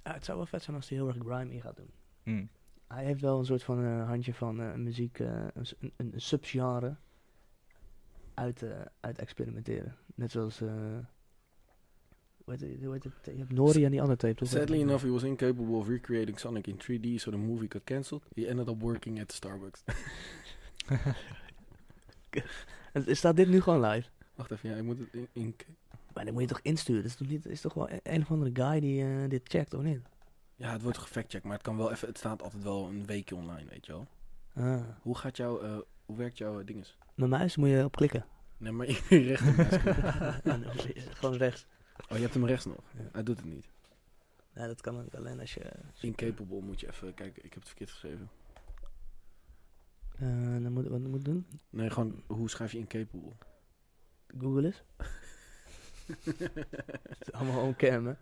Ah, het zou wel vet zijn als hij heel erg grime in gaat doen. Mm. Hij heeft wel een soort van eh, handje van eh, muziek, eh, een, s- een, een een subgenre uit, eh, uit experimenteren. Net zoals, eh hoe heet het- hoe heet het? je hebt Nori en die andere tape, toch? Sadly enough, he was incapable of recreating Sonic in 3D, so the movie got cancelled. He ended up working at Starbucks. <laughs> En staat dit nu gewoon live? Wacht even, ja, ik moet het in... in- Maar dan moet je toch insturen? Dat is toch, niet, is toch wel een, een of andere guy die eh, dit checkt, of niet? ja, het wordt gefactcheckt, maar het kan wel even... Het staat altijd wel een weekje online, weet je wel. Ah. Hoe gaat jouw... eh, hoe werkt jouw eh, dinges? Mijn muis moet je op klikken. <laughs> Nee, maar <laughs> rechts. En dan is het gewoon rechts. Oh, je hebt hem rechts nog. Ja. Hij doet het niet. Ja, dat kan ook alleen als je... Incapable moet je even... Kijk, ik heb het verkeerd geschreven. Eh, dan moet, wat moet ik doen? Nee, gewoon hoe schrijf je <laughs> incapable? Google eens. Het is allemaal on cam, hè?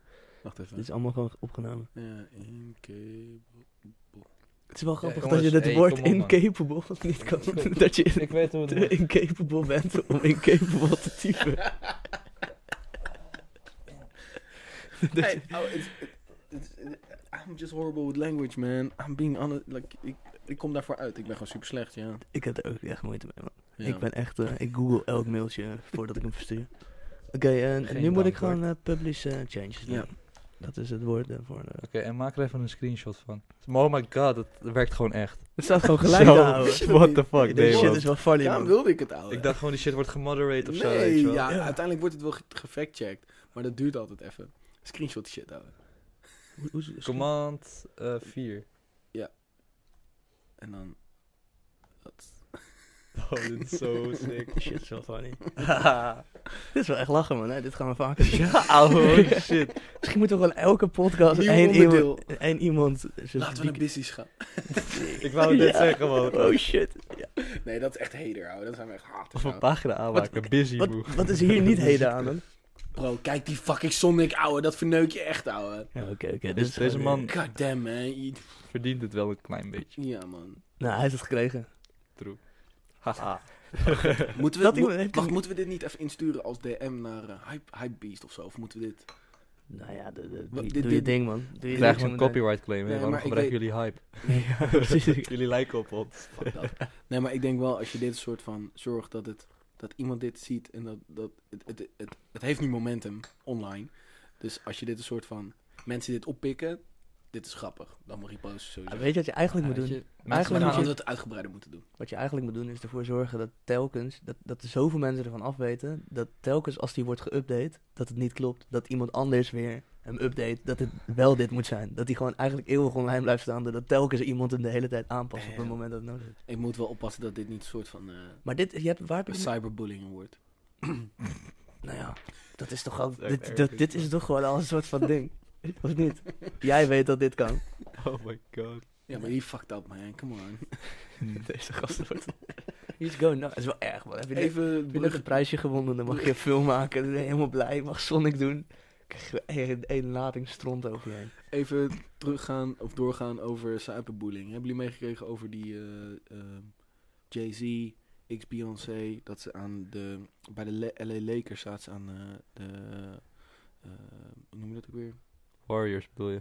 Wacht Dit even. is allemaal gewoon opgenomen. Ja, incapable. Het is wel grappig jongens, dat je het hey, woord kom op, man. incapable <laughs> niet <laughs> kan doen. Dat je <laughs> Ik weet hoe <laughs> te incapable bent om incapable te typen. Dus- Hey, oh, it's, it's, it's- I'm just horrible with language, man. I'm being honest. Like, ik, ik kom daarvoor uit. Ik ben gewoon super slecht, ja. Ik heb er ook echt moeite mee, man. Ja. Ik ben echt... eh, ik google elk mailtje voordat ik hem verstuur. Oké, en Geen nu moet ik dankwoord. gewoon eh, publish eh, changes doen. Ja. Dat is het woord daarvoor. eh. Oké, en maak er even een screenshot van. Oh my god, dat werkt gewoon echt. Het staat <laughs> gewoon gelijk Zo, te houden. What the fuck, nee, Deze shit man. is wel funny, Daarom man. wilde ik het, ouwe. Ik dacht gewoon die shit wordt gemoderated of zo, weet nee, je wel. ja, uiteindelijk wordt het wel ge- gefactcheckt. Maar dat duurt altijd even. Screenshot shit, ouwe. Hoe- hoe- Command eh, 4. En dan... oh, dit is zo <laughs> sick. <laughs> Shit, is wel <laughs> funny. <laughs> dit is wel echt lachen, man. Hè? Dit gaan we vaker doen. ja, ouwe, <laughs> shit. Misschien moeten we gewoon elke podcast Nieuw één onderdeel. iemand, één iemand... Laten we naar business gaan. Ik wou dit Ja. zeggen, man. Oh shit. Nee, dat is echt hater, ouwe. Dat zijn we echt haters, Of een ouwe. pagina aanmaken, busy Wat, boe. wat is hier niet heden aan dan? Bro, kijk die fucking Sonic, ouwe. Dat verneuk je echt, ouwe. Ja, Oké, oké. dit Dus is deze gewoon- man God damn, man. Je- verdient het wel een klein beetje. Ja, man. Nou, hij heeft het gekregen. Haha. Moeten we, Dat mo- iemand heeft- wacht, moeten we dit niet even insturen als DM naar eh, Hype, Hypebeast of zo? Of moeten we dit... Nou ja, de, de, Wat- doe, doe dit- je dit- ding, man. Doe je ding Krijgen we een zometeen. copyright claim, hè? Nee, Waarom maar ik gebruiken weet- jullie <laughs> hype? <laughs> Ja, precies. <laughs> jullie lijken op ons. Fuck dat. <laughs> Nee, maar ik denk wel als je dit soort van zorgt dat het dat iemand dit ziet en dat, dat het, het, het, het heeft nu momentum online. Dus als je dit een soort van mensen dit oppikken, dit is grappig. Dan mag je posten sowieso. Ah, Weet je wat je eigenlijk moet doen? maar Eigenlijk moet dan hadden je, we het uitgebreider moeten doen. wat je eigenlijk moet doen is ervoor zorgen dat telkens, dat, dat er zoveel mensen ervan afweten, dat telkens als die wordt geüpdate, dat het niet klopt, dat iemand anders weer hem update, dat het wel dit moet zijn. Dat die gewoon eigenlijk eeuwig online blijft staan, doordat telkens iemand hem de hele tijd aanpast op het Ja. moment dat het nodig is. Ik moet wel oppassen dat dit niet een soort van eh, Maar dit, je hebt, waar heb je dit- cyberbullying wordt. Nou ja, dat is toch al, Dat is echt dit, dat, erg. dit is toch gewoon al een soort van <laughs> ding. Of niet? Jij weet dat dit kan. Oh my god. Ja, maar die fucked up man, come <laughs> on. <laughs> Hmm. Deze gast wordt... <laughs> He's going nuts. Dat is wel erg, man. Heb je, net- Even heb je net een bruggen. prijsje gewonnen, dan mag je een film maken. Dan ben je helemaal blij, mag Sonic doen. Dan krijg je één- één lading stront over je heen. Even teruggaan of doorgaan over cyberbullying. Hebben jullie meegekregen over die eh, ehm, Jay-Z, X Beyoncé, dat ze aan de bij de Le- LA Lakers zaten ze aan eh, de eh, hoe noem je dat ook weer? Warriors bedoel je?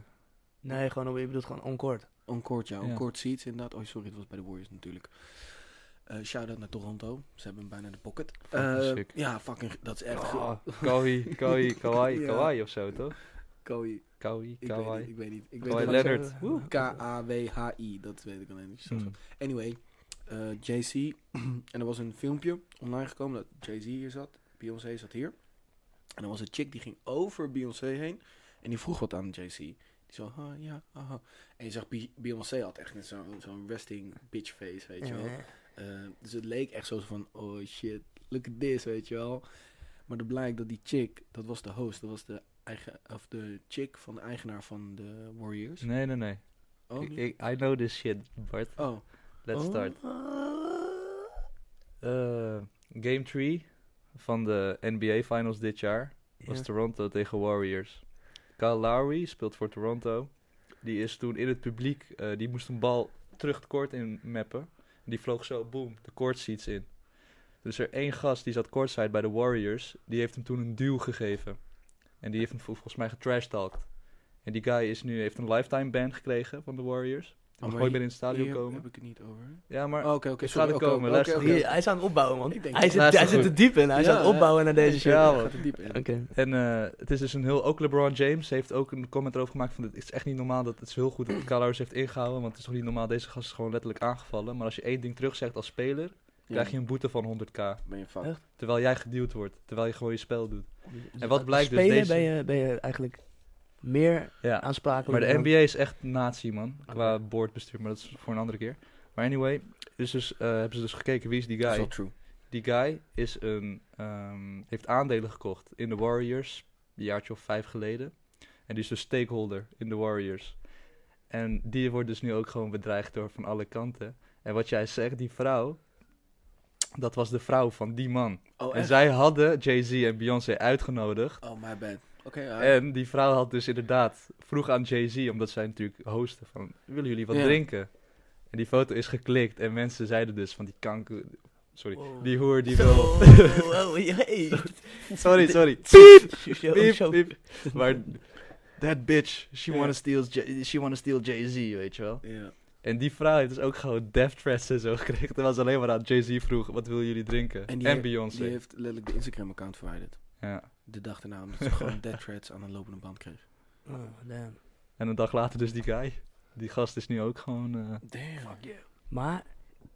Nee, gewoon, op- je bedoelt gewoon onkort. On-court, ja, Ja. on-court seats inderdaad. Oh, sorry, het was bij de Warriors natuurlijk. Eh Shout-out naar Toronto. Ze hebben hem bijna in de pocket. Fucking Eh, sick. ja, fucking, dat is Oh, echt... Oh. kawaii, kawaii, kawaii, <laughs> Ja. kawaii of zo, toch? Kawhi, Kawaii, ik weet niet, kawaii. ik weet niet. Ik Kawhi weet Leonard. niet. K-A-W-H-I, dat weet ik alleen niet. Zo- Hmm. Anyway, eh, Jay-Z. <clears throat> en er was een filmpje online gekomen dat Jay-Z hier zat. Beyoncé zat hier. En er was een chick die ging over Beyoncé heen. En die vroeg wat aan Jay-Z. Die zo, ha, ja, aha. En je zag, Be- Beyoncé had echt net zo'n zo'n resting bitch face, weet je wel. Eh, dus het leek echt zo van, oh shit, look at this, weet je wel. Maar dan blijkt dat die chick, dat was de host, dat was de, eigen, of de chick van de eigenaar van de Warriors. Nee, nee, nee. Oh, Hmm. Ik, niet? ik- I know this shit, Bart. oh. Let's Oh. start. Eh, game 3 van de NBA Finals dit jaar was Toronto tegen Warriors. Kyle Lowry speelt voor Toronto. Die is toen in het publiek, eh, die moest een bal terug het court in mappen. Die vloog zo, boom, de court seats in. Dus er één gast die zat courtside bij de Warriors, die heeft hem toen een duw gegeven. En die heeft hem vol- volgens mij getrashtalkt. En die guy is nu, heeft een lifetime ban gekregen van de Warriors. Die Oh, mag maar nooit meer hier- in het stadion Hier komen. heb ik het niet over. Ja, maar Oh, Oké, oké, het sorry, gaat er oké, komen, oké, luister. oké, Hier, oké. hij is aan het opbouwen, man. Ik denk- Hij zit, Luister hij zit goed. er diep in. Hij is Ja, aan het opbouwen naar deze shit. Ja, Hij man. gaat er diep in. Oké. En eh, het is dus een heel... Ook LeBron James heeft ook een comment erover gemaakt van... Het is echt niet normaal dat het is heel goed dat Kyle Lowry heeft ingehouden. Want het is toch niet normaal, deze gast is gewoon letterlijk aangevallen. Maar als je één ding terugzegt als speler, krijg je een boete van 100k. Ben je Echt? fucked. Terwijl jij geduwd wordt. Terwijl je gewoon je spel doet. En Als wat blijkt dus Spelen deze... ben, je, ben je eigenlijk meer Ja, maar aansprakelijk. de dan- NBA is echt nazi, man. Qua boordbestuur, maar dat is voor een andere keer. Maar anyway, dus, dus, eh, hebben ze dus gekeken wie is die Dat is guy. wel true. Die guy is een, ehm, heeft aandelen gekocht in de Warriors, een jaartje of vijf geleden. En die is dus stakeholder in de Warriors. En die wordt dus nu ook gewoon bedreigd door van alle kanten. En wat jij zegt, die vrouw, dat was de vrouw van die man. Oh, en echt? zij hadden Jay-Z en Beyoncé uitgenodigd. Oh, my bad. Oké, ja. En die vrouw had dus inderdaad vroeg aan Jay-Z, omdat zij natuurlijk hosten van, willen jullie wat Ja. drinken? En die foto is geklikt en mensen zeiden dus van die kanker, sorry, Oh. Wow. die hoer die wil... Oh, oh, oh, <laughs> hey. <laughs> Sorry, sorry. Zo, zo. Maar that bitch, she Ja. wanna steal, J- she wanna steal Jay-Z, weet je wel. Ja. En die vrouw heeft dus ook gewoon death threats en zo gekregen. Terwijl ze alleen maar aan Jay-Z vroeg, wat willen jullie drinken? En, die he- Beyoncé. Die heeft letterlijk de Instagram-account verwijderd. Ja. De dag daarna, omdat <laughs> ze gewoon dead threats aan een lopende band kreeg. Oh, damn. En een dag later dus die guy. Die gast is nu ook gewoon... eh, Damn. Maar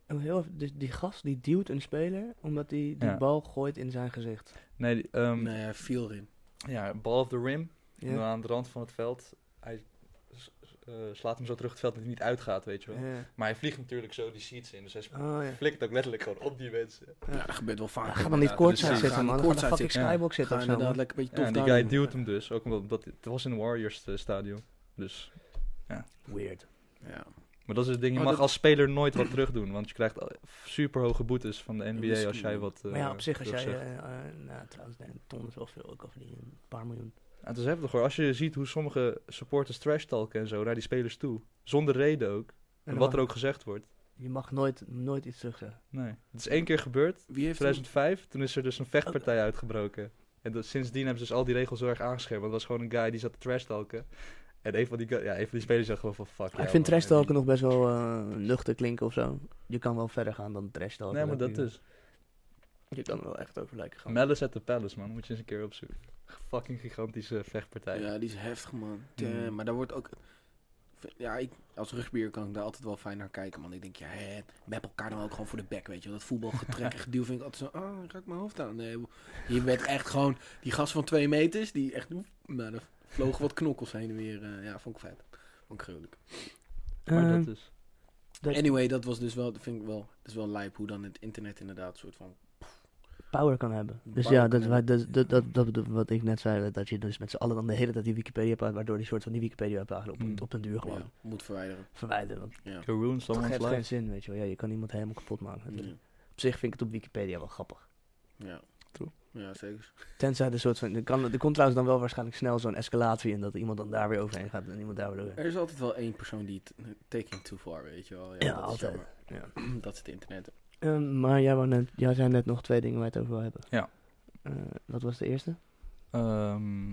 een heel, even- dus die gast die duwt een speler omdat hij die Ja. bal gooit in zijn gezicht. Nee, die, ehm, Nee, hij viel erin. ja, ball of the rim. Ja. Aan de rand van het veld. Hij s- eh, slaat hem zo terug het veld dat hij niet uitgaat, weet je wel. Ja. Maar hij vliegt natuurlijk zo die seats in. Dus hij Oh, ja. flikt ook letterlijk gewoon op die mensen. Ja, dat gebeurt wel vaak. Ja, Ga maar niet Ja, kort dus ja, zijn ga zitten, man. Ga kort de zijn fucking zitten. skybox Ga zitten of zo, inderdaad man. lekker een beetje Ja, tof en die daar guy doen. duwt hem dus. Ook omdat dat, het was in een Warriors eh, stadion. Dus. Weird. Ja. Maar dat is het ding. Je Oh, mag dat- als speler nooit wat terug doen. Want je krijgt super hoge boetes van de dat is NBA als jij cool. wat. eh, Maar ja, op zich, als jij... terugzegt. eh, eh, nou, trouwens, nee, een ton is wel veel. Ik kan verdienen een paar miljoen. Ja, het is heftig hoor. Als je ziet hoe sommige supporters trash talken en zo naar die spelers toe. Zonder reden ook. En, dan wat er mag- ook gezegd wordt. Je mag nooit, nooit iets terugzeggen. Nee. Het is één keer gebeurd. Wie heeft hem- 2005. Toen is er dus een Oh. vechtpartij uitgebroken. En dat, sindsdien hebben ze dus al die regels heel erg aangescherpt. Want het was gewoon een guy die zat te trash talken. En een van die, gu- ja, een van die spelers zag gewoon van fuck. Ah, ik jou, vind man. trash talken nog best wel eh, luchtig klinken of zo. Je kan wel verder gaan dan trash talken. Nee, maar dat je- dus. Je kan er wel echt over lijken gaan. Malice at the Palace, man. Moet je eens een keer opzoeken. Fucking gigantische vechtpartij. Ja, die is heftig, man. Damn, Mm. Maar daar wordt ook... Ja, ik, als rugbier kan ik daar altijd wel fijn naar kijken, man. Ik denk, ja, hè, map elkaar dan ook gewoon voor de bek, weet je wel. Dat <laughs> voetbalgetrek en geduw vind ik altijd zo... Ah, raak mijn hoofd aan. Nee, je bent echt gewoon... Die gast van twee meters, die echt... oep, Nou, er vlogen wat knokkels heen en weer. eh, ja, vond ik vet. Vond ik gruwelijk. Maar Ehm, dat is. dat- Anyway, dat was dus wel... Dat vind ik wel... Dat is wel lijp hoe dan het internet inderdaad soort van... power kan hebben. Dus Power ja, kan dat, wij- dat, dat, dat, dat bedoel- wat ik net zei, dat je dus met z'n allen dan de hele tijd die Wikipedia hebt, waardoor die soort van die Wikipedia hebt op, Mm. op den duur gewoon ja, moet verwijderen. verwijderen. Want Ja. Can ruin het someone's heeft geen life. zin, weet je wel. Ja, je kan iemand helemaal kapot maken. Ja. Op zich vind ik het op Wikipedia wel grappig. Ja. True. Ja, zeker. Tenzij er soort van, er, kan, er komt trouwens dan wel waarschijnlijk snel zo'n escalatie in dat iemand dan daar weer overheen gaat en iemand daar weer Er overheen. is altijd wel één persoon die het taking too far, weet je wel. Ja, Ja, dat is altijd. jammer. Ja. <clears throat> dat is het internet. Ehm, maar jij, wou net, jij zei net nog twee dingen waar je het over wil hebben. Ja. Eh, wat was de eerste? Ehm,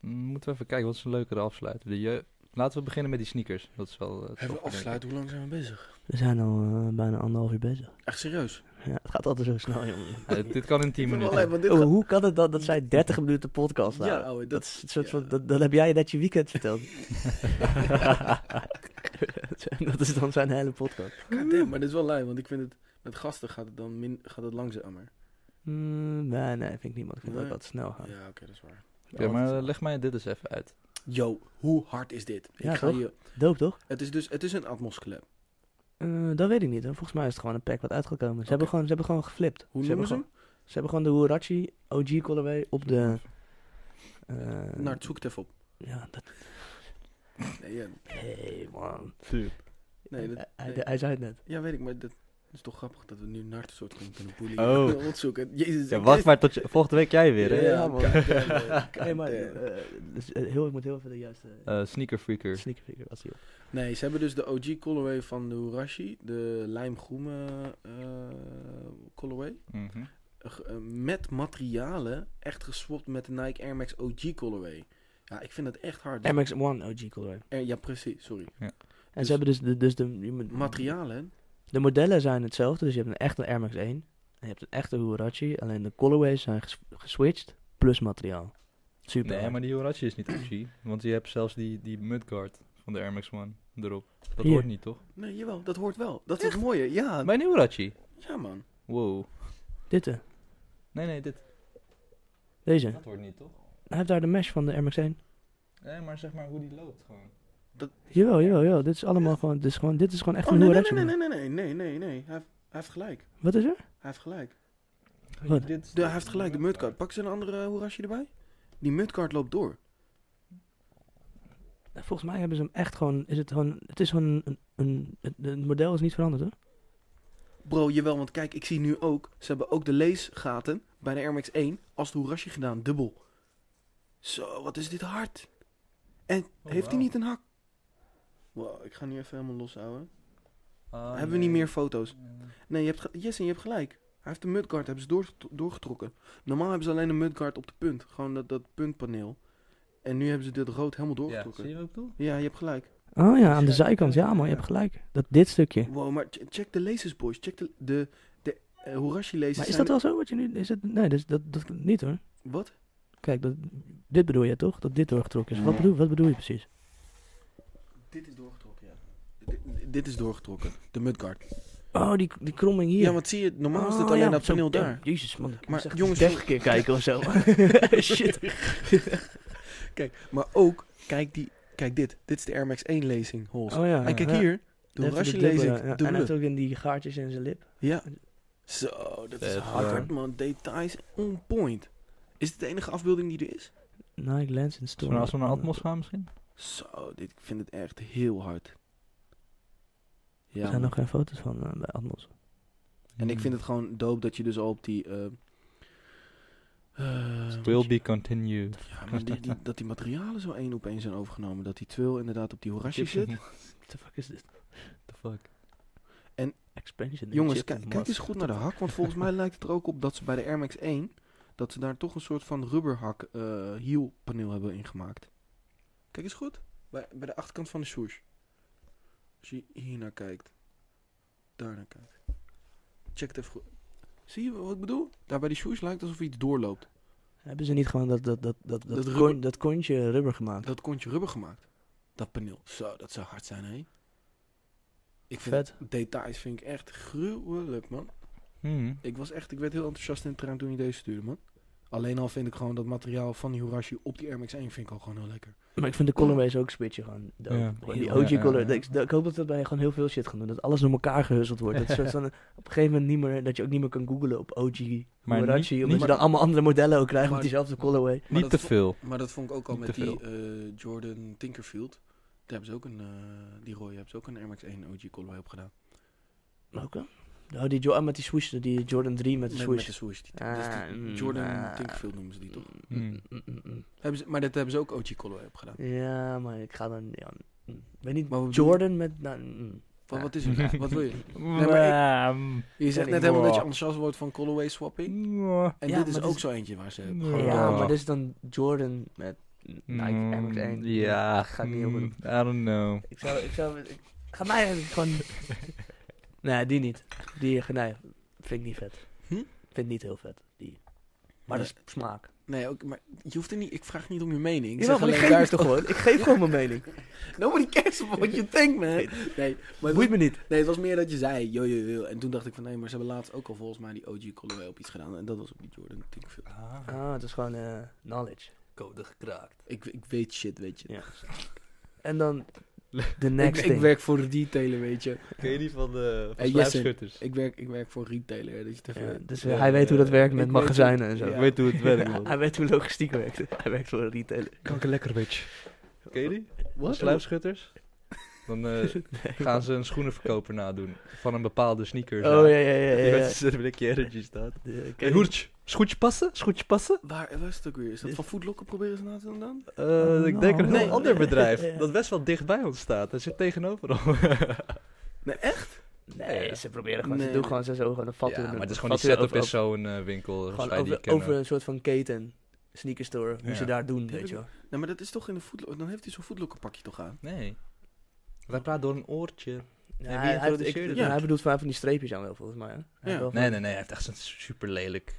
moeten we even kijken, wat is een leukere afsluiter? De je... Laten we beginnen met die sneakers. Dat is wel. eh, tof, Hebben we denk ik. afsluiten? Hoe lang zijn we bezig? We zijn al eh, bijna anderhalf uur bezig. Echt serieus? Ja, het gaat altijd zo snel, jongen. Ja, dit kan in 10 minuten. Alleen, want dit Oh, gaat- hoe kan het dan dat zij 30 minuten podcast Ja, houden? ouwe, dat dat, is een soort ja. <laughs> van, dat, dat heb jij net je weekend verteld. <laughs> dat is dan zijn hele podcast. God damn, maar dit is wel lui, want ik vind het... Met gasten gaat het dan min, gaat het langzamer. Mm, nee, nee, vind ik niet, man. Ik vind dat Nee. wat snel gaan. Ja, oké, dat is waar. Oké, maar eh, leg mij dit eens even uit. Yo, hoe hard is dit? Ja, ik ga toch? je, Doop, toch? het is dus het is een Atmos Club. Eh, dat weet ik niet. Hoor. Volgens mij is het gewoon een pack wat uitgekomen. Ze, Oké. hebben, gewoon, ze hebben gewoon geflipt. Hoe ze noemen hebben ze hem? gewoon, ze hebben gewoon de Huarachi OG colorway op de... eh, Nou, het zoekt even op. Ja, dat... Nee, ja, Hey, man. nee, dat, hij, nee. hij zei het net. ja, weet ik, maar dat is toch grappig dat we nu Nart soort van kunnen boelen. Oh. <laughs> Opzoeken. Jezus. Ja, wacht Christus. maar tot je, volgende week jij weer, hè? hè? Ja, Ja, man. man. <laughs> Hey, maar, eh, dus, eh, heel, ik moet heel even de juiste Eh sneaker freaker. sneaker figure als die op. Nee, ze hebben dus de OG colorway van de Hurashi, de lijmgroene eh colorway. Mhm. eh, ge- eh, met materialen echt geswapt met de Nike Air Max OG colorway. Ja, ik vind dat echt hard. MX-1 OG colorway. Eh, ja, precies, sorry. En ze hebben dus de, dus de, je moet- Materialen, hè? de modellen zijn hetzelfde. Dus je hebt een echte Air Max 1 en je hebt een echte Huarachi. Alleen de colorways zijn ges- geswitcht plus materiaal. Super. Nee, hard. maar die Horatje is niet OG. Want je hebt zelfs die, die mudguard van de Air Max One erop. Dat Hier. hoort niet, toch? Nee, jawel, dat hoort wel. Dat is het mooie. Ja, Mijn Horatje. ja man. Wow. Dit, eh, Nee, nee, dit. deze. Dat hoort niet, toch? Hij heeft daar de mesh van de Air Max 1. Nee, maar zeg maar hoe die loopt gewoon. Jawel, jawel, jawel. Dit is allemaal gewoon, dit is gewoon, dit is gewoon echt Oh, een nee, nee, Huarachi. nee, nee, nee, nee, nee, nee, nee. Hij, heeft- hij heeft gelijk. Wat is er? Hij heeft gelijk. Wat? Dit, De, hij heeft gelijk, de mudcard. Pak ze een andere Hoerasje erbij? Die mudcard loopt door. Nou, Volgens mij hebben ze hem echt gewoon, is het gewoon, het is gewoon een, een, het, het model is niet veranderd hoor. Bro, jawel, want kijk, ik zie nu ook... Ze hebben ook de leesgaten bij de Air Max 1 als de Hoerasje gedaan. Dubbel. Zo, wat is dit hard. En heeft hij Oh, wauw. niet een hak? Wow, ik ga nu even helemaal los houden. Ah, hebben we nee. niet meer foto's? Eh, Nee, je hebt ge- Jesse, je hebt gelijk. Hij heeft de mudguard, hebben ze door, doorgetrokken. Normaal hebben ze alleen een mudguard op de punt. Gewoon dat, dat puntpaneel. En nu hebben ze dit rood helemaal Ja, doorgetrokken. zie je wat ik bedoel? ja, je hebt gelijk. Oh ja, aan de Ja, zijkant. Ja man, je hebt gelijk. Dat dit stukje. Wow, maar ch- check de lasers, boys. Check de, de, de eh, Horashi lasers. Maar is zijn- dat wel zo wat je nu... Is het, nee, dat, is- dat, dat klopt niet hoor. Wat? Kijk, dat, dit bedoel je toch? Dat dit doorgetrokken is. Wat bedoel, wat bedoel je precies? Dit is doorgetrokken, ja. Dit, dit is doorgetrokken. De mudguard. Oh, die, die kromming hier. Ja, want zie je, normaal is dit Oh, alleen ja, dat zo- paneel ja, daar. Jezus man, ik Maar moest echt jongens, 30 keer kijken of <laughs> zo. Shit. Maar ook, kijk, die, kijk dit. Dit is de Air Max 1 lezing, Hols. Oh ja. en kijk ja. hier, de Net Horashi dubbele, lezing. ja. En hij dubbele. heeft ook in die gaartjes in zijn lip. Ja. Zo, dat is Vet, hard, man. man. Details on point. Is dit de enige afbeelding die er is? Nike Lens in Zullen we- Storm. Als we naar Atmos gaan misschien? Zo, dit, ik vind het echt heel hard. Ja, Er zijn man. nog geen foto's van eh, bij Atmos. En ik vind het gewoon dope dat je dus al op die... eh, eh, Will be continued. ja, maar die, die- dat die materialen zo één op één zijn overgenomen. Dat die twil inderdaad op die horasje zit. What the fuck is dit? the fuck? Expansion. Jongens, chip kijk, and kijk eens mask. goed naar de hak. Want volgens mij lijkt het er ook op dat ze bij de Air Max 1... dat ze daar toch een soort van rubberhak eh hielpaneel hebben ingemaakt. Kijk eens goed. Bij, bij de achterkant van de swoosh. Als je hier naar kijkt. Daar naar kijkt. Check het even goed. Zie je wat ik bedoel? Daar bij die swoosh lijkt alsof iets doorloopt. Hebben ze niet gewoon dat, dat, dat, dat, dat, Dat kon- rubber- dat kontje rubber gemaakt? Dat kontje rubber gemaakt. Dat paneel. Zo, dat zou hard zijn, hé. Ik vind Vet. details vind ik echt gruwelijk, man. Mhm. Ik was echt, ik werd heel enthousiast in het trein toen je deze stuurde, man. Alleen al vind ik gewoon dat materiaal van die Horashi op die Air Max 1 vind ik al gewoon heel lekker. Maar ik vind de colorways ook switchen gewoon. dope. Ja. Gewoon die Ja, OG ja, color. ja. dat Ik, dat- ik hoop dat we bij gewoon heel veel shit gaan doen. Dat alles door elkaar gehuzzeld wordt. Dat soort van, op een gegeven moment niet meer, dat je ook niet meer kan googlen op OG Maar Huarachi. niet- Omdat niet- je dan allemaal andere modellen ook krijgt met Maar- diezelfde colorway. Niet dat te vo- veel. Maar dat vond ik ook al Niet met te die eh, Jordan Tinkerfield. Daar hebben ze ook een, eh, die rode hebben ze ook een Air Max 1 OG colorway op gedaan. Oké. Oh, die Jo- ah, met die swoosh, die Jordan 3 met de Met, swoosh. met de swoosh. Die, Ah, dat is die mm, Jordan ah. Tinkerfield noemen ze die toch? Mm, Hmm. mm, mm, mm. Hebben ze, maar dat hebben ze ook OG colorway op gedaan. Ja, maar ik ga dan... Ja, mm. weet niet, Maar we Jordan met... Nou, mm. Wat, Ja. wat is het? <laughs> wat wil je? maar maar Je zegt ik- net helemaal dat je Mwah. enthousiast wordt van colorway swapping. En Hmm. Ja, dit is maar ook dit is- zo eentje waar ze Ja. gewoon Ja, Oh. maar dit is dan Jordan met Nou, Nike Air Max 1. Hmm, Ja, Ga ik niet heel goed mm, doen. I don't know. Ik zou, ik zou, ik- ga mij eigenlijk gewoon... nee, die niet. Die, nee, vind ik niet vet. Hm? Vind ik niet heel vet. Die. Maar dat is smaak. Nee, ook, maar je hoeft er niet... Ik vraag niet om je mening. Ik Jawel, zeg maar ik alleen geef daar het is toch gewoon. Ik geef gewoon mijn mening. <laughs> Nobody cares what you think, man. Nee, maar het was, Boeit me niet. nee, het was meer dat je zei, yo, yo, yo. En toen dacht ik van, nee, maar ze hebben laatst ook al volgens mij die OG Colorway op iets gedaan. En dat was op die Jordan Tinkfield. Ah, het is gewoon eh, knowledge. Code gekraakt. Ik, ik weet shit, weet je. Ja. En dan the next ik, thing. ik werk voor een retailer, weet je. Ken je die van de Hey, van Jesse. sluipschutters? Ik werk, ik werk voor een retailer. hè, Dat je het even- Ja, dus Ja, hij weet hoe dat eh, werkt ik met weet hoe- magazijnen en zo. Ja. Ik weet hoe het <laughs> werkt, <laughs> man. Hij weet hoe logistiek werkt. <laughs> Hij werkt voor een retailer. Kanker lekker, bitch. Ken je die? Wat? Sluipschutters? <laughs> Dan eh, gaan ze een schoenenverkoper nadoen van een bepaalde sneaker. Oh ja, ja, ja. <laughs> ja, Die ja. weet dat er een keer energy staat. De- Hey, hoertje. Schoentje passen? Schoentje passen? Waar was het ook weer? Is dat van Foodlocker proberen ze na te doen dan? Eh, Oh, ik denk een no. heel ander bedrijf <laughs> Ja. dat best wel dicht bij ons staat. Dat zit <laughs> tegenover al. Nee, echt? Nee, ze proberen gewoon, ze Nee. doen gewoon zo, zo gewoon een vat. ja, maar het is gewoon vatten die setup over- is zo'n eh, winkel. over- zoals Gewoon wij die over, kennen. over een soort van keten, sneaker store, hoe Ja. ze daar doen, Hebben weet je wel. Nou, maar dat is toch in de Foodlocker... Dan heeft hij zo'n Foodlocker pakje toch aan? Nee. Wij praten door een oortje. Ja, wie hij, hij- introduceerde ik- dat? ja, hij bedoelt van, van die streepjes aan wel, volgens mij. Hè? Hij Ja. wel van- Nee, nee, nee. Hij heeft echt een super lelijk.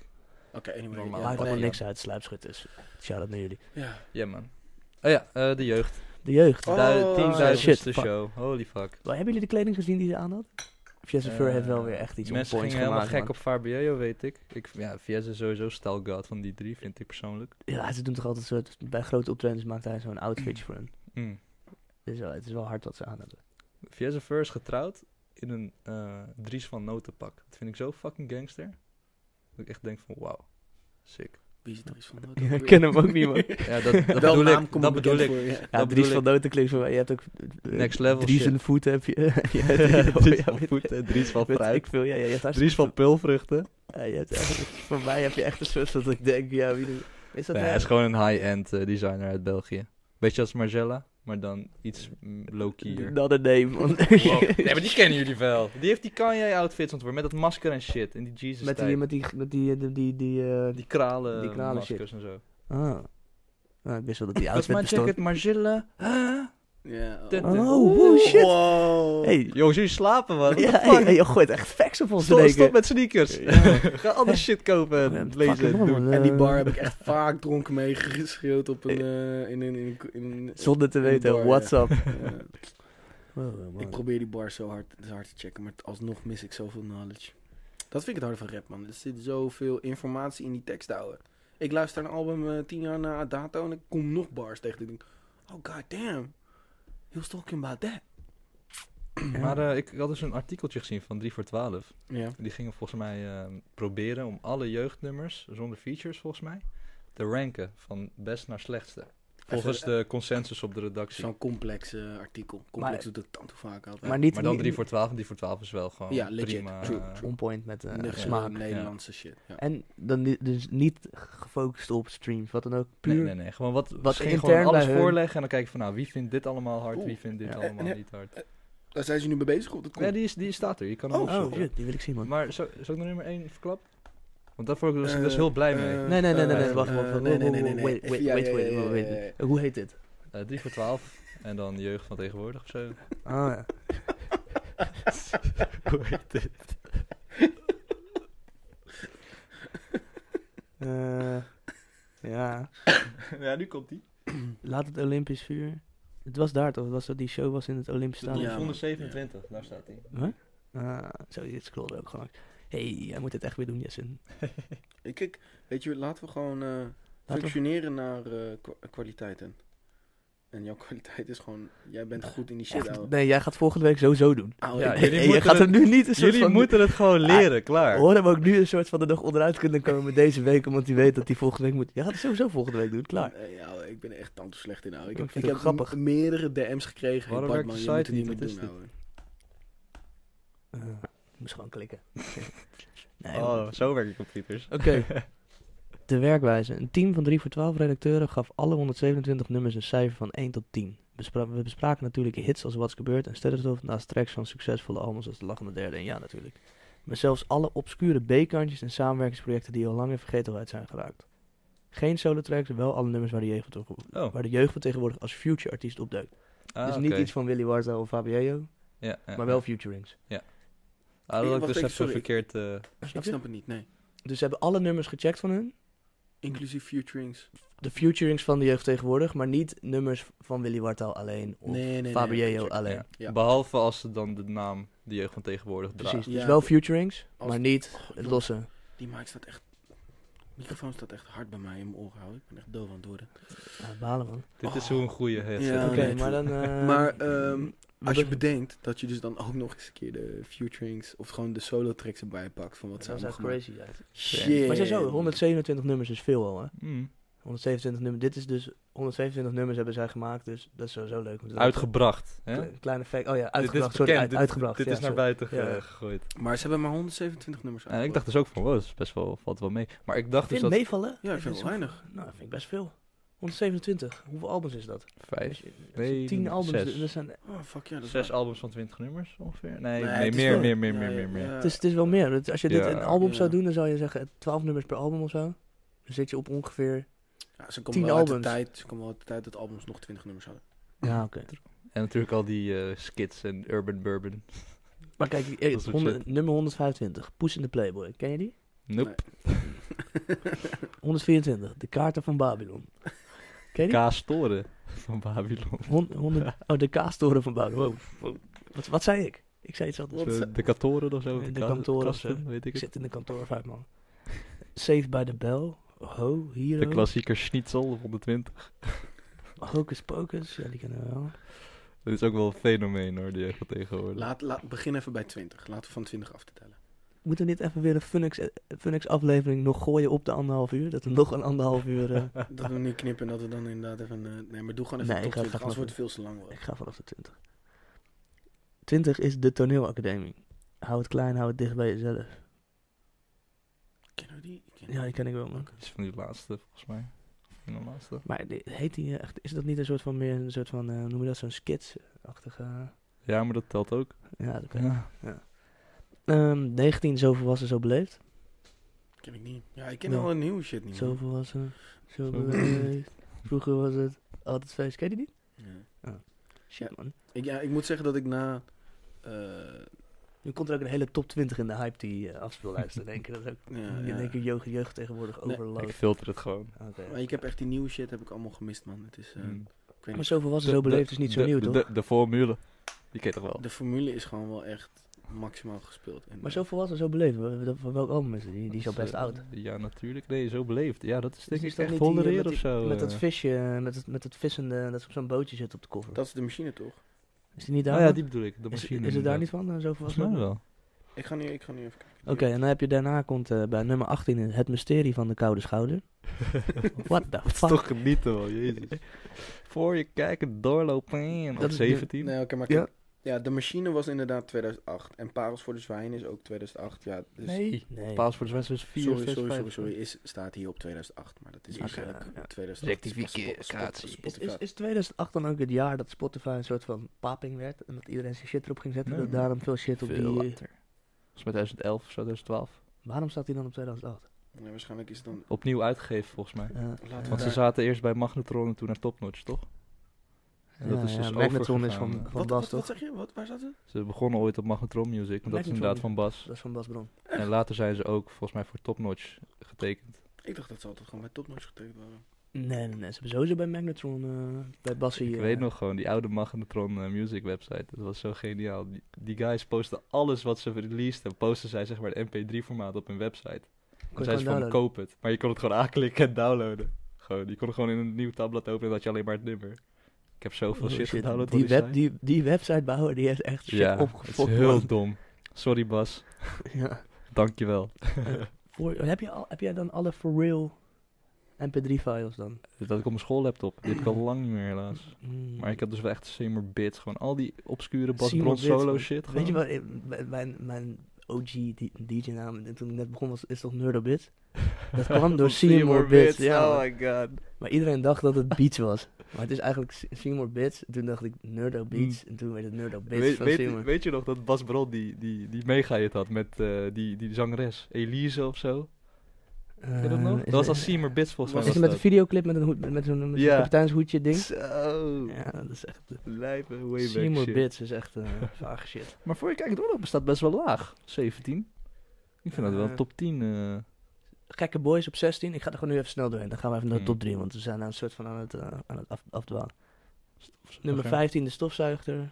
Oké, anyway. Normaal. Maar ja, hij Maakt had nee, allemaal ja. niks uit, sluipschutters. Shout-out naar jullie. ja. Ja, man. Oh ja, eh, de jeugd. De jeugd. Oh, Duizend- Tienduizendste shit, fuck. show. Holy fuck. Wel, hebben jullie de kleding gezien die ze aan had? Jesse Fur Eh, heeft wel weer echt iets op Mensen points gingen helemaal gemaakt. gek man. op Fabio, weet ik. ik ja, Vies is sowieso stalgaard van die drie, vind ik persoonlijk. Ja, ze doen toch altijd soort, bij grote optredens maakt hij zo'n outfitje voor hem. Mm. Het is, wel, het is wel hard wat ze aan hebben. Vies en Fur is getrouwd in een eh, Dries van Notenpak. Dat vind ik zo fucking gangster. Dat ik echt denk van, wauw. Sick. Wie zit er iets van? Ja, ik ken hem ook niet, <laughs> man. Ja, <laughs> dat, dat Wel bedoel naam ik. komt Dat bedoel bekend ik. voor, ja. Ja, Dries Dat bedoel van <laughs> <laughs> Noten klinkt van mij. Je hebt ook... eh, Next level Dries shit. en Voet heb je. <laughs> je <laughs> hebt- oh, Dries ja, van weet- voet en Dries van weet fruit. Ik veel, ja, ja, je hebt Dries hartstikke van pulvruchten. veel. Ja, je hebt eigenlijk- voor mij heb je echt een soort dat ik denk, ja, wie doet- Is dat Nee, hij hij? is gewoon een high-end eh, designer uit België. Beetje als Margella, maar dan iets Eh, mm, low-keyer. Another name, man. <laughs> <laughs> Nee, maar die kennen jullie wel. Die heeft die Kanye-outfits ontworpen met dat masker en shit. En die jesus Met die, met die, met die, die, die, die, eh, Die kralen, Die kralen maskers en zo. ah. Ah, ik wist wel dat die Volgens outfit mij check bestond. het Margilla. Huh? Ja. Dit- oh. Oh, wow, shit. Wow. Hey, Jongens, jullie slapen, man. What the ja, fuck? hey, hey, je gooit echt facts op ons in stop, één stop keer. met sneakers. <laughs> Ga andere shit kopen en Ja, lezen. fucking en man, doen. man, En die eh, bar heb ik echt <laughs> vaak dronken mee geschreeuwd op een, eh, in een... In, een- in, een- Zonder te in een bar, weten, ja. what's up? Ja. Wow, man. Ik probeer die bar zo hard, zo hard te checken, maar alsnog mis ik zoveel knowledge. Dat vind ik het harde van rap, man. Er zit zoveel informatie in die tekst, ouwe. Ik luister een album eh, tien jaar na dato en ik kom nog bars tegen. Ik denk, oh god damn, he was talking about that. Maar eh, ik had dus een artikeltje gezien van 3 voor 12. Ja. Die gingen volgens mij eh, proberen om alle jeugdnummers, zonder features volgens mij, te ranken van best naar slechtste. Volgens de consensus op de redactie. Zo'n complex eh, artikel. Complex doet het dan toe vaak altijd. Maar niet maar dan niet- 3 voor 12 en 3 voor 12 is wel gewoon Ja, legit. prima. True, eh, true. on point met eh, Nuchter smaak. Nederlandse shit. Ja. En dan ni- dus niet gefocust op streams, wat dan ook. Puur Nee, nee, nee. Gewoon wat, Wat ze gingen intern gewoon alles bij hun- voorleggen en dan kijken van nou, wie vindt dit allemaal hard, Oeh. wie vindt dit Ja. allemaal En- en- niet hard. Daar zijn ze nu mee bezig op dat komt. Ja, die, is, die staat er. Je kan hem Oh, opzoeken. shit, die wil ik zien, man. Maar zo, zal ik nog nummer 1 verklap? Want daarvoor was ik Eh, best heel blij eh, mee. Nee, nee, nee, nee, nee, eh, wacht, eh, wacht, wacht, nee, nee, nee, wacht, nee, wait, nee. wait, Ja, wait, ja, wait, ja, wait, ja, ja, wait. Hoe heet dit? 3 Eh, voor 12 en dan jeugd van tegenwoordig of zo. Ah, <laughs> ja. Hoe heet dit? <laughs> Eh, ja, ja, nu komt die. laat het Olympisch vuur. Het was daar toch? Was dat die show was in het Olympisch Ja, Stadion? man. 127, daar staat <laughs> hij. Ah, zo, dit scrolde ook gewoon. Hé, hey, jij moet het echt weer doen, Jessen. Ik- Kijk, weet je, laten we gewoon eh, we- functioneren naar eh, kwa- kwaliteiten. En jouw <laughs> kwaliteit is gewoon, jij bent goed in die shit, ouwe. Echt, nee, jij gaat volgende week sowieso doen. Ouwe, Ja, ik- jullie Hey, je moeten gaat het- hem nu niet een soort Jullie van... Ah, moeten het gewoon leren, klaar. Hoor hem ook nu een soort van de nog onderuit kunnen komen deze week, omdat hij weet dat hij volgende week moet. Jij gaat het sowieso volgende week doen, klaar. Nee, ja, ouwe, ik ben er echt tanto slecht in, ouwe. Ik Ik heb, vind ik het heb ook grappig. m- meerdere DM's gekregen. Hey, Waarom Bart, werkt man, de je moet site het niet meer niet? Wat doen, is dit? ouwe. Eh, ik moest gewoon <laughs> klikken. nee, man. Oh, zo werken computers. Oké. De werkwijze. Een team van 3 voor 12 redacteuren gaf alle 127 nummers een cijfer van 1 tot 10. Bespra- we bespraken natuurlijk hits als What's Gebeurd en Sterrenstof naast tracks van succesvolle albums als De Lachende Derde en Ja natuurlijk. Maar zelfs alle obscure B-kantjes en samenwerkingsprojecten die al lang in vergetelheid zijn geraakt. Geen solo tracks, wel alle nummers waar de jeugd, <laughs> Oh, waar de jeugd van tegenwoordig als future artiest opduikt. ah, dus oké. niet iets van Willy Warta of Fabio, Ja, ja, maar wel futurings. Ah, dat Wacht had ik dus even, heb zo sorry. verkeerd... eh, Snap Ik je? snap het niet, nee. Dus ze hebben alle nummers gecheckt van hun. Inclusief featurings. de futurings van de jeugd tegenwoordig, maar niet nummers van Willy Wartaal alleen of Nee, nee, nee. Fabriello klopt, ja. alleen. Ja. Behalve als ze dan de naam de jeugd van tegenwoordig draagt. Precies, Ja. dus wel futurings, Als- maar niet Oh, het jongens, losse. Die mic staat echt... microfoon staat echt hard bij mij in mijn oren houden. Ik ben echt doof aan het worden. Ja, balen man. Dit is hoe een goede headset. Ja, Oké, nee. maar dan... eh, Ehm, <laughs> Maar ehm, we als je be- bedenkt dat je dus dan ook nog eens een keer de featurings of gewoon de solo tracks erbij pakt van wat ze dat zou allemaal echt gemaakt. crazy zijn. Shit. Maar sowieso, 127 nummers is veel al hè. Mm. 127 nummers, dit is dus... 127 nummers hebben zij gemaakt, dus dat is sowieso leuk. om te Uitgebracht. Hè? luisteren. Kle- Klein effect, oh ja, Dit is uitgebracht, sorry, bekend, uit- dit- uitgebracht. Dit ja, is naar sorry. buiten ge- Ja. gegooid. Maar ze hebben maar 127 nummers En ik dacht dus ook van, wow, dat is best wel, valt wel mee. Maar ik dacht Ik vind dus dat... meevallen? Ja, ik vind is het weinig. Nou, dat vind ik best veel. 127, hoeveel albums is dat? Vijf, Als je- als je nee, 10 albums, zes. dat zijn Oh, fuck ja, dat is zes waar. albums van 20 nummers ongeveer. Nee, Nee, nee, het is meer, wel- meer, meer, Ja, meer, ja, meer, meer. ja. Het is, het is wel meer. Het- Als je dit Ja, een album ja. zou doen, dan zou je zeggen 12 nummers per album of zo. Dan zit je op ongeveer. Ja, ze komen tien wel uit de albums. tijd, ze komen wel uit de tijd dat albums nog 20 nummers hadden. Ja, oké. En natuurlijk al die eh, skits en Urban Bourbon. Maar kijk, eh, Dat is wat honderd- nummer 125, Poes in de Playboy. Ken je die? Nope. 124, De Kaarten van <laughs> Babylon. Ken je die? Kaastoren van Babylon. Hon- honderd- oh, De Kaastoren van Babylon. Wow. Wow. Wat, wat zei ik? Ik zei iets anders. Wat Zo, ze- De katoren of zo. De ka- kantoren of kasten, weet ik Ik het. zit in de kantoor, vijf man. Saved by the Bell. Ho, De Hero. klassieker Schnitzel op 120. Hocus Pocus. Ja, die kennen we wel. Dat is ook wel een fenomeen hoor, die echt tegenwoordig. Laat, laat, begin even bij 20. Laten we van 20 af te tellen. Moeten we niet even weer een Funix, Funix aflevering nog gooien op de anderhalf uur? Dat we nog een anderhalf uur... <laughs> eh, Dat we hem niet knippen en dat we dan inderdaad even... eh, nee, maar doe gewoon even Nee, tot ik ga- ga 20, anders wordt gewoon- het veel te lang. worden. Ik ga vanaf de 20. 20 is de toneelacademie. Hou het klein, hou het dicht bij jezelf. Kennen we die? Kennen Ja, die ken ik wel, man. Dat is van die laatste volgens mij. Van de laatste. Maar die- heet die eh, echt, is dat niet een soort van meer een soort van, eh, hoe noem je dat, zo'n skits-achtige... eh, Ja, maar dat telt ook. Ja, dat kan. Ja. Ehm, 19, zo volwassen, zo beleefd. Ken ik niet. Ja, ik ken Nee. al een nieuwe shit niet. Zo man. volwassen, zo Zo. beleefd. Vroeger was het altijd feest. Ken je die? Ja. Shit, man. Ik, ja, ik moet zeggen dat ik na... eh, Nu komt er ook een hele top 20 in de hype die eh, afspeellijst. Dan denk je dat ook. ja, Dan ja. denk je jeugd, jeugd tegenwoordig Nee, overload. Ik filter het gewoon. Oké. Maar ik heb echt die nieuwe shit heb ik allemaal gemist, man. Het is... eh, Mm. ik weet Hmm. Maar niet. zo volwassen, zo De- beleefd de- is niet zo de- nieuw, de- toch? De, de formule. Die ken je toch wel? De formule is gewoon wel echt maximaal gespeeld. En, eh, Maar zo volwassen, zo beleefd. Wel- wel- Van welk album is die? Die is al Dat best eh, oud. Ja, natuurlijk. Nee, zo beleefd. Ja, dat is denk Is ik dat echt niet die, eh, hollereer met of die- zo. Met dat eh. visje, eh, met het, met het vissende, dat ze op zo'n bootje zit op de koffer. Dat is de machine, toch? is die niet daar? Nou ja, dan? die bedoel ik. De is, machine. is het daar inderdaad. niet van, eh, zo Volgens volwassen? mij Oké, <laughs> wel. Ik ga nu, ik ga nu even kijken. en dan heb je daarna komt eh, bij nummer 18 in het mysterie van de koude schouder. What the fuck? Toch genieten wel, jezus. Voor je kijken, doorlopen. Dat Dat is- 17. Nee, oké, maar Ja. kijk, ja. de machine was inderdaad 2008. En Parels voor de Zwijn is ook 2008. Ja, dus Nee. Nee. Paas voor de Zwitser is 4 sorry, sorry, sorry, sorry. Is, staat hier op 2008, maar dat is Oké, waarschijnlijk ja. 2008. Spo- Rectificatie. Spo- Is, Spotify. is, is 2008 dan ook het jaar dat Spotify een soort van paping werd? En dat iedereen zijn shit erop ging zetten? Nee. Dat daarom veel shit op Veel die... eh, later. Volgens mij 2011 of zo, 2012. Waarom staat die dan op 2008? Nee, waarschijnlijk is het dan... Opnieuw uitgegeven volgens mij. Eh, Laten we Want ze daar- zaten eerst bij Magnetron en toen naar Topnotch, toch? En dus ja, ja, Magneton eh, is van, van overgegaan. Wat, Bas, wat, toch? wat zeg je? Wat, waar zat ze? Ze begonnen ooit op Magnetron Music, want dat is Magnetron. inderdaad van Bas. Dat is van Bas Bron. En later zijn ze ook volgens mij voor Topnotch getekend. Ik dacht dat ze altijd gewoon bij topnotch getekend waren. Nee, nee, nee. Ze hebben sowieso bij Magnetron, eh, bij Bassie... Ik eh, weet nog gewoon, die oude Magnetron eh, Music website, dat was zo geniaal. Die, die guys posten alles wat ze released en posten zij zeg maar de mp3 formaat op hun website. kon Dan je zei ze gewoon van downloaden. koop het, maar je kon het gewoon aanklikken en downloaden. Gewoon, je kon het gewoon in een nieuw tabblad openen en dan had je alleen maar het nummer. Ik heb zoveel Oh, shit, shit. gedownload van die, die web, site. die, die websitebouwer die heeft echt shit ja, het is opgefokt. heel man. dom. Sorry Bas, Ja. dankjewel. Voor, heb, je al, heb jij dan alle for real mp3-files dan? Dat had ik op mijn schoollaptop, die heb ik al lang niet meer helaas. Mm. Maar ik had dus wel echt Seymour Bits. Gewoon al die obscure Bas Seymour Bron Bits, solo man. shit. Weet je gewoon. wat, eh, mijn- mijn, mijn OG DJ-naam, en toen ik net begon was, is toch <laughs> Nerdobit? Dat kwam door Seymour Bits. Ja, oh man. my god. maar iedereen dacht dat het <laughs> Beats was. Maar het is eigenlijk Se- Seymour Bits. En Toen dacht ik Nerdo Hmm. Beats. En toen werd het Nerdo Bits Weet, van weet- Seymour. weet je nog dat Bas Bron die, die, die mega-hit had met eh, die, die zangeres Elise of zo? Ken je dat Eh, nog? is Dat was het- als Seymour Bits volgens mij. Is het was met een videoclip met een hoed, met zo'n met zo'n Ja. kapiteinshoedje ding? Zo. Ja, dat is echt... eh, Lijpe way back Seymour shit. Bits is echt eh <laughs> vage shit. Maar voor je kijkt, oorlog bestaat best wel laag. 17. Ik vind dat wel Eh. een top 10. eh. gekke boys op 16. Ik ga er gewoon nu even snel doorheen. Dan gaan we even naar de Mm. top 3, want we zijn nou een soort van aan het, eh, aan het af, afdwalen. Nummer Oké. 15, de stofzuiger.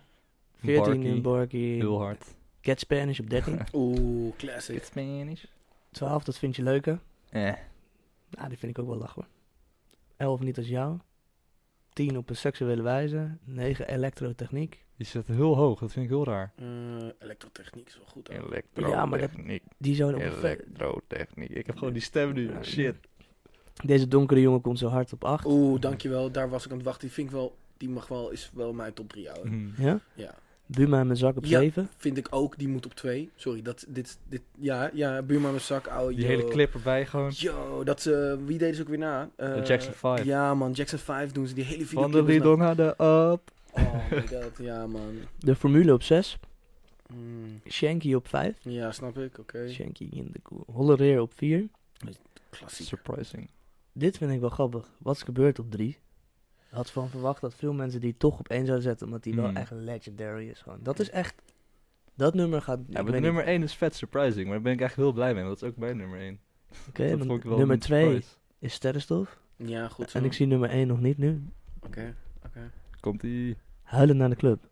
14, Barkie. een Barkie. Heel hard. Get Spanish op <laughs> 13. Oeh, classic. It's Spanish. 12, dat vind je leuker. Eh. Nou, die vind ik ook wel lach hoor. 11, niet als jou. 10, op een seksuele wijze. 9, elektrotechniek. Die zit heel hoog, dat vind ik heel raar. Eh, elektrotechniek is wel goed. hoor. Ja, maar dat- Die zoon op een ve- Elektrotechniek. Ik heb gewoon die stem nu. Shit. Deze donkere jongen komt zo hard op 8. Oeh, dankjewel. Daar was ik aan het wachten. Die vind ik wel... Die mag wel, is wel mijn top 3 houden. Mhm. Ja? Ja. Buma met zak op Ja. 7. Vind ik ook. Die moet op 2. Sorry, dat... Dit... dit ja, ja. Buurman met zak. Ouwe, Die yo. hele clip erbij gewoon. Yo, dat ze... Wie deden ze ook weer na? Eh, Jackson 5. Ja, man. Jackson 5 doen dus nou- ze. Die hele video. Van de Lidl naar de up. Oh my god. Ja, man. De formule op 6. Mm. Shanky op 5. Ja, snap ik. Oké. Shanky in de koel. Hollereer op 4. Klassiek. Surprising. Dit vind ik wel grappig. Wat is gebeurd op 3? Had van verwacht dat veel mensen die toch op 1 zouden zetten, omdat die wel Hmm. echt legendary is. Gewoon. Dat is echt. Dat nummer gaat. ik Ja, weet maar niet. nummer 1 is vet surprising, maar daar ben ik echt heel blij mee, want dat is ook mijn nummer 1. Oké, maar nummer 2 is sterrenstof. Ja, goed zo. En ik zie nummer 1 nog niet nu. Oké. Komt die. Huilen naar de club.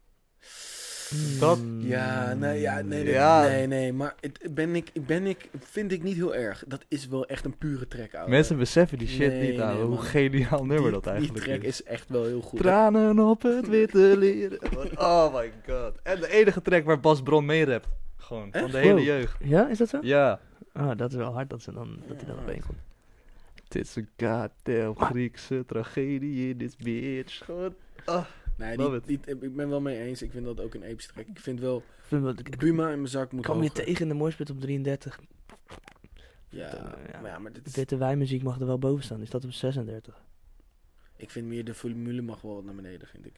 Dat- Hmm. Ja, nee, ja, nee, nee, Ja. nee, nee, maar het, ben ik, ben ik, vind ik niet heel erg. Dat is wel echt een pure track, ouwe. Mensen beseffen die shit Oh, Nee, niet aan, nee, hoe man. geniaal Die- nummer dat eigenlijk Die track is. is echt wel heel goed. Tranen op het witte leren. Oh my god. En de enige track waar Bas Bron mee rapt. Gewoon, van Echt? de hele Wow. jeugd. Ja, is dat zo? Ja. Ah, dat is wel hard dat, ze dan, dat hij dan op 1 komt. Dit is een goddamn Griekse tragedie in dit bitch. Gewoon. nee, love die, it. die- ik ben wel mee eens. Ik vind dat ook een epische track. Ik vind wel, Ik vind wel- ik- Buma in mijn zak moet Ik kwam je hoger. tegen in de Moorspit op 33. Ja, Eh, ja. maar ja, maar dit is- Witte wijnmuziek mag er wel boven staan. Die staat op 36. ik vind meer de formule mag wel wat naar beneden, vind ik.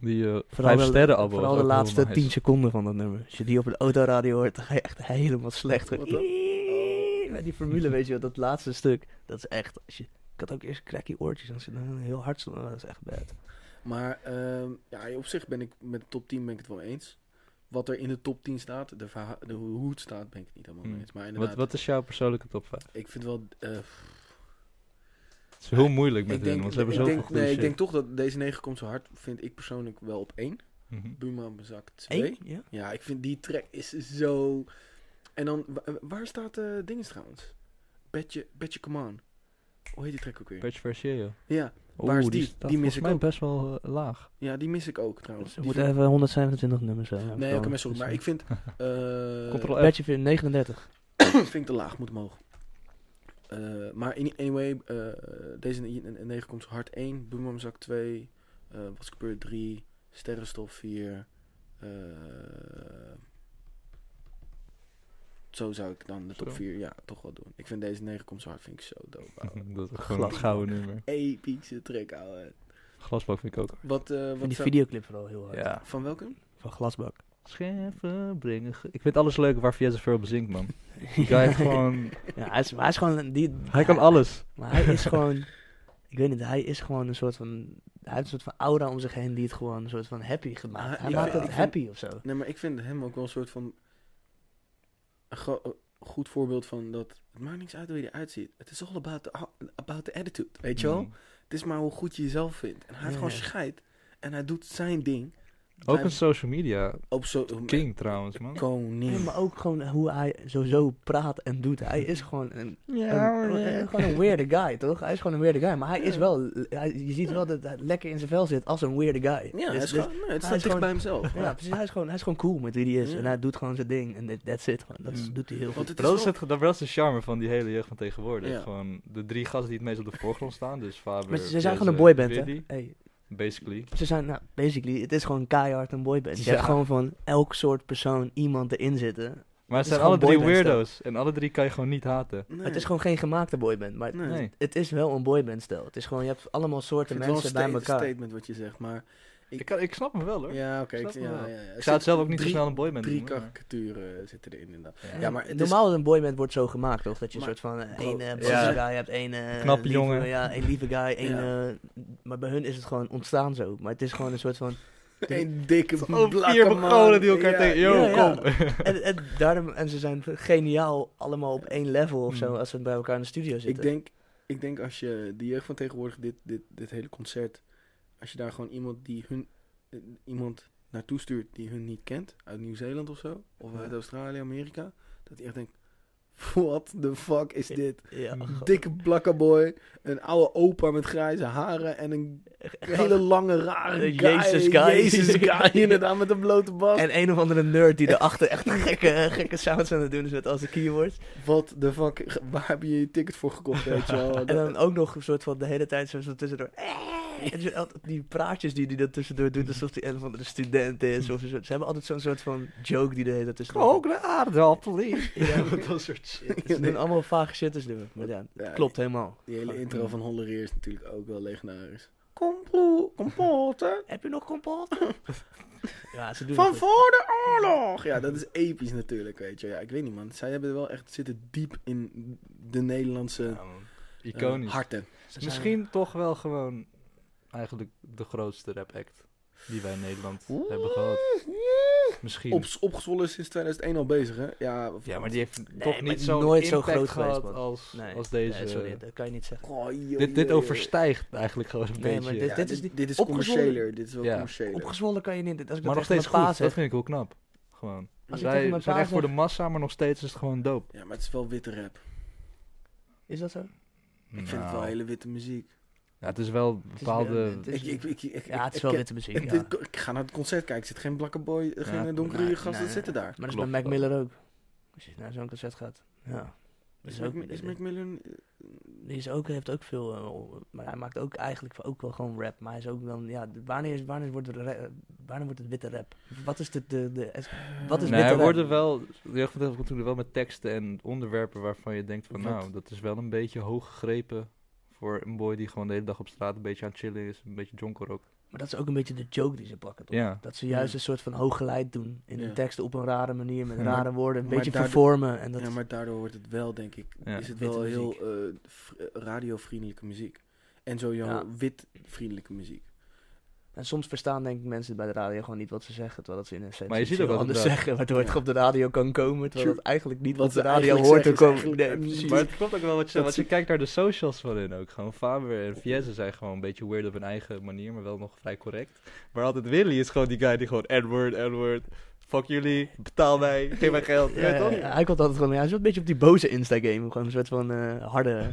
Die eh Vooral vijf de- sterren abbo. Vooral is de ook heel laatste nice. 10 seconden van dat nummer. Als je die op een autoradio hoort, dan ga je echt helemaal slecht. Wat dan? Iiii. Met die formule, weet je wel, dat laatste stuk. Dat is echt... Als je, ik had ook eerst cracky oortjes en ze dan heel hard stonden. Dat is echt bad. Maar ehm, ja, op zich ben ik met de top 10 ben ik het wel eens. Wat er in de top 10 staat, de verha- de, hoe hoe het staat, ben ik het niet helemaal mee Hmm. eens. Maar Wat, inderdaad, wat is jouw persoonlijke top 5? ik vind wel... eh, Het is heel moeilijk met ik hen, denk, want ze hebben ik zoveel denk, goede nee, shit. ik denk toch dat deze 9 komt zo hard, vind ik persoonlijk wel op 1. Mhm. Buma op mijn zak 2. Eén? Ja? Ja, ik vind die track is zo... En dan, wa- eh, waar staat eh dingen trouwens? Betje, Betje Come On. Hoe heet die track ook weer? Patch Versailles, joh. ja, Oeh, waar is die? staat Die mis volgens ik mij ook. best wel eh, laag. ja, die mis ik ook trouwens. Ze Die Dus moeten vind- even 127 nummers eh, dus hebben. Nee, oké, maar sorry. Maar ik <laughs> vind... eh Control F. Badge vind 39. <coughs> vind ik te laag, moet omhoog. Eh, maar in- anyway, eh, deze 9 komt zo hard 1, Boemermzak 2, eh Wat gebeurt 3, Sterrenstof 4. eh, zo zou ik dan de top Zo. 4 ja, toch wel doen. Ik vind deze 9 komt zo hard, vind ik zo <laughs> dope. ouwe. <laughs> Dat is gewoon een gouden nummer. Epische track, ouwe. Glasbak vind ik ook. Wat, eh, Ik wat vind die zou- videoclip vooral heel hard. Ja. Van welke? Van Glasbak. Scherven brengen. ge- Ik vind alles leuk waar Fiesta Verb bezinkt, <laughs> man. Die guy heeft gewoon... Ja, hij is, maar hij is gewoon... een- Die, Hij kan alles. Maar hij is gewoon... Ik weet niet, hij is gewoon een soort van... Hij heeft een soort van aura om zich heen die het gewoon een soort van happy gemaakt. Ah, hij ja, maakt ja. het ik vind- happy of zo. Nee, maar ik vind hem ook wel een soort van... Een gro- een goed voorbeeld van dat... Het maakt niks uit hoe je eruit ziet. Het is all about the, about the attitude, weet je wel? Mm. Het is maar hoe goed je jezelf vindt. En hij heeft Ja. gewoon scheid. En hij doet zijn ding. Ook Hij- een social media Op zo... king, trouwens, man. Nee, Koning. maar ook gewoon hoe hij sowieso praat en doet. Hij is gewoon een, een- een- gewoon een weirde guy, toch? Hij is gewoon een weirde guy. Maar hij is wel... hij- je ziet wel dat hij lekker in zijn vel zit als een weirde guy. Ja, hij Dus- is dus- gewoon... Nee, het is staat dicht gewoon- bij hemzelf. ja, precies. Hij is, gewoon, hij is gewoon cool met wie hij is. Ja. En hij doet gewoon zijn ding. En that- that's it. Gewoon, Dat is- Ja. doet hij heel Want goed. het is Dat is, wel- het, dat was de charme van die hele jeugd van tegenwoordig. Ja. Gewoon de drie gasten die het meest op de voorgrond staan. Dus Faber, Maar ze- ze Jesse, zijn gewoon een boyband, hè? Willy, Hey, Basically. Ze zijn, nou, basically, het is gewoon keihard een boyband. Je Ja. hebt gewoon van elk soort persoon iemand erin zitten. Maar is het zijn gewoon alle drie boyband stijl. weirdo's. En alle drie kan je gewoon niet haten. Nee. Het is gewoon geen gemaakte boyband, maar Nee. Nee. het is wel een boybandstijl. Het is gewoon, je hebt allemaal Ik soorten vind het wel mensen bij een sta- elkaar. statement wat je zegt, maar... Ik- Ik, kan, ik snap hem wel, hoor. Ja, oké. Snap ik- me ja, wel. ja, ja. Ik zou het zelf ook niet zo Drie- snel een boyband Drie noemen, maar- karikaturen zitten erin inderdaad. Ja. Ja, maar het is- Normaal een boyband wordt zo gemaakt, toch? Dat je Maar- een soort van eh, Bro, één eh ja. boze guy hebt, één eh, Knappe lieve- jongen. Ja, één lieve guy, één... Ja. eh, maar bij hun is het gewoon ontstaan zo. Maar het is gewoon een soort van Een dikke Oh, blakke vier man. Mongolen die elkaar Ja, tegen... ja, Yo, ja, ja. kom. En, <laughs> en, daarom, en ze zijn geniaal allemaal op één level of zo Mm. als ze bij elkaar in de studio zitten. Hmm. Ik denk, ik denk als je de jeugd van tegenwoordig, dit, dit, dit hele concert, als je daar gewoon iemand die hun eh, iemand naartoe stuurt die hun niet kent, uit Nieuw-Zeeland of zo, of Ja. uit Australië, Amerika, dat die echt denkt, what the fuck is Ja. dit? Ja, Dikke blakkerboy, een oude opa met grijze haren en <laughs> een hele lange rare Een guy. Jezus guy. <laughs> Jezus <laughs> guy, inderdaad, met een blote bas. En een of andere nerd die daarachter echt gekke, gekke sounds aan het doen is met al zijn keywords. What the fuck, waar heb je je ticket voor gekocht, weet <laughs> je wel? En dan ook nog een soort van de hele tijd zo zo tussendoor. En zo altijd die praatjes die hij dan tussendoor doet, alsof hij een van de student is. Of zo. Ze hebben altijd zo'n soort van joke die de hele tijd tussendoor. Ook de aardappel. Ja, <laughs> maar- Dat soort shit. Ze doen allemaal vage shitters doen. Maar ja, Ja, klopt helemaal. Die hele intro van Hollereer is natuurlijk ook wel legendarisch. <laughs> Heb je nog kompot? <laughs> Ja, ze doen Van het goed. voor de oorlog! Ja, <laughs> dat is episch natuurlijk, weet je. Ja, ik weet niet, man. Zij hebben er wel echt zitten diep in de Nederlandse eh, Iconisch. harten. Ze Eh, zijn- Misschien toch wel gewoon eigenlijk de grootste rap act die wij in Nederland hebben gehad. Misschien. Op, opgezwollen sinds 2001 al bezig, hè? Ja, of- ja, maar die heeft maar toch niet zo'n nooit zo impact groot gehad geweest, man. als, Nee, als deze. eh, nee, sorry, dat kan je niet zeggen. Oh, joh, dit dit joh, overstijgt eigenlijk gewoon een Nee, maar beetje. dit- joh. Ja, is dit, niet- dit is opgezwollen- commerciëler. Dit is wel Ja. commerciëler. Opgezwollen kan je niet. Als ik maar dat nog tegen steeds mijn pa goed, dat zeg- vind ik wel knap. Gewoon. Als ik tegen Zij mijn zijn pa echt voor de zeg- massa, maar nog steeds is het gewoon dope. Ja, maar het is wel witte rap. Is dat zo? Ik vind het Nou. wel hele witte muziek. Ja, het is wel bepaalde... het is- Ik, ik, ik, ik, Ja, het is ik- wel ik- witte muziek. ik- ja. dit- Ik ga naar het concert kijken. Er zit geen blakke boy, eh, geen Ja, eh, donkere nee, gasten nee, zitten daar. Maar dat is Klopt bij Mac wel. Miller ook. Als je naar zo'n concert gaat. Ja. Dat Is, is ook, Mac, is Mac Millen, eh, die is ook, heeft ook veel, eh, o- maar hij maakt ook eigenlijk ook wel gewoon rap. Maar hij is ook dan, ja, d- wanneer, is, wanneer, wordt, het ra- eh, wanneer wordt het witte rap? Wat is de, de, de es- wat is Nee, witte er rap? worden wel, de jeugd van tegenwoordig komt wel met teksten en onderwerpen waarvan je denkt van Wat? nou, dat is wel een beetje hoog gegrepen voor een boy die gewoon de hele dag op straat een beetje aan het chillen is, een beetje jonker ook. Maar dat is ook een beetje de joke die ze pakken, toch? Ja. Dat ze juist Ja. een soort van hooggeleid doen in Ja. hun teksten op een rare manier, met Ja. rare woorden, een Maar beetje daardoor- vervormen. En dat ja, maar daardoor wordt het wel, denk ik, Ja. is het Witte wel muziek. heel eh, v- eh, radiovriendelijke muziek. En sowieso Ja. witvriendelijke muziek. En soms verstaan denk ik mensen bij de radio gewoon niet wat ze zeggen, terwijl dat ze in een set Maar je ziet ook wel anders dat- zeggen, waardoor het Ja. op de radio kan komen, terwijl True. het eigenlijk niet Wat wat de ze radio eigenlijk hoort te zeggen is komen. eigenlijk- Nee, ja, precies. Maar het klopt ook wel wat je, Dat want je ze- kijkt naar de socials van hun ook. Gewoon Faber en Fiesse zijn gewoon een beetje weird op hun eigen manier, maar wel nog vrij correct. Maar altijd Willy is gewoon die guy die gewoon Edward, Edward, fuck jullie, betaal mij, geef mij geld. Ja, Ja, ja, toch? ja, Eh, hij komt altijd gewoon, ja, hij is wel een beetje op die boze Insta-game, gewoon een soort van eh, harde...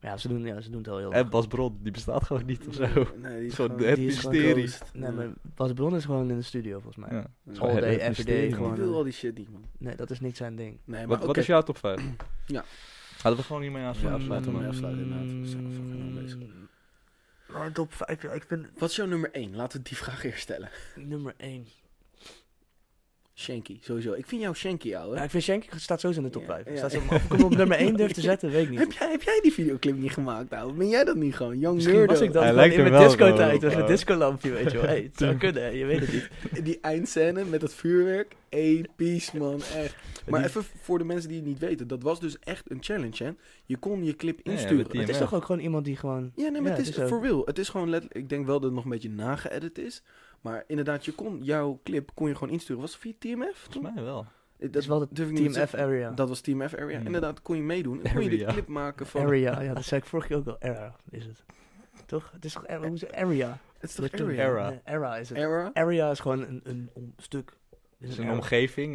Ja ze, doen, ja, ze doen het wel heel En Bas Bron, die bestaat gewoon niet of zo. Nee, die is Gewoon gewoon... het die is gewoon mysterie. Nee, maar Bas Bron is gewoon in de studio, volgens mij. Ja. Ja. All Het day, every mysterie, day, man. Ik gewoon. wil al die shit niet, man. Nee, dat is niet zijn ding. Nee, maar Wat, oké. wat is jouw top 5? Ja. Hadden we gewoon hiermee afsluiten? Ja, afsluiten, man. maar afsluiten inderdaad. We zijn al fucking lang bezig. Maar top 5, ja, ik vind Wat is jouw nummer 1? Laten we die vraag eerst stellen. nummer Oh, 1. Shanky, sowieso. Ik vind jou Shanky, ouwe. Ja, ik vind Shanky staat sowieso in de top Ja, 5. ja. Staat zo, maar of ik hem op nummer 1 durf te zetten, weet ik niet. heb, jij, heb jij die videoclip niet gemaakt, ouwe? Ben jij dat niet gewoon? Young Misschien Nerdo. was ik dat Hij gewoon lijkt in er mijn wel disco-tijd. op, Dat is een eh. disco-lampje, weet <laughs> je wel. Hey, het zou kunnen, hè, je weet het niet. Die eindscène met dat vuurwerk. Episch, man. Echt. Maar even voor de mensen die het niet weten. Dat was dus echt een challenge, hè? Je kon je clip Ja, ja, insturen. met die- Het is toch ook gewoon iemand die gewoon... Ja, nee, maar Ja, het het is is ook- voor real. Het is gewoon letterlijk... Ik denk wel dat het nog een beetje nageëdit is. Maar inderdaad, je kon, jouw clip kon je gewoon insturen. Was het via TMF? Volgens mij wel. Dat is wel de durf ik niet te Team F zeggen. Area. Dat was Team F area. Hmm. Inderdaad, kon je meedoen. En kon je de Area. clip maken van... Area, ja, dat zei ik vorige keer ook wel. Era is het. Toch? Het is toch era? Hoe is het? Area? Het is toch Met toen- area? Era. Nee, era is het. Era? Area is gewoon een, een om- stuk. Het Is is een een era. omgeving.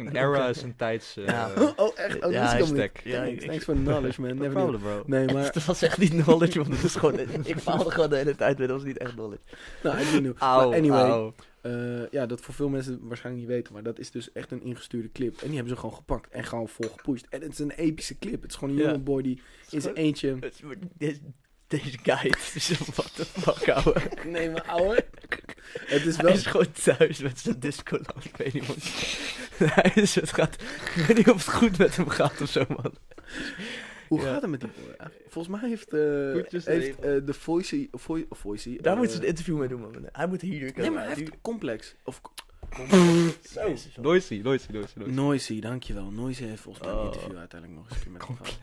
<laughs> Een Een era omgeving. is een tijds... eh Ja. Oh, echt? Oh, Ja, dat is is niet. stack. Ja, Thanks, ik- thanks for the knowledge, man. No Never knew. problem, bro. Nee, <laughs> maar... Dat was echt niet knowledge, want het is gewoon... <laughs> Ik faalde gewoon de hele tijd met, dat was niet echt knowledge. Nou, I didn't know. Auw, Maar anyway, auw. Eh, ja, dat voor veel mensen waarschijnlijk niet weten, maar dat is dus echt een ingestuurde clip. En die hebben ze gewoon gepakt en gewoon vol gepusht. En het is een epische clip. Het is gewoon een Ja. jonge boy die in zijn eentje... Het is- Deze, deze guy, het <laughs> is een what the fuck, ouwe. <laughs> Nee, maar ouwe. <laughs> Het is Hij wel... is gewoon thuis met zijn disco lamp. Ik weet niet, man. <laughs> Hij is, het gaat, ik weet niet of het goed met hem gaat of zo, man. Hoe ja. gaat het met die boy? eigenlijk? Volgens mij heeft, eh, Goedjes heeft eh, de Voicey... Voi- Voicey Daar eh, moeten ze een interview mee doen, man. Hij moet hier komen. Nee, maar hij heeft complex. Of Zo. Noisy, noisy, noisy, noisy. Noisy, dankjewel. Noisy heeft volgens mij een Oh. interview uiteindelijk nog eens een keer met hem gehad.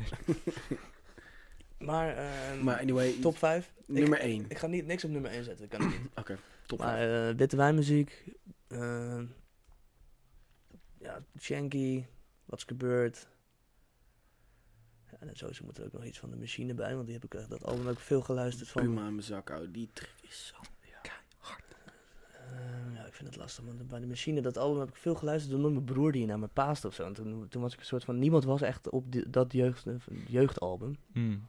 Maar, eh, Maar anyway, top 5. nummer 1. Ik ga niet, niks op nummer 1 zetten, dat kan ik niet. Top maar vijf. eh, witte wijnmuziek, eh, ja, Shanky, Wat's Gebeurd. Ja, en sowieso moet er ook nog iets van de machine bij, want die heb ik echt dat album ook veel geluisterd van. Puma in mijn zak, ouwe. Die trick is zo... Eh, ja, ik vind het lastig, want bij de machine, dat album heb ik veel geluisterd toen mijn broer die naar me paast of zo. En toen, toen was ik een soort van, niemand was echt op die- dat jeugd, jeugdalbum. Hmm.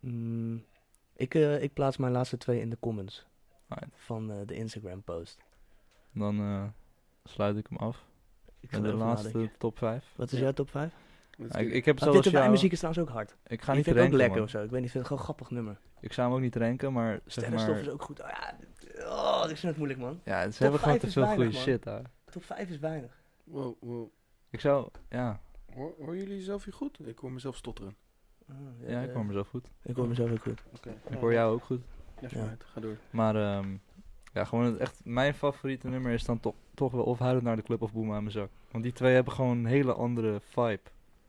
Mm, ik, eh, ik plaats mijn laatste twee in de comments Alright. van eh, de Instagram post. Dan eh, sluit ik hem af. Ik ga Met de erover laatste nadenken. top 5. Wat is Ja. jouw top 5? Dat is ik, goed. ik heb Ah, zelfs witte jou... wijnmuziek is trouwens ook hard. Ik ga die niet vind ik ook ranken, lekker man. of zo. Ik weet niet, ik vind het gewoon een grappig nummer. Ik zou hem ook niet ranken, maar zeg Sterrenstof maar... is ook goed. Ah, ja, dit- oh, ik vind het moeilijk, man. Ja, ze hebben gewoon vijf te is veel weinig, goede man. shit daar. Top 5 is weinig. Wow, wow. Ik zou... Ja, Hoor, horen jullie zelf hier goed? Ik hoor mezelf stotteren. Ah, ja ik eh, hoor mezelf goed. ik hoor mezelf ook goed. Ik hoor jou ook goed. Ja, Ja. vooruit. Ga door. Maar ehm, ja, gewoon het echt... Mijn favoriete nummer is dan toch, toch wel of Huilend naar de Club of Boem aan mijn zak. Want die twee hebben gewoon een hele andere vibe.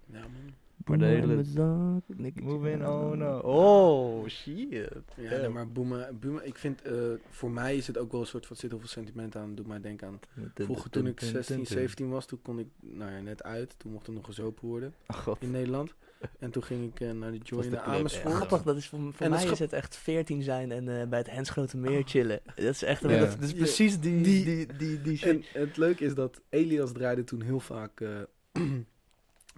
Ja, man. Maar de Boem hele- aan mijn zak, niks- Moving on. uh, Oh, shit. Ja, nee, maar Boema, Boema, ik vind, eh, voor mij is het ook wel een soort van, er zit heel veel sentiment aan, doet mij denken aan. Vroeger toen ik 16, 17 was, toen kon ik, nou ja, net uit, toen mocht het nog gezopen worden Ach, god. in Nederland. En toen ging ik eh, naar de Joy was in de de club, ja. Amersfoort. Grappig, dat is voor, voor En dat mij is Oh. is het echt 14 zijn en eh, bij het Hens Grote Meer chillen. Dat is echt Ja. dat, dat is precies die, die, Die- die, die, shit. En het leuke is dat Elias draaide toen heel vaak eh, <clears throat>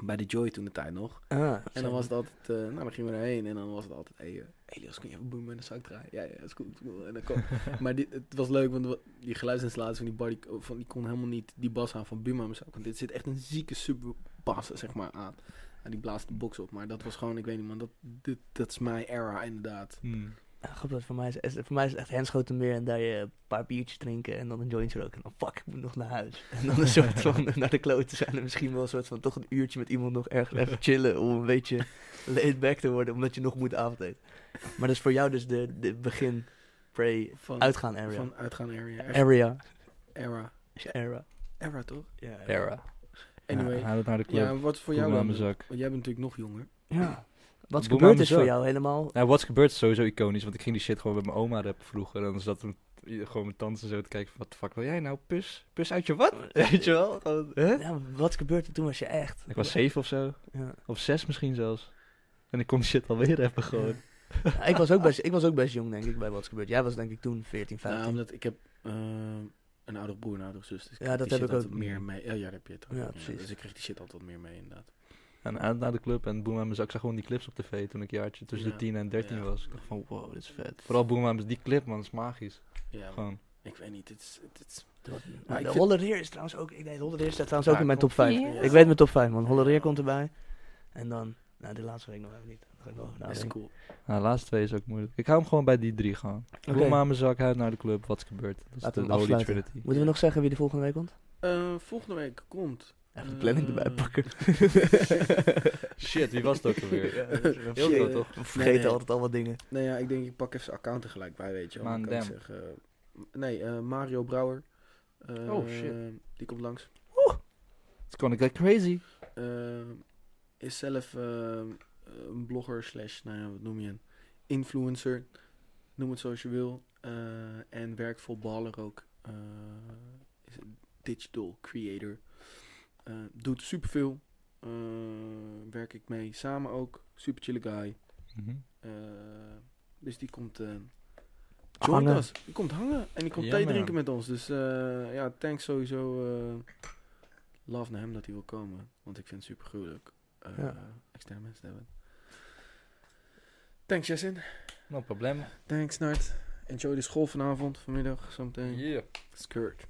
bij de Joy toen de tijd nog. Ah, En dan was het altijd, eh, nou dan gingen we daarheen en dan was het altijd, hey, eh, Elias, kun je even boemen en dan zou ik draaien. Ja, ja, dat is goed. is goed. En dan kwam- maar dit, het was leuk, want wa- die geluidsinstallatie van die bar, die, van, die kon helemaal niet die bas aan van Buma. Maar zo, want dit zit echt een zieke superbas, zeg maar, aan. En die blaast de box op. Maar dat was gewoon, ik weet niet man, dat, dit, dat is mijn era inderdaad. <laughs> Hmm. Ja, grappig, voor mij is, is- voor mij is het echt henschoten meer en daar je een paar biertjes drinken en dan een joint roken. En dan fuck, ik moet nog naar huis. <laughs> En dan een soort <laughs> van naar de kloten zijn en misschien wel een soort van toch een uurtje met iemand nog ergens even chillen om een <laughs> beetje laid back te worden, omdat je nog moet avondeten. Maar dat is voor jou dus de, de begin, pre, Van, uitgaan area. van uitgaan area. Echt area. era. Is je Era. Era toch? Ja, era. Era. Anyway. Ja, Huilend naar de Club. Ja, wat is voor Boem jou aan dan? mijn zak. Want jij bent natuurlijk nog jonger. Ja. Wat Boem aan gebeurd mijn is voor zak. jou helemaal... Nou, What's Gebeurd is sowieso iconisch, want ik ging die shit gewoon met mijn oma rappen vroeger. En dan zat er gewoon mijn tante zo te kijken van, wat de fuck wil jij nou? Pus? Pus uit je wat? Weet je wel? Gewoon, hè? Ja, wat gebeurde er toen was je echt? Ik was zeven of zo. Ja. Of zes misschien zelfs. En ik kon die shit alweer even gewoon. Ja, ik, was ook best, ik was ook best jong, denk ik, bij wat gebeurd. Jij was denk ik toen 14, 15. Nou, omdat ik heb ehm, een oudere broer, en een oudere zus. Dus ik Ja, kreeg dat die heb shit ik ook. altijd meer mee. Ja, ja, dat heb je het ook. Ja, Ja, precies. Dus ik kreeg die shit altijd wat meer mee, inderdaad. En uit naar de club en Boem aan mijn zak. Ik zag gewoon die clips op tv toen ik een jaartje tussen Ja. de 10 en 13 Ja. was. Ik dacht van, wow, dit is vet. Vooral Boem aan mijn die clip man, dat is magisch. Ja, maar Gewoon. ik weet niet. Het is, het is, Maar ik de vind- Hollereer is trouwens ook... Nee, de Hollereer staat trouwens ook Ja, in mijn top klopt. 5. Ja. Ik weet mijn top 5, man. Hollereer komt erbij. En dan... Nou, de laatste week nog even niet. Daar ga ik nog over dat is nadenken. cool. Nou, de laatste twee is ook moeilijk. Ik hou hem gewoon bij die drie gewoon. Oké. Boem aan mijn zak, uit naar de club, wat is gebeurd. Dat is Laten we de hem Holy afsluiten. Trinity. Moeten we nog zeggen wie de volgende week komt? Eh, volgende week komt... Even de planning erbij Mm, Eh, pakken. Shit, wie was dat ook alweer? Heel Shit. groot, toch? We vergeten nee. altijd al wat dingen. Nou ja, ik denk ik pak even zijn account er gelijk bij, weet je. wel. Dan Maan kan ik Dam. zeggen, eh, nee, eh, Mario Brouwer. Eh, Oh, shit. Die komt langs. It's gonna get crazy. Eh, is zelf eh, een blogger slash, nou ja, wat noem je een influencer, noem het zoals je wil. Eh, en werkt voor Baller ook. Eh, is een digital creator. Eh, doet superveel. Eh werk ik mee samen ook. Super chille guy. Mhm. Eh, dus die komt... eh join Hangen. us. Die komt hangen. En die komt Ja, thee man. drinken met ons. Dus eh, ja, thanks sowieso. eh, love naar hem dat hij wil komen. Want ik vind het super gruwelijk. eh, Ja. Externe mensen te hebben. Thanks Jessin. No probleem. Thanks Nart. Enjoy de school vanavond, vanmiddag, zometeen. Skirt.